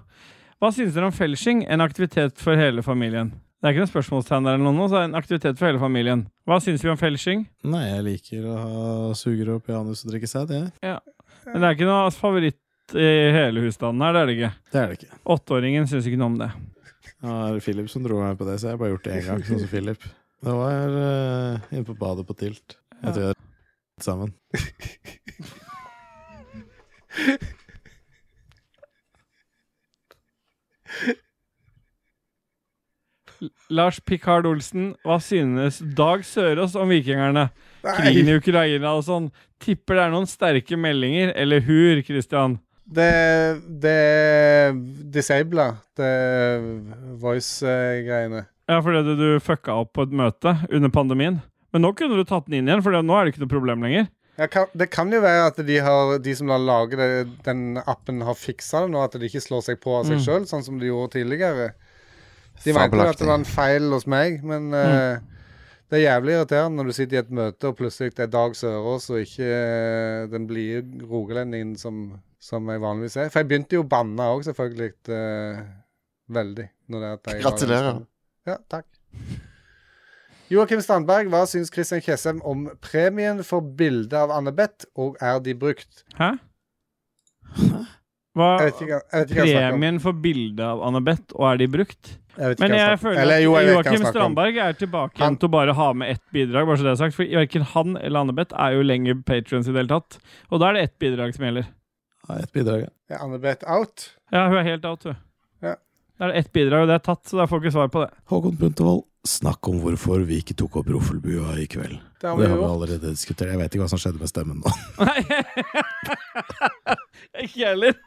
Speaker 3: Hva synes dere om felching? En aktivitet for hele familien. Det er ikke noe spørsmålstegn der eller noe, så det er en aktivitet for hele familien. Hva synes vi om felching?
Speaker 1: Nei, jeg liker å ha sugerør opp i anus og drikke sæd, jeg.
Speaker 3: Men det er ikke noe favoritt i hele husstanden her, det er det ikke.
Speaker 1: Det er det ikke.
Speaker 3: Åtteåringen synes ikke noe om det.
Speaker 1: Det var Philip som dro meg på det, så jeg har bare gjort det én gang, sånn som Philip. Det var eh, inne på badet på Tilt. Jeg tror jeg har sammen.
Speaker 3: Lars Picard Olsen, hva synes Dag Sørås om vikingerne? Krigen
Speaker 2: Nei,
Speaker 3: i Ukraina og sånn. Tipper det er noen sterke meldinger, eller hur, Christian?
Speaker 2: det, det er disabla, det er voice-greiene.
Speaker 3: Ja, fordi du, du fucka opp på et møte under pandemien. Men nå kunne du tatt den inn igjen, for nå er det ikke noe problem lenger.
Speaker 2: Ja, kan, det kan jo være at de, har, de som har laget det, den appen, har fiksa det nå. At det ikke slår seg på av seg
Speaker 3: Mm.
Speaker 2: sjøl, sånn som de gjorde tidligere. De mente jo at det var en feil hos meg, men eh, det er jævlig irriterende når du sitter i et møte, og plutselig det er Dag Sørås og ikke eh, den blide rogalendingen som, som jeg vanligvis er. For jeg begynte jo å banne òg, selvfølgelig. eh, veldig. Når det er at jeg var-
Speaker 6: Gratulerer.
Speaker 2: Ja, takk. Joakim Strandberg, hva syns Christian Kjessem om premien for bilde av Anne-Beth, og er de brukt?
Speaker 3: Hæ? Hva
Speaker 2: Jeg vet ikke, jeg vet ikke hva jeg snakker om.
Speaker 3: Premien for bildet av Annabeth, og er de brukt?
Speaker 2: Jeg vet ikke
Speaker 3: Men
Speaker 2: hva
Speaker 3: jeg
Speaker 2: snakker om.
Speaker 3: føler
Speaker 2: Eller,
Speaker 3: at
Speaker 2: jo, jeg vet hva jeg
Speaker 3: Joakim
Speaker 2: snakker om.
Speaker 3: Strandberg er tilbake
Speaker 2: Han-
Speaker 3: igjen til å bare ha med ett bidrag, bare så det er sagt. For verken han eller Annabeth er jo lenger patrions i det hele tatt. Og da er det ett bidrag som gjelder.
Speaker 1: Ja, et bidrag, ja.
Speaker 2: Er Anne-Beth out?
Speaker 3: Ja, hun er helt out, hun.
Speaker 2: Ja.
Speaker 3: Da er det ett bidrag, og det er tatt, så da får ikke svar på det.
Speaker 1: Håkon Puntervold, snakk om hvorfor vi ikke tok opp Roffelbua i kveld.
Speaker 2: Det
Speaker 1: Det
Speaker 2: har vi
Speaker 1: har vi
Speaker 2: gjort.
Speaker 1: allerede diskutert. Jeg vet ikke hva som skjedde med stemmen nå.
Speaker 3: Nei! ikke jeg heller.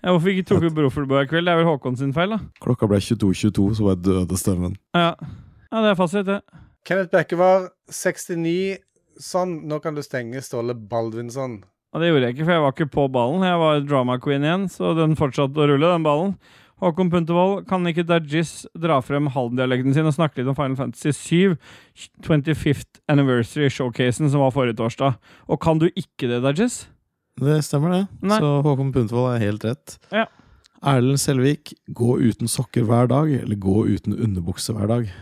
Speaker 3: Ja, hvorfor ikke tok vi Brofelbua i kveld? Det er vel Håkon sin feil, da.
Speaker 1: Klokka ble 22.22, så bare døde stemmen.
Speaker 3: Ja, ja det er fasit, det.
Speaker 2: Kenneth Bekke var 69. Sånn, nå kan du stenge Ståle Baldvinsson.
Speaker 3: Og det gjorde jeg ikke, for jeg var ikke på ballen. Jeg var drama queen igjen, så den fortsatte å rulle, den ballen. Håkon Puntervold, kan ikke Dajis dra frem Halden-dialekten sin og snakke litt om Final Fantasy 7, 25th Anniversary Showcasen som var forrige torsdag? Og kan du ikke det, Dajis?
Speaker 1: Det stemmer, det.
Speaker 3: Nei.
Speaker 1: Så Håkon Puntervold er helt rett.
Speaker 3: Ja.
Speaker 1: Erlend Selvik, gå uten sokker hver dag, eller gå uten underbukse hver dag.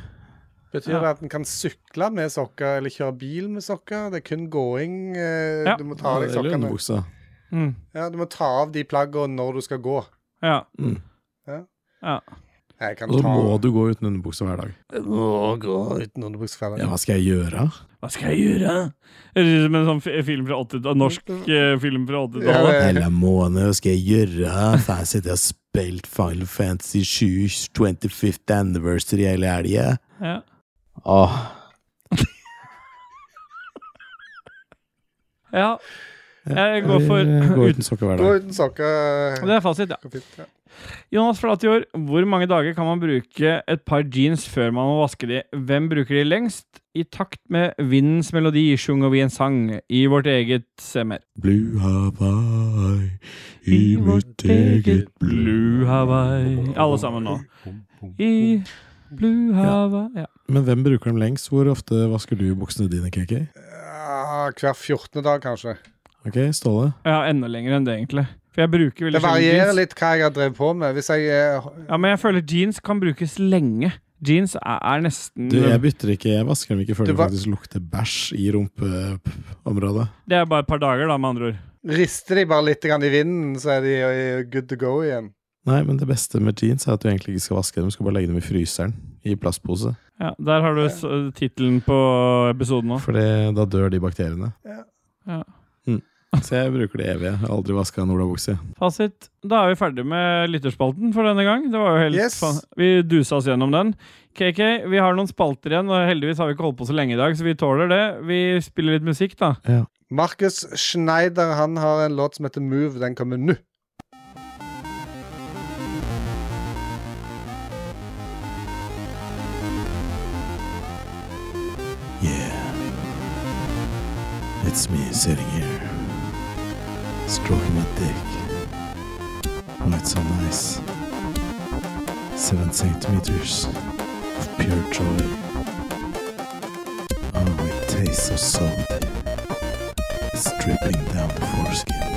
Speaker 2: Betyr
Speaker 3: Ja.
Speaker 2: det at en kan sykle med sokker, eller kjøre bil med sokker? Det er kun gåing. Eh,
Speaker 3: Ja.
Speaker 2: Du må ta av deg
Speaker 1: eller
Speaker 2: sokkene.
Speaker 1: underbuksa.
Speaker 3: Mm.
Speaker 2: Ja, du må ta av de plaggene når du skal gå.
Speaker 3: Ja.
Speaker 1: Mm.
Speaker 2: Jeg kan
Speaker 1: Og så
Speaker 2: ta
Speaker 1: må du gå uten underbukse hver dag.
Speaker 2: må gå uten underbuksefeller.
Speaker 1: Ja, hva skal jeg gjøre?
Speaker 3: Hva skal jeg gjøre? Høres ut som en sånn fi- film fra 80-tallet. Norsk eh, film fra 80-tallet.
Speaker 2: Ja, det-
Speaker 1: Hele måned, hva skal jeg gjøre? Faen, sitter jeg og spilt Final Fantasy 7, 25th anniversary hele helga?
Speaker 3: Ja.
Speaker 1: Åh,
Speaker 3: ja. Jeg går
Speaker 1: eller
Speaker 3: for
Speaker 1: Gå
Speaker 3: ut.
Speaker 1: uten sokker hver
Speaker 2: Gå
Speaker 1: dag.
Speaker 2: uten sokker. eh,
Speaker 3: Det er fasit, ja.
Speaker 2: går fint, ja.
Speaker 3: Jonas Flatjord, hvor mange dager kan man bruke et par jeans før man må vaske de? Hvem bruker de lengst? I takt med vindens melodi sjunger vi en sang i vårt eget semmer.
Speaker 1: Blue Hawaii, i mitt eget
Speaker 3: Blue Hawaii. Alle sammen nå. I Blue Hawaii. Ja.
Speaker 1: Men hvem bruker dem lengst? Hvor ofte vasker du buksene dine, KK?
Speaker 2: Ja, Hver 14. dag, kanskje.
Speaker 1: Ok, Ståle?
Speaker 3: ja, enda lenger enn det, egentlig. For jeg bruker veldig
Speaker 2: Det
Speaker 3: sjelden
Speaker 2: varierer
Speaker 3: jeans.
Speaker 2: litt hva jeg har drevet på med. Hvis jeg eh,
Speaker 3: Ja, men jeg føler jeans kan brukes lenge. Jeans er, er nesten
Speaker 1: Du, jeg bytter ikke, jeg vasker dem ikke før
Speaker 2: Du
Speaker 1: det
Speaker 2: ba-
Speaker 1: faktisk lukter bæsj i rumpeområdet.
Speaker 3: Det er bare et par dager, da, med andre ord.
Speaker 2: rister de bare litt grann i vinden, så er de eh, good to go igjen.
Speaker 1: Nei, men det beste med jeans er at du egentlig ikke skal vaske dem, du skal bare legge dem i fryseren i plastpose.
Speaker 3: Ja, Der har du s- tittelen på episoden nå.
Speaker 1: For det- da dør de bakteriene. Mm. Så jeg bruker det evige. Jeg har aldri vaska en olabukse.
Speaker 3: Fasit. Da er vi ferdig med lytterspalten for denne gang. Det var jo helt
Speaker 2: Yes.
Speaker 3: fan- Vi dusa oss gjennom den. KK, vi har noen spalter igjen, og heldigvis har vi ikke holdt på så lenge i dag, så vi tåler det. Vi spiller litt musikk, da.
Speaker 2: Markus Schneider han har en låt som heter Move. Den kommer nå.
Speaker 1: It's me sitting here, stroking my dick. Oh, it's so nice. Seven centimeters of pure joy. Oh, it tastes so salty. It's dripping down the foreskin,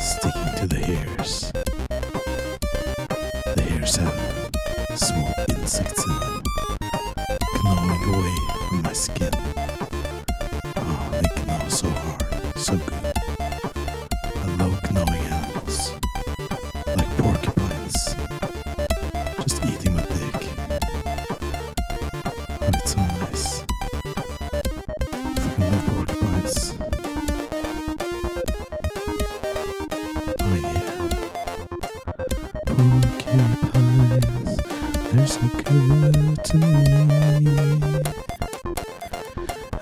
Speaker 1: sticking to the hairs. The hairs have small insects in them, gnawing away from my skin. Oh, they gnaw so hard, so good. I love gnawing animals, like porcupines. Just eating my dick. Oh, it's so nice. Fucking love porcupines. Oh yeah. Porcupines, they're so good to me.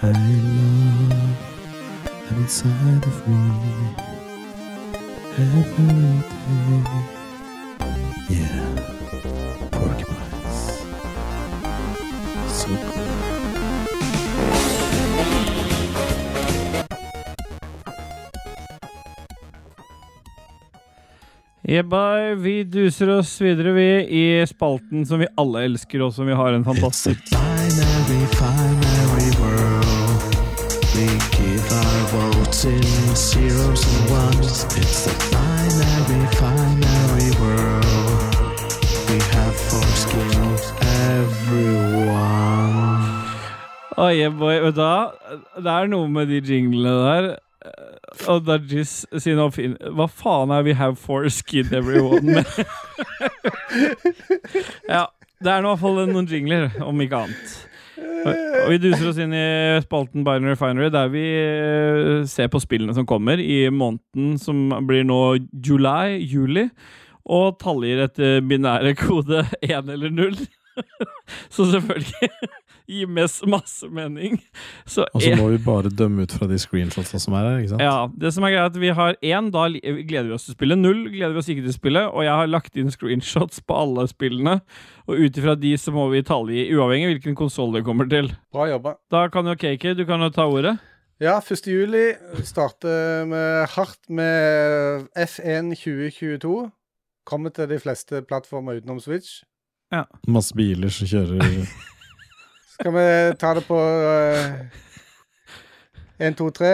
Speaker 1: I love them inside of me every day. Yeah, porcupines. So cool.
Speaker 3: Jebbai, vi duser oss videre, vi, i spalten som vi alle elsker, og som vi har en
Speaker 1: It's a
Speaker 3: fantastisk
Speaker 1: binary, binary world. We give our votes in zeros and ones. It's a binary, binary world. We have foreskins, everyone.
Speaker 3: Å, jebbai, vet du hva? Det er noe med de jinglene der. eh, Og Dajis sin oppfinn... Hva faen er We Have Four Skid Everyone med? ja. Det er nå i hvert fall noen jingler, om ikke annet. Og vi duser oss inn i spalten Binary Refinery, der vi eh, ser på spillene som kommer i måneden som blir nå July, juli, og taljer etter binære kode 1 eller 0. Så selvfølgelig gir mest masse mening. Så
Speaker 1: Og så
Speaker 3: en,
Speaker 1: må vi bare dømme ut fra de screenshotsene som er her, ikke sant?
Speaker 3: ja, det som er greit er at vi har én, da li- gleder vi oss til spillet. Null gleder vi oss ikke til spillet. Og jeg har lagt inn screenshots på alle spillene, og ut ifra de så må vi talje, uavhengig av hvilken konsoll det kommer til.
Speaker 2: Bra jobba.
Speaker 3: Da kan jo KK, du kan jo ta ordet.
Speaker 2: Ja, 1. juli starter med hardt med F1 2022. Kommer til de fleste plattformer utenom Switch.
Speaker 1: Masse biler som kjører
Speaker 2: Skal vi ta det på eh, 1, 2, 3,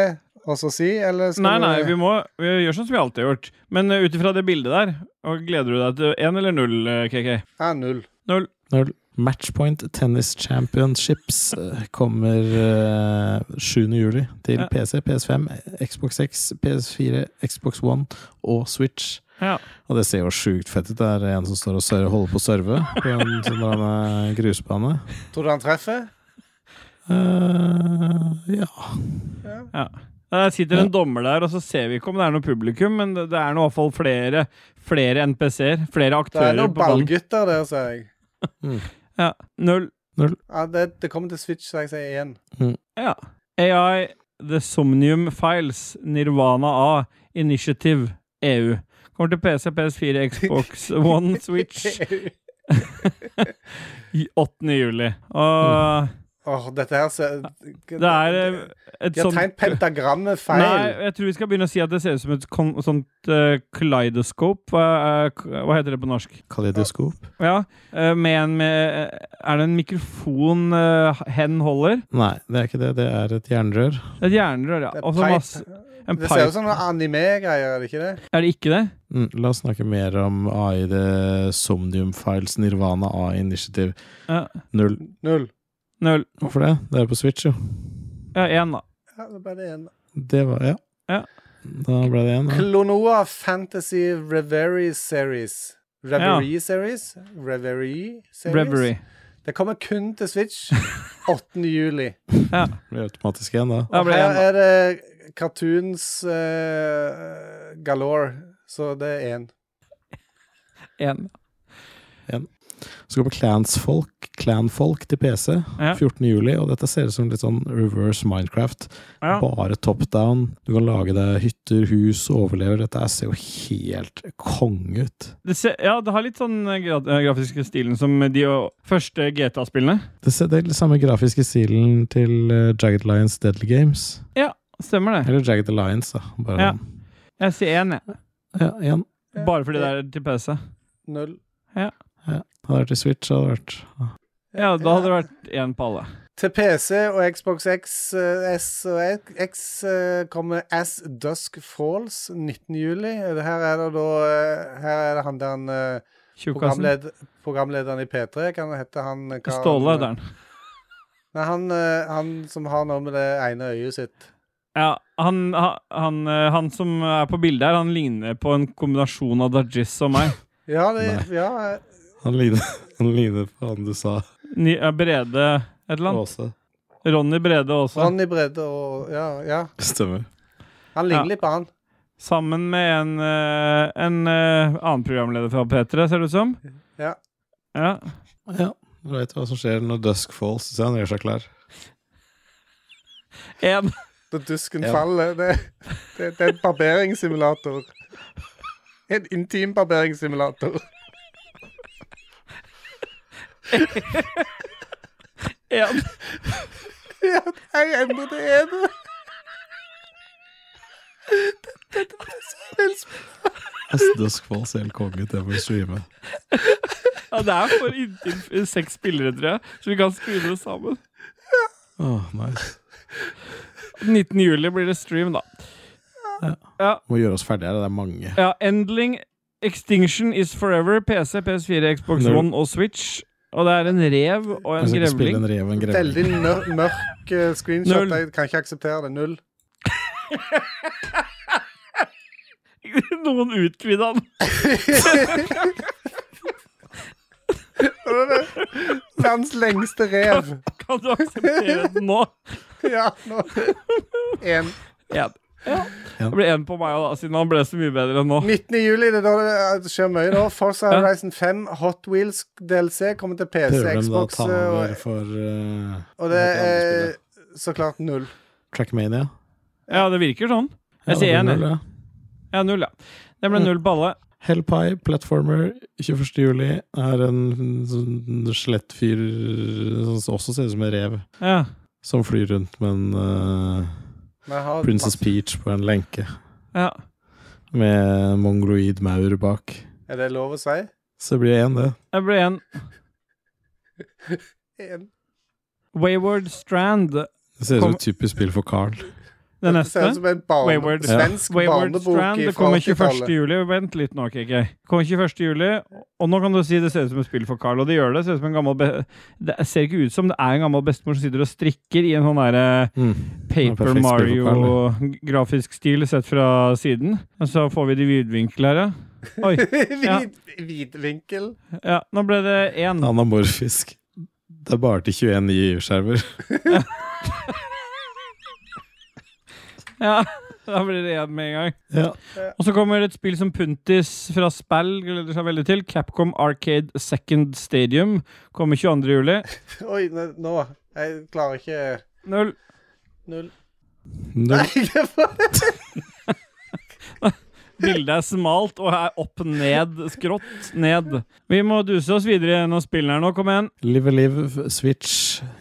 Speaker 2: og så si, eller skal
Speaker 3: Nei, nei, vi må vi gjør sånn som vi alltid har gjort. Men uh, ut ifra det bildet der, og gleder du deg til én eller null, uh, KK?
Speaker 2: Ja, null.
Speaker 3: Null.
Speaker 1: Når Matchpoint Tennis Championships eh, kommer eh, 7. juli til
Speaker 3: Ja.
Speaker 1: PC, PS5, Xbox 6, PS4, Xbox One og Switch.
Speaker 3: Ja.
Speaker 1: Og det ser jo sjukt fett ut. Det er en som står og ser- holder på å serve på en sånn der, eh, grusbane.
Speaker 2: Tror du han treffer?
Speaker 1: Eh, ja.
Speaker 3: Der sitter en dommer der, og så ser vi ikke om det er noe publikum, men det, det er nå i hvert fall flere, flere NPC-er, flere
Speaker 2: Det er
Speaker 3: aktører
Speaker 2: noen
Speaker 3: på banen.
Speaker 2: ballgutter der, sier jeg.
Speaker 3: Ja. Null.
Speaker 2: Ja, det, det kommer til Switch, så jeg sier én.
Speaker 3: Ja. AI, The Somnium Files, Nirvana A, Initiative, EU. Kommer til PC, PS4, Xbox One, Switch i 8. juli.
Speaker 2: Mm.
Speaker 3: Og
Speaker 2: Åh, dette her ser
Speaker 3: det er eh, et
Speaker 2: De har
Speaker 3: sånt
Speaker 2: tegnet pentagrammet feil.
Speaker 3: Nei, jeg tror vi skal begynne å si at det ser ut som et kon sånt uh, kaleidoskop. Hva, er- hva heter det på norsk?
Speaker 1: Kaleidoskop?
Speaker 3: Ja, eh, med en med, eh, Er det en mikrofon eh, hen holder?
Speaker 1: Nei, det er ikke det. Det er et jernrør.
Speaker 3: Et jernrør, ja.
Speaker 2: Det er
Speaker 3: Og så
Speaker 2: pipe.
Speaker 3: masse En
Speaker 2: Det ser sånn- ut
Speaker 3: pipe.
Speaker 2: som noen anime-greier, er det ikke det?
Speaker 3: Er det ikke det?
Speaker 1: Mm, la oss snakke mer om AI, det Somnium Files, Nirvana AI Initiative.
Speaker 3: Ja.
Speaker 1: Null.
Speaker 2: Null.
Speaker 3: Null.
Speaker 1: Hvorfor det? Det er på Switch, jo.
Speaker 3: Ja, én, da.
Speaker 2: Ja, det ble det en.
Speaker 1: Det var Ja.
Speaker 3: Ja.
Speaker 1: Da ble det én. da.
Speaker 2: Mm. Klonoa Fantasy Reverie Series. Reverie Series? Reverie Series?
Speaker 3: Brevery.
Speaker 2: Det kommer kun til Switch 8. juli.
Speaker 1: Det Blir automatisk én, da.
Speaker 3: Da
Speaker 2: Og
Speaker 3: blir det
Speaker 2: her
Speaker 3: en, da.
Speaker 2: er det cartoons eh, galore, så det er én.
Speaker 3: En.
Speaker 1: Så kommer Clansfolk, Clanfolk til PC
Speaker 3: Ja.
Speaker 1: 14. juli, og dette ser ut som litt sånn reverse Minecraft.
Speaker 3: Ja.
Speaker 1: Bare top down. Du kan lage deg hytter, hus, overlever. Dette her ser jo helt konge ut.
Speaker 3: Det ser, ja, det har litt sånn eh, gra eh, grafiske stilen som de eh, første GTA-spillene.
Speaker 1: Det ser- det er samme grafiske stilen til eh, Jagged Lions Deadly Games.
Speaker 3: Stemmer det.
Speaker 1: Eller Jagged Alliance, da. Bare sånn.
Speaker 3: Ja. Jeg sier én, jeg.
Speaker 1: ja, igjen.
Speaker 3: Bare fordi det er til PC.
Speaker 2: Null.
Speaker 1: Hadde det vært i Switch, hadde det vært
Speaker 3: Ja, da hadde det vært én på alle.
Speaker 2: Til PC og Xbox X, eh, S og X eh, kommer As Dusk Falls 19. juli. Det Her er det da eh, Her er det han der han eh,
Speaker 3: Tjukkasen.
Speaker 2: programled, Programlederen i P3, kan hete han eh, hva-
Speaker 3: Ståle heter han.
Speaker 2: Nei, han, eh, han som har noe med det ene øyet sitt.
Speaker 3: Ja, han, ha- han, eh, han som er på bildet her, han ligner på en kombinasjon av Dajis og meg.
Speaker 2: Ja, det, ja, eh,
Speaker 1: Han ligner, han ligner på han du sa,
Speaker 3: Ni, eh, Brede et eller annet.
Speaker 1: Åse.
Speaker 3: Ronny Brede også.
Speaker 2: Ronny Bredde og Ja. ja.
Speaker 1: Stemmer.
Speaker 3: Ja.
Speaker 2: Han ligner litt på han.
Speaker 3: Sammen med en, eh, en eh, annen programleder fra P3, ser det ut som.
Speaker 2: Ja.
Speaker 3: Ja.
Speaker 1: Ja. Du veit hva som skjer når dusk falls. Se, han gjør seg klar.
Speaker 3: En,
Speaker 2: Da dusken
Speaker 1: Ja.
Speaker 2: faller. Det, det, det er en barberingssimulator. En intim barberingssimulator.
Speaker 3: en.
Speaker 2: Ja, jeg endrer det ene.
Speaker 1: Ass, Dusk Falls er helt konge, det må vi streame.
Speaker 3: Ja, det er for inntil f- seks spillere, tror jeg, så vi kan skrive det sammen.
Speaker 1: Åh, nice.
Speaker 3: 19. juli blir det stream, da.
Speaker 1: Må gjøre oss ferdige her, det er mange.
Speaker 3: Ja, Endling, Extinction is Forever, PC, PS4, Xbox
Speaker 1: Når-
Speaker 3: One og Switch. Og det er en rev og
Speaker 1: Jeg
Speaker 3: en
Speaker 1: skal ikke spille
Speaker 3: grevling.
Speaker 1: en rev og en
Speaker 2: Veldig
Speaker 1: grevling.
Speaker 2: mør mørk eh, screenshot.
Speaker 3: Null.
Speaker 2: Jeg kan ikke akseptere det. Null.
Speaker 3: Noen utvida den.
Speaker 2: Verdens lengste rev.
Speaker 3: Kan du akseptere den nå?
Speaker 2: Ja, nå En.
Speaker 3: Ja. ja.
Speaker 1: Ja.
Speaker 3: Det ble én på meg òg, da, siden han ble så mye bedre enn nå.
Speaker 2: 19. juli, det er da det eh, skjer mye nå. Forza
Speaker 3: Ja.
Speaker 2: Horizon 5, Hot Wheels DLC kommer til PC,
Speaker 1: Prøver de da å
Speaker 2: Xbox
Speaker 1: ta
Speaker 2: eh,
Speaker 1: over
Speaker 2: og,
Speaker 1: for eh,
Speaker 2: og
Speaker 1: for de andre
Speaker 2: det er
Speaker 1: spillene?
Speaker 2: så klart null.
Speaker 1: Trackmania?
Speaker 3: Ja, det virker sånn.
Speaker 1: Ja,
Speaker 3: Jeg sier
Speaker 1: det blir
Speaker 3: én.
Speaker 1: null, ja.
Speaker 3: Ja, null, ja. Det ble null på alle.
Speaker 1: Hellpie, platformer, 21. juli er en sånn skjelettfyr som også ser ut som en rev,
Speaker 3: Ja.
Speaker 1: som flyr rundt med en eh,
Speaker 2: Vi har
Speaker 1: Princess Peach på en lenke,
Speaker 3: ja.
Speaker 1: med mongoloid maur bak.
Speaker 2: Er det lov å si?
Speaker 1: Så det blir én, det.
Speaker 3: Det ble en
Speaker 2: En.
Speaker 3: Wayward Strand,
Speaker 1: Det ser ut som
Speaker 3: Kom-
Speaker 1: et typisk spill for Carl.
Speaker 3: det
Speaker 2: Det ser ut
Speaker 3: neste.
Speaker 2: som en barn,
Speaker 3: Wayward.
Speaker 2: svensk
Speaker 3: Wayward Strand,
Speaker 2: barnebok
Speaker 3: det
Speaker 2: fra
Speaker 3: kommer 21.
Speaker 2: 80-tallet.
Speaker 3: juli. Vent litt nå, KK. Kommer 21. juli, og nå kan du si det ser ut som et spill for Carl, og det gjør det. Det ser, ut som en gammel be det ser ikke ut som det er en gammel bestemor som sitter og strikker i en sånn derre
Speaker 1: Mm. Det er
Speaker 3: Paper
Speaker 1: perfekt spill for
Speaker 3: Mario-grafisk stil sett fra siden. Og så får vi de vidvinkler her, ja. Oi. Ja.
Speaker 2: Vid, vidvinkel.
Speaker 3: Ja, nå ble det én.
Speaker 1: Anamorfisk. Det er bare til 21 nye skjermer
Speaker 3: Ja, da blir det én med en gang.
Speaker 1: Ja.
Speaker 3: Og så kommer et spill som Puntis fra Spell gleder seg veldig til. Capcom Arcade Second Stadium kommer 22. juli.
Speaker 2: Oi, nå, nå. Jeg klarer ikke
Speaker 3: Null.
Speaker 2: Null.
Speaker 1: Null.
Speaker 3: Bildet er smalt og er opp, ned, skrått ned. Vi må duse oss videre gjennom spillene her nå. Kom igjen.
Speaker 1: Live a Live, f- Switch,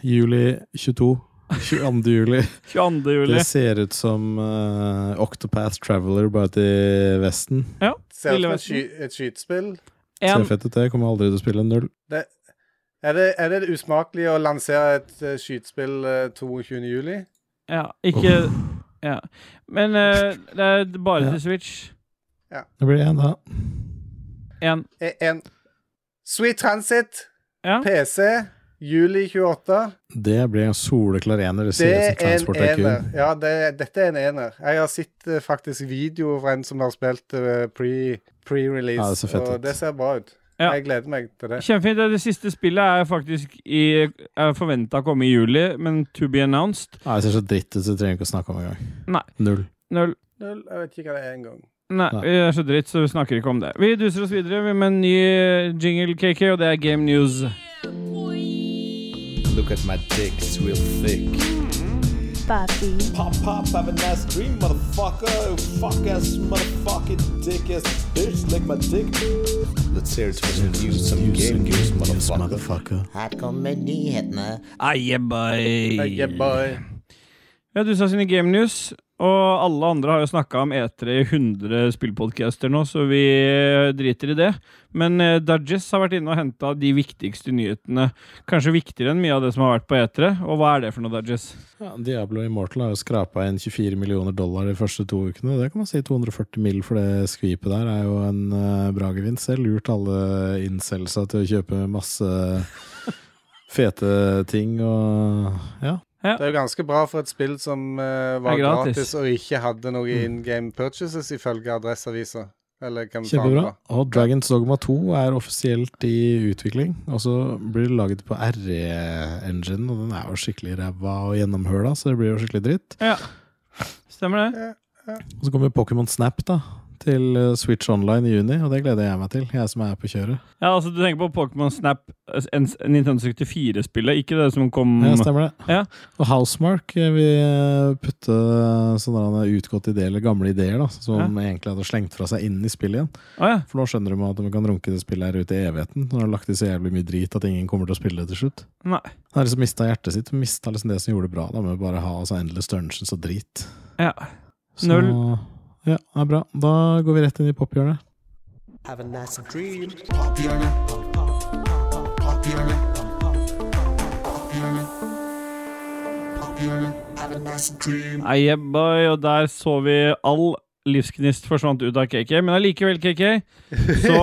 Speaker 1: juli 22. 22. juli.
Speaker 3: 22. juli.
Speaker 1: Det ser ut som eh, Octopath Traveler bare til Vesten.
Speaker 3: Ja.
Speaker 2: Ser ut
Speaker 3: Ville
Speaker 2: som et,
Speaker 3: Vesten.
Speaker 2: sky, et skytespill.
Speaker 1: Ser
Speaker 3: Én.
Speaker 1: fett ut, det. Kommer aldri til å spille null.
Speaker 2: Er det, er det usmakelig å lansere et uh, skytespill eh, 22. juli?
Speaker 3: Ja, ikke Ja. Men eh, det er bare til Switch.
Speaker 1: Det blir én, da.
Speaker 3: Én.
Speaker 2: E- En. Sweet Transit,
Speaker 3: Ja.
Speaker 2: PC, juli 28.
Speaker 1: Det blir en soleklar ener. Det
Speaker 2: Det
Speaker 1: ser ut som
Speaker 2: er
Speaker 1: Transport
Speaker 2: en
Speaker 1: er
Speaker 2: ener.
Speaker 1: kun.
Speaker 2: Ja, det, dette er en ener. Jeg har sett eh, faktisk video fra en som har spilt eh, pre- pre-release,
Speaker 1: Ja, det ser fett
Speaker 2: og
Speaker 1: ut.
Speaker 2: det ser bra ut.
Speaker 3: Ja.
Speaker 2: Jeg gleder meg til det.
Speaker 3: Kjempefint. Det siste spillet er faktisk i- er forventa å komme i juli, men to be announced.
Speaker 1: Nei, det ser så dritt ut, så vi trenger ikke å snakke om det engang.
Speaker 3: Nei.
Speaker 1: Null.
Speaker 3: Null.
Speaker 2: Null, Jeg vet ikke hva det er engang.
Speaker 3: Nei,
Speaker 1: Nei.
Speaker 3: vi er så dritt, så vi snakker ikke om det. Vi duser oss videre med en ny eh, jingle, KK, og det er Game News.
Speaker 8: Look at my dick, it's real thick.
Speaker 9: Papi,
Speaker 8: Pop, pop, have a nice dream, motherfucker. Fuck ass, motherfucking dick ass, bitch, lick my dick. Let's hear it for some news, some game news, motherfucker.
Speaker 4: Her kommer nyhetene.
Speaker 3: Aye, boy.
Speaker 2: Yeah, boy.
Speaker 3: Ja, du sa sine Game News, og alle andre har jo snakka om E3 i 100 spillpodcaster nå, så vi eh, driter i det. Men eh, Dudges har vært inne og henta de viktigste nyhetene. Kanskje viktigere enn mye av det som har vært på E3. Og hva er det for noe, Dudges?
Speaker 1: Ja, Diablo Immortal har jo skrapa inn 24 millioner dollar de første to ukene. Det kan man si 240 mill. for det skvipet der er jo en eh, bra gevinst. Jeg har lurt alle incelsa til å kjøpe masse fete ting og ja.
Speaker 2: Det er jo ganske bra for et spill som eh,
Speaker 3: Det
Speaker 2: var
Speaker 3: er gratis.
Speaker 2: gratis. og ikke hadde noe in game purchases, ifølge Adresseavisa. Eller hvem faen det
Speaker 1: Kjempebra.
Speaker 2: var.
Speaker 1: Og Dragons Dogma 2 er offisielt i utvikling. Og så blir det laget på RE-engine, og den er jo skikkelig ræva og gjennomhøla, så det blir jo skikkelig dritt.
Speaker 3: Ja. Stemmer det?
Speaker 1: Og så kommer Pokémon Snap da til eh, Switch Online i juni, og det gleder jeg meg til, jeg som er på kjøret.
Speaker 3: Ja, altså Du tenker på Pokémon Snap, eh, en- Nintendo 64-spillet, ikke det som kom
Speaker 1: Ja, stemmer det.
Speaker 3: Ja.
Speaker 1: Og Housemark eh, vil eh, putte sånne der utgåtte ideer, eller gamle ideer, da, som
Speaker 3: Ja.
Speaker 1: egentlig hadde slengt fra seg inn i spillet igjen.
Speaker 3: Å ja.
Speaker 1: For nå skjønner de at de kan runke det spillet her ute i evigheten. Når de har lagt i så jævlig mye drit at ingen kommer til å spille det til slutt.
Speaker 3: Nei.
Speaker 1: Han har liksom mista hjertet sitt. Mista liksom det som gjorde det bra, da, med å bare ha altså, endless dungeons og drit.
Speaker 3: Ja.
Speaker 1: Så,
Speaker 3: Null.
Speaker 1: Ja, det er bra. Da går vi rett inn i pophjørnet.
Speaker 8: Have a nice dream.
Speaker 3: Nei, yeah, boy, og der så vi all livsgnist forsvant ut av KK. Men allikevel, KK, så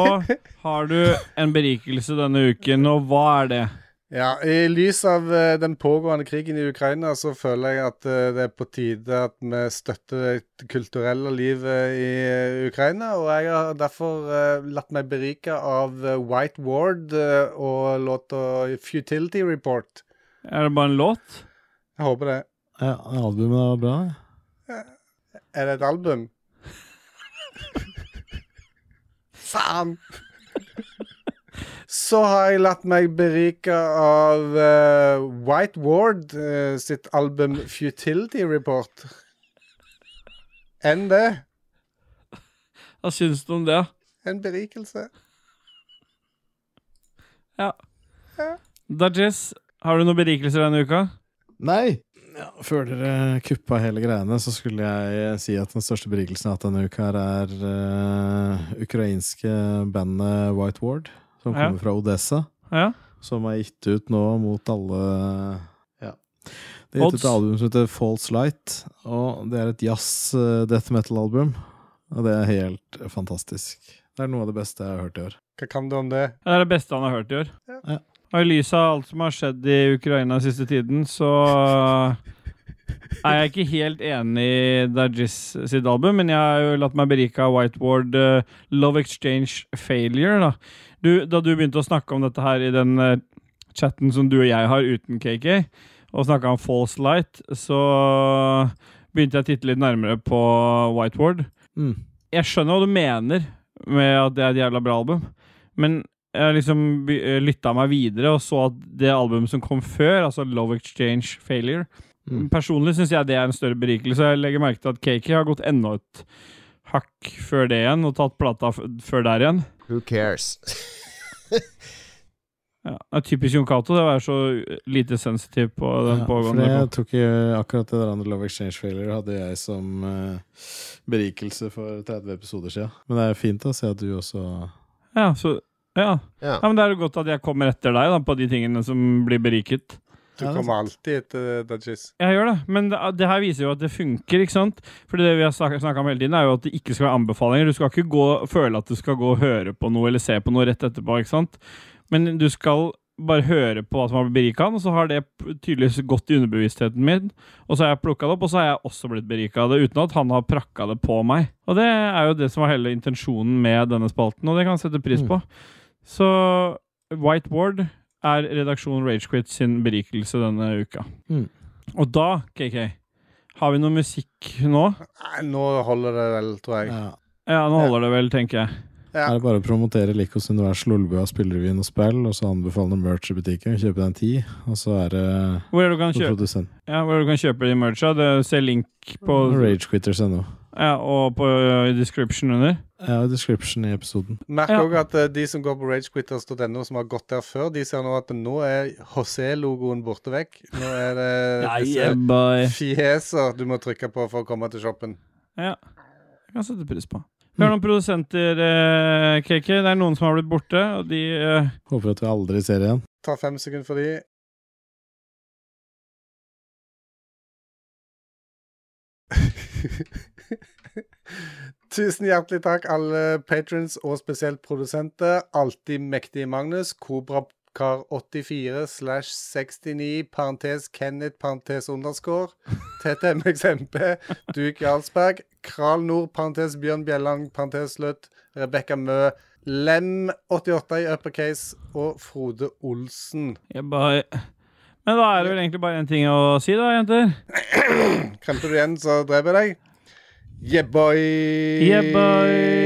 Speaker 3: har du en berikelse denne uken, og hva er det?
Speaker 2: Ja, I lys av eh, den pågående krigen i Ukraina, så føler jeg at eh, det er på tide at vi støtter det kulturelle livet i eh, Ukraina. Og jeg har derfor eh, latt meg berike av eh, White Ward eh, og låta Futility Report.
Speaker 3: Er det bare en låt?
Speaker 2: Jeg håper det.
Speaker 1: Ja, albumet var bra.
Speaker 2: Er det et album? Faen! Så har jeg latt meg berike av eh, White Ward eh, sitt album Futility Report. Enn det?
Speaker 3: Hva syns du om det?
Speaker 2: En berikelse.
Speaker 3: Dajis, har du noen berikelser denne uka?
Speaker 1: Nei! Ja, før dere kuppa hele greiene, så skulle jeg eh, si at den største berikelsen jeg har hatt denne uka, her er eh, ukrainske bandet White Ward, som
Speaker 3: Ja.
Speaker 1: kommer fra Odessa.
Speaker 3: Ja?
Speaker 1: som er gitt ut nå mot alle ja. Det er gitt ut
Speaker 3: Odds.
Speaker 1: et album som heter False Light, og det er et jazz eh, death metal-album. Og det er helt fantastisk. Det er noe av det beste jeg har hørt i år.
Speaker 2: Hva kan du om det?
Speaker 3: Det er det beste han har hørt i år.
Speaker 1: Ja.
Speaker 3: Og i lys av alt som har skjedd i Ukraina den siste tiden, så er jeg ikke helt enig i Dajis sitt album, men jeg har jo latt meg berike av Whiteboard eh, Love Exchange Failure. Da. Du, da du begynte å snakke om dette her i den eh, chatten som du og jeg har uten KK, og snakka om False Light, så begynte jeg å titte litt nærmere på Whiteboard
Speaker 1: Mm.
Speaker 3: jeg skjønner hva du mener med at det er et jævla bra album, men jeg liksom by- eh, lytta meg videre og så at det albumet som kom før, altså Love Exchange Failure
Speaker 1: Mm.
Speaker 3: Personlig syns jeg det er en større berikelse. Jeg legger merke til at Kaki har gått enda et hakk før det igjen, og tatt plata f før der igjen.
Speaker 7: Who cares?
Speaker 3: Ja, det er typisk Jon Cato det å være så lite sensitiv på den
Speaker 1: Ja, for
Speaker 3: pågående.
Speaker 1: jeg tok jo akkurat det der andre Love Exchange Failure hadde jeg som eh, berikelse for 30 episoder siden. Men det er fint å se at du også
Speaker 3: Ja, så, ja.
Speaker 7: Ja.
Speaker 3: ja, men det er jo godt at jeg kommer etter deg da, på de tingene som blir beriket.
Speaker 2: Du
Speaker 1: Ja, det er
Speaker 2: kommer alltid etter Dudgies.
Speaker 3: Jeg gjør det, men det, det her viser jo at det funker, ikke sant? Fordi det vi har snak- snakket om hele tiden, er jo at det ikke skal være anbefalinger. Du skal ikke gå, føle at du skal gå og høre på noe eller se på noe rett etterpå, ikke sant? Men du skal bare høre på hva som har blitt berika, og så har det p- tydeligvis gått i underbevisstheten min. Og så har jeg plukka det opp, og så har jeg også blitt berika av det, uten at han har prakka det på meg. Og det er jo det som var hele intensjonen med denne spalten, og det kan jeg sette pris på. Så Whiteboard er redaksjonen Ragequit sin berikelse denne uka.
Speaker 1: Mm.
Speaker 3: Og da, KK, har vi noe musikk nå?
Speaker 2: Nei, nå holder det vel, tror jeg.
Speaker 1: Ja.
Speaker 3: Ja, nå holder det vel, tenker jeg.
Speaker 1: Her er det bare å promotere Likos univers, Lolbua, spillerevyen og spill, og så anbefalende merch i butikken. Kjøpe den ti, og så er det
Speaker 3: Hvor er det du kan
Speaker 1: på
Speaker 3: kjøpe,
Speaker 1: produsent.
Speaker 3: ja, hvor er det du kan kjøpe de mercha? Det ser link på
Speaker 1: Ragequitters.no.
Speaker 3: ja, Og på ø, description under.
Speaker 1: Ja, description i episoden.
Speaker 2: Merk
Speaker 3: Ja.
Speaker 2: òg at eh, de som går på ragequitters.no, som har gått der før, de ser nå at nå er HC-logoen borte vekk. Nå er det disse
Speaker 3: bye.
Speaker 2: fjeser du må trykke på for å komme til shoppen.
Speaker 3: Ja. Jeg kan sette pris på. Vi har noen produsenter, eh, KK. Det er noen som har blitt borte, og de eh,
Speaker 1: Håper at vi aldri ser igjen.
Speaker 2: Ta fem sekunder for de. Tusen hjertelig takk, alle patrons og spesielt produsenter. Alltid mektige Magnus. Kobrakar84 slash 69 parentes Kenneth parentes underscore. TTMXMP. Duke Jarlsberg. Kral Nord parentes Bjørn Bjelland parentes Løtt. Rebekka Mø. Lem88 i uppercase. Og Frode Olsen.
Speaker 3: yeah, bye. Men da er det vel egentlig bare én ting å si, da, jenter.
Speaker 2: Kremper du igjen, så dreper jeg deg. Yeah, boy!
Speaker 3: Yeah, bye.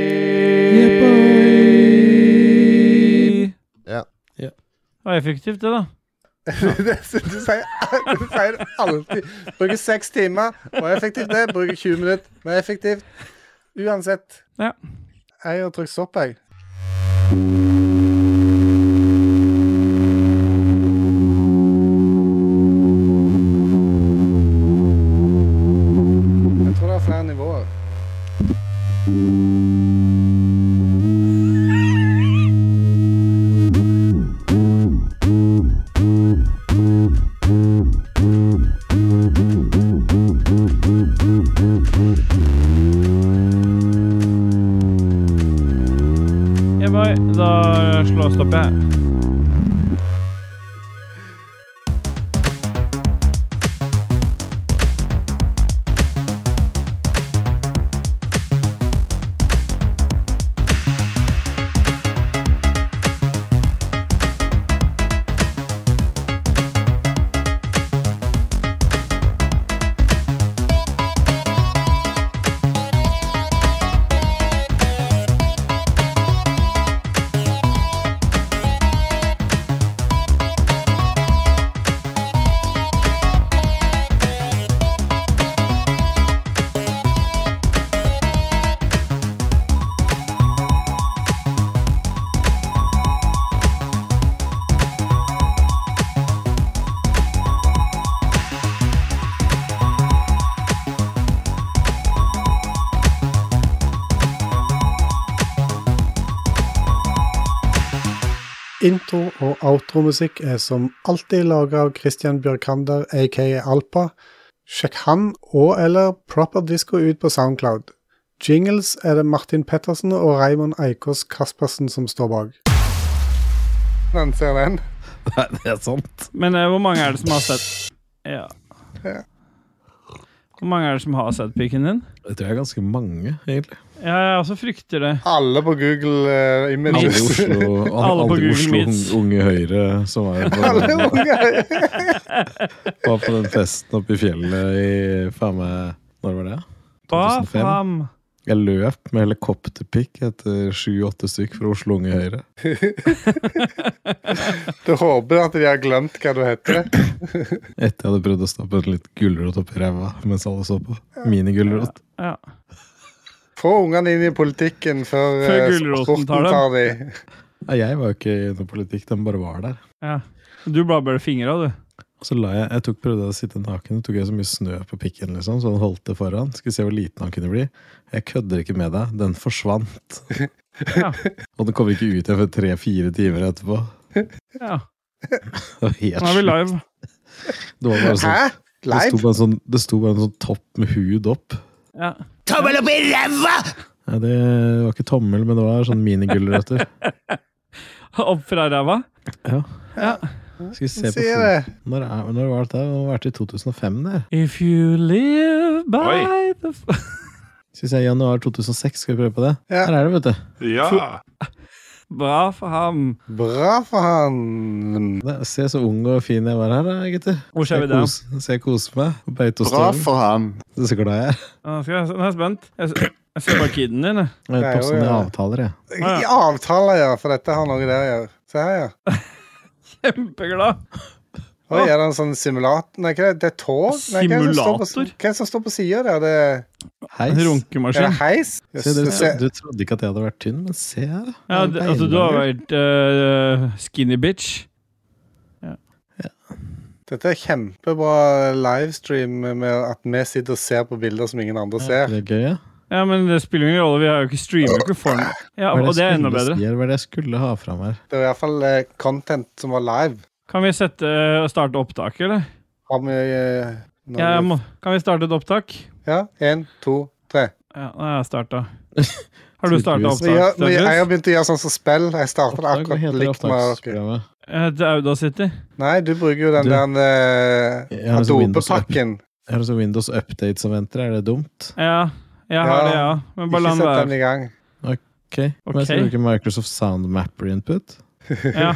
Speaker 7: Ja.
Speaker 1: Ja.
Speaker 3: Det var effektivt, det, da.
Speaker 2: Det er sånn du, sier, du sier det alltid. Bruker seks timer. Var effektivt, det. Bruker 20 minutter. Var effektivt. Uansett.
Speaker 3: Ja.
Speaker 2: Jeg har trykt stopp, jeg. Jeg tror det er flere nivåer.
Speaker 3: Yeah, bye. Da slår jeg stopp, jeg.
Speaker 10: Intro- og outromusikk er som alltid laga av Christian Bjørkander, aka Alpa. Sjekk han og eller Proper Disco ut på Soundcloud. Jingles er det Martin Pettersen og Raymond Eikås Kaspersen som står bak.
Speaker 2: Den ser den.
Speaker 1: Nei, det er sant.
Speaker 3: Men eh, hvor mange er det som har sett Ja. Hvor mange er det som har sett pikken din?
Speaker 1: Jeg tror jeg er ganske mange, egentlig.
Speaker 3: Ja, jeg også frykter det.
Speaker 2: Alle på Google eh,
Speaker 1: Alle
Speaker 2: Images.
Speaker 1: i Oslo, alle,
Speaker 3: Alle på
Speaker 1: i
Speaker 3: Google
Speaker 1: Oslo
Speaker 3: Meets.
Speaker 1: unge, unge Høyre som var
Speaker 2: Alle
Speaker 1: på,
Speaker 2: unger.
Speaker 1: var på den festen oppe i fjellet i faen meg Når var det?
Speaker 3: Hva
Speaker 1: 2005?
Speaker 3: faen?
Speaker 1: Jeg løp med helikopterpikk etter sju-åtte stykk fra Oslo Unge Høyre.
Speaker 2: Du håper at de har glemt hva du heter.
Speaker 1: Etter jeg hadde prøvd å stappe en litt gulrot oppi ræva mens alle så på. Minigulrot.
Speaker 3: Ja.
Speaker 2: Få ungene inn i politikken før,
Speaker 3: Før
Speaker 2: eh,
Speaker 3: gulroten
Speaker 2: sporten
Speaker 3: tar dem.
Speaker 2: tar dem.
Speaker 1: Nei, Jeg var jo ikke i noe politikk, den bare var der.
Speaker 3: ja. Du blabber fingra, du.
Speaker 1: Og så la jeg, jeg tok, prøvde å sitte naken, og tok jeg så mye snø på pikken, liksom, så han holdt det foran. Skulle se hvor liten han kunne bli. Jeg kødder ikke med deg, den forsvant.
Speaker 3: Ja.
Speaker 1: og den kommer ikke ut igjen før tre-fire timer etterpå.
Speaker 3: Ja.
Speaker 1: Det var helt
Speaker 3: Nå er vi
Speaker 1: sjukt.
Speaker 3: live.
Speaker 1: Det var bare sånn,
Speaker 2: Hæ?
Speaker 1: det sto
Speaker 2: Live?
Speaker 1: bare en sånn, det sto bare en sånn topp med hud opp.
Speaker 3: Ja.
Speaker 4: Tommel opp i ræva!
Speaker 1: Nei, det var ikke tommel, men det var sånn minigulrøtter.
Speaker 3: Opp fra ræva?
Speaker 1: Skal vi se på
Speaker 2: Sier
Speaker 1: foten.
Speaker 2: det.
Speaker 1: Når, er, når var dette? Det må ha vært i 2005, det.
Speaker 3: If you live by the f...
Speaker 1: Skal vi se, januar 2006, skal vi prøve på det?
Speaker 2: Ja.
Speaker 1: Her er det, vet du.
Speaker 8: Ja.
Speaker 3: Bra for ham.
Speaker 2: Bra for han.
Speaker 1: Nei, Se så ung og fin jeg var her, da, gutter.
Speaker 3: Hvor ser vi
Speaker 1: Jeg
Speaker 3: det?
Speaker 1: kos- Så jeg koser meg på
Speaker 6: Bra
Speaker 1: Beitostølen.
Speaker 6: for han.
Speaker 1: Så så glad jeg er.
Speaker 3: Nå skal jeg- nå er jeg spent. Jeg s- jeg ser bare kiden din. jeg.
Speaker 1: Jeg
Speaker 2: Det er
Speaker 1: tar
Speaker 2: jo,
Speaker 1: sånne
Speaker 2: ja.
Speaker 1: avtaler, jeg.
Speaker 3: ja.
Speaker 2: I avtaler, ja, for dette har noe der å gjøre. Se her, ja.
Speaker 3: Kjempeglad.
Speaker 2: Oi, er det en sånn simulator Nei, hva er det? Det er tog? Nei, hva er det som står på-
Speaker 3: Simulator?
Speaker 2: Hva er det som står på sida der? Det,
Speaker 1: Heis.
Speaker 2: er det
Speaker 3: Runkemaskin.
Speaker 2: heis?
Speaker 1: Se, du,
Speaker 2: Jøss, se.
Speaker 1: du trodde ikke at jeg hadde vært tynn, men se her, da.
Speaker 3: Ja, d- altså, du har vært eh, skinny bitch.
Speaker 2: Dette er kjempebra livestream med at vi sitter og ser på bilder som ingen andre ser.
Speaker 1: Det er gøy, ja.
Speaker 3: Ja, men det spiller ingen rolle. Vi har jo ikke streamer jo ikke for den. Ja,
Speaker 1: Hva
Speaker 3: og det er enda
Speaker 1: skulle
Speaker 3: bedre.
Speaker 1: si her? Hva er det jeg skulle ha fram her?
Speaker 2: Det er i hvert fall eh, content som var live.
Speaker 3: Kan vi sette eh, og starte opptaket, eller?
Speaker 2: Har vi eh, noe-
Speaker 3: Ja, jeg må, kan vi starte et opptak?
Speaker 2: Ja, én, to, tre.
Speaker 3: Ja, nå har jeg starta. Har du starta
Speaker 1: Tydeligvis.
Speaker 2: Så jeg,
Speaker 3: opptak?
Speaker 2: men jeg har
Speaker 3: Stadius?
Speaker 2: begynt å gjøre sånn som spill. Jeg starter
Speaker 1: Opptak, hva
Speaker 2: akkurat
Speaker 1: heter
Speaker 2: likt med dere.
Speaker 1: opptaksprogrammet?
Speaker 3: Eh, Til Audacity?
Speaker 2: Nei, du bruker jo den
Speaker 1: Du-
Speaker 2: der
Speaker 1: Jeg
Speaker 2: uh,
Speaker 1: har også Windows App.
Speaker 2: Adobe-pakken.
Speaker 1: Er det så Windows Update som venter? Er det dumt?
Speaker 3: Ja, jeg har
Speaker 2: Ja,
Speaker 3: det, ja. Men bare la den
Speaker 2: Ikke sett den
Speaker 3: være.
Speaker 2: i gang.
Speaker 1: Ok, Men jeg skal
Speaker 3: Ok.
Speaker 1: bruke Microsoft Sound Mapper Input.
Speaker 3: Ja.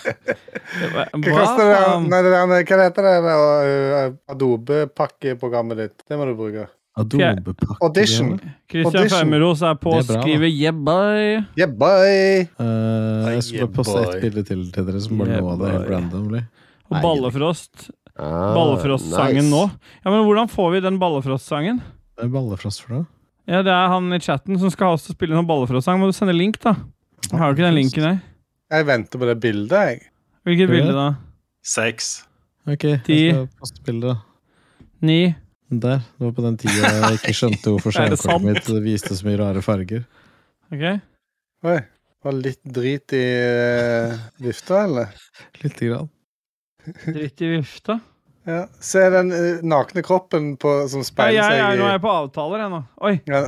Speaker 2: Hva
Speaker 3: Hva
Speaker 2: koster det?
Speaker 3: faen?
Speaker 2: Nei, det der, nei, hva heter det der, uh, Adobe-pakkeprogrammet ditt? Det må du bruke.
Speaker 1: Adobe-pakke.
Speaker 2: Audition.
Speaker 3: Christian
Speaker 2: Audition.
Speaker 3: Fermeros er på og
Speaker 1: Det er bra, da.
Speaker 3: skriver yeah, bye.
Speaker 2: Yeah, boy!
Speaker 1: Eh, jeg skulle bare poste ett
Speaker 7: boy.
Speaker 1: bilde til til dere som bare
Speaker 3: Yeah,
Speaker 1: lå der helt
Speaker 3: boy.
Speaker 1: randomly.
Speaker 3: Og
Speaker 1: Nei.
Speaker 3: Ballefrost.
Speaker 7: Ah,
Speaker 3: Ballefrost-sangen
Speaker 7: nice.
Speaker 3: nå. Ja, Men hvordan får vi den Ballefrost-sangen?
Speaker 1: Det er ballefrost for noe.
Speaker 3: Ja, Det er han i chatten som skal ha oss til å spille noen Ballefrost-sang. Må du sende link, da? Jeg har jo ikke den linken, jeg.
Speaker 2: Jeg venter på det bildet, jeg.
Speaker 3: Hvilket
Speaker 1: Skal vi
Speaker 3: bilde, da?
Speaker 8: Seks.
Speaker 1: Ok, jeg
Speaker 3: Ti.
Speaker 1: skal poste bilde, da.
Speaker 3: Ni.
Speaker 1: Der. Det var på den tida jeg ikke skjønte hvorfor
Speaker 3: Er det sant?
Speaker 1: skjermkortet mitt viste så mye rare farger.
Speaker 3: Ok?
Speaker 2: Oi. Var det litt drit i uh, vifta, eller?
Speaker 1: Lite grann.
Speaker 3: Dritt i vifta.
Speaker 2: Ja. Se den eh, nakne kroppen på, som
Speaker 3: Ja,
Speaker 2: speiler
Speaker 3: jeg,
Speaker 2: seg
Speaker 3: jeg,
Speaker 2: i
Speaker 3: nå er jeg på avtaler, jeg nå. Oi.
Speaker 2: Ja.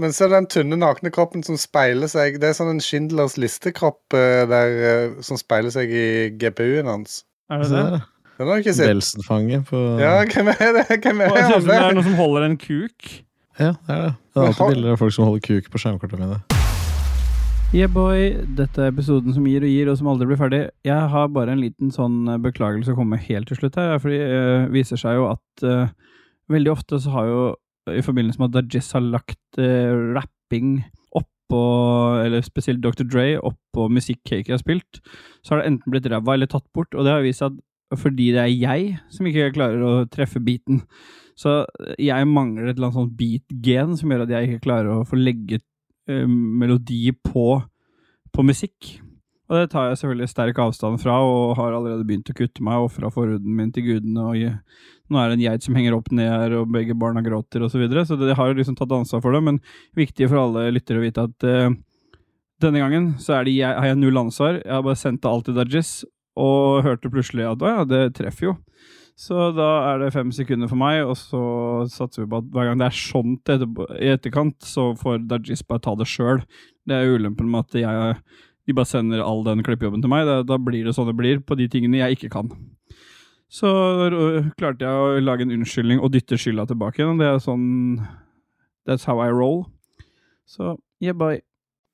Speaker 2: Men så er det den tynne, nakne kroppen som speiler seg Det er sånn en Schindlers listekropp eh, der, eh, som speiler seg i GPU-en hans.
Speaker 3: Er det
Speaker 1: Se
Speaker 3: det?
Speaker 1: der, da.
Speaker 2: Den har du ikke sett.
Speaker 1: Belsenfanget på
Speaker 2: Ja, hvem er det? Hvem
Speaker 3: Å,
Speaker 2: er
Speaker 3: Det ser ut som det er
Speaker 2: han?
Speaker 3: noen som holder en kuk.
Speaker 1: Ja, det er det. Det er
Speaker 2: Men har-
Speaker 1: alltid bilder av folk som holder kuk på skjermkortene mine.
Speaker 3: Yeah, boy. Dette er episoden som gir og gir, og som aldri blir ferdig. Jeg har bare en liten sånn eh, beklagelse å komme med helt til slutt her, fordi det viser seg jo at eh, veldig ofte så har jo, eh, i forbindelse med at Dajess har lagt eh, rapping oppå, eller spesielt Dr. Dre, oppå musikk Kaker har spilt, så har det enten blitt ræva eller tatt bort, og det har vist seg at fordi det er jeg som ikke klarer å treffe beaten. Så eh, jeg mangler et eller annet sånt beat-gen som gjør at jeg ikke klarer å få legget eh, melodi på, på musikk. Og det tar jeg selvfølgelig sterk avstand fra, og har allerede begynt å kutte meg og ofra forhuden min til gudene. og jeg- Nå er det en geit som henger opp ned her, og begge barna gråter, osv. Så, videre. så det jeg har jo liksom tatt ansvar for det, men viktig for alle lyttere å vite at eh, denne gangen så er det jeg, har jeg null ansvar. Jeg har bare sendt det alt til Dajis, og hørte plutselig at å ja, det treffer jo. Så da er det fem sekunder for meg, og så satser vi på at hver gang det er sånt etterpå, i etterkant, så får Dajis bare ta det sjøl. Det er jo ulempen med at jeg, de bare sender all den klippejobben til meg. Da, da blir det sånn det blir på de tingene jeg ikke kan. Så øh, klarte jeg å lage en unnskyldning og dytte skylda tilbake igjen. og Det er sånn That's how I roll. Så yeah, bye.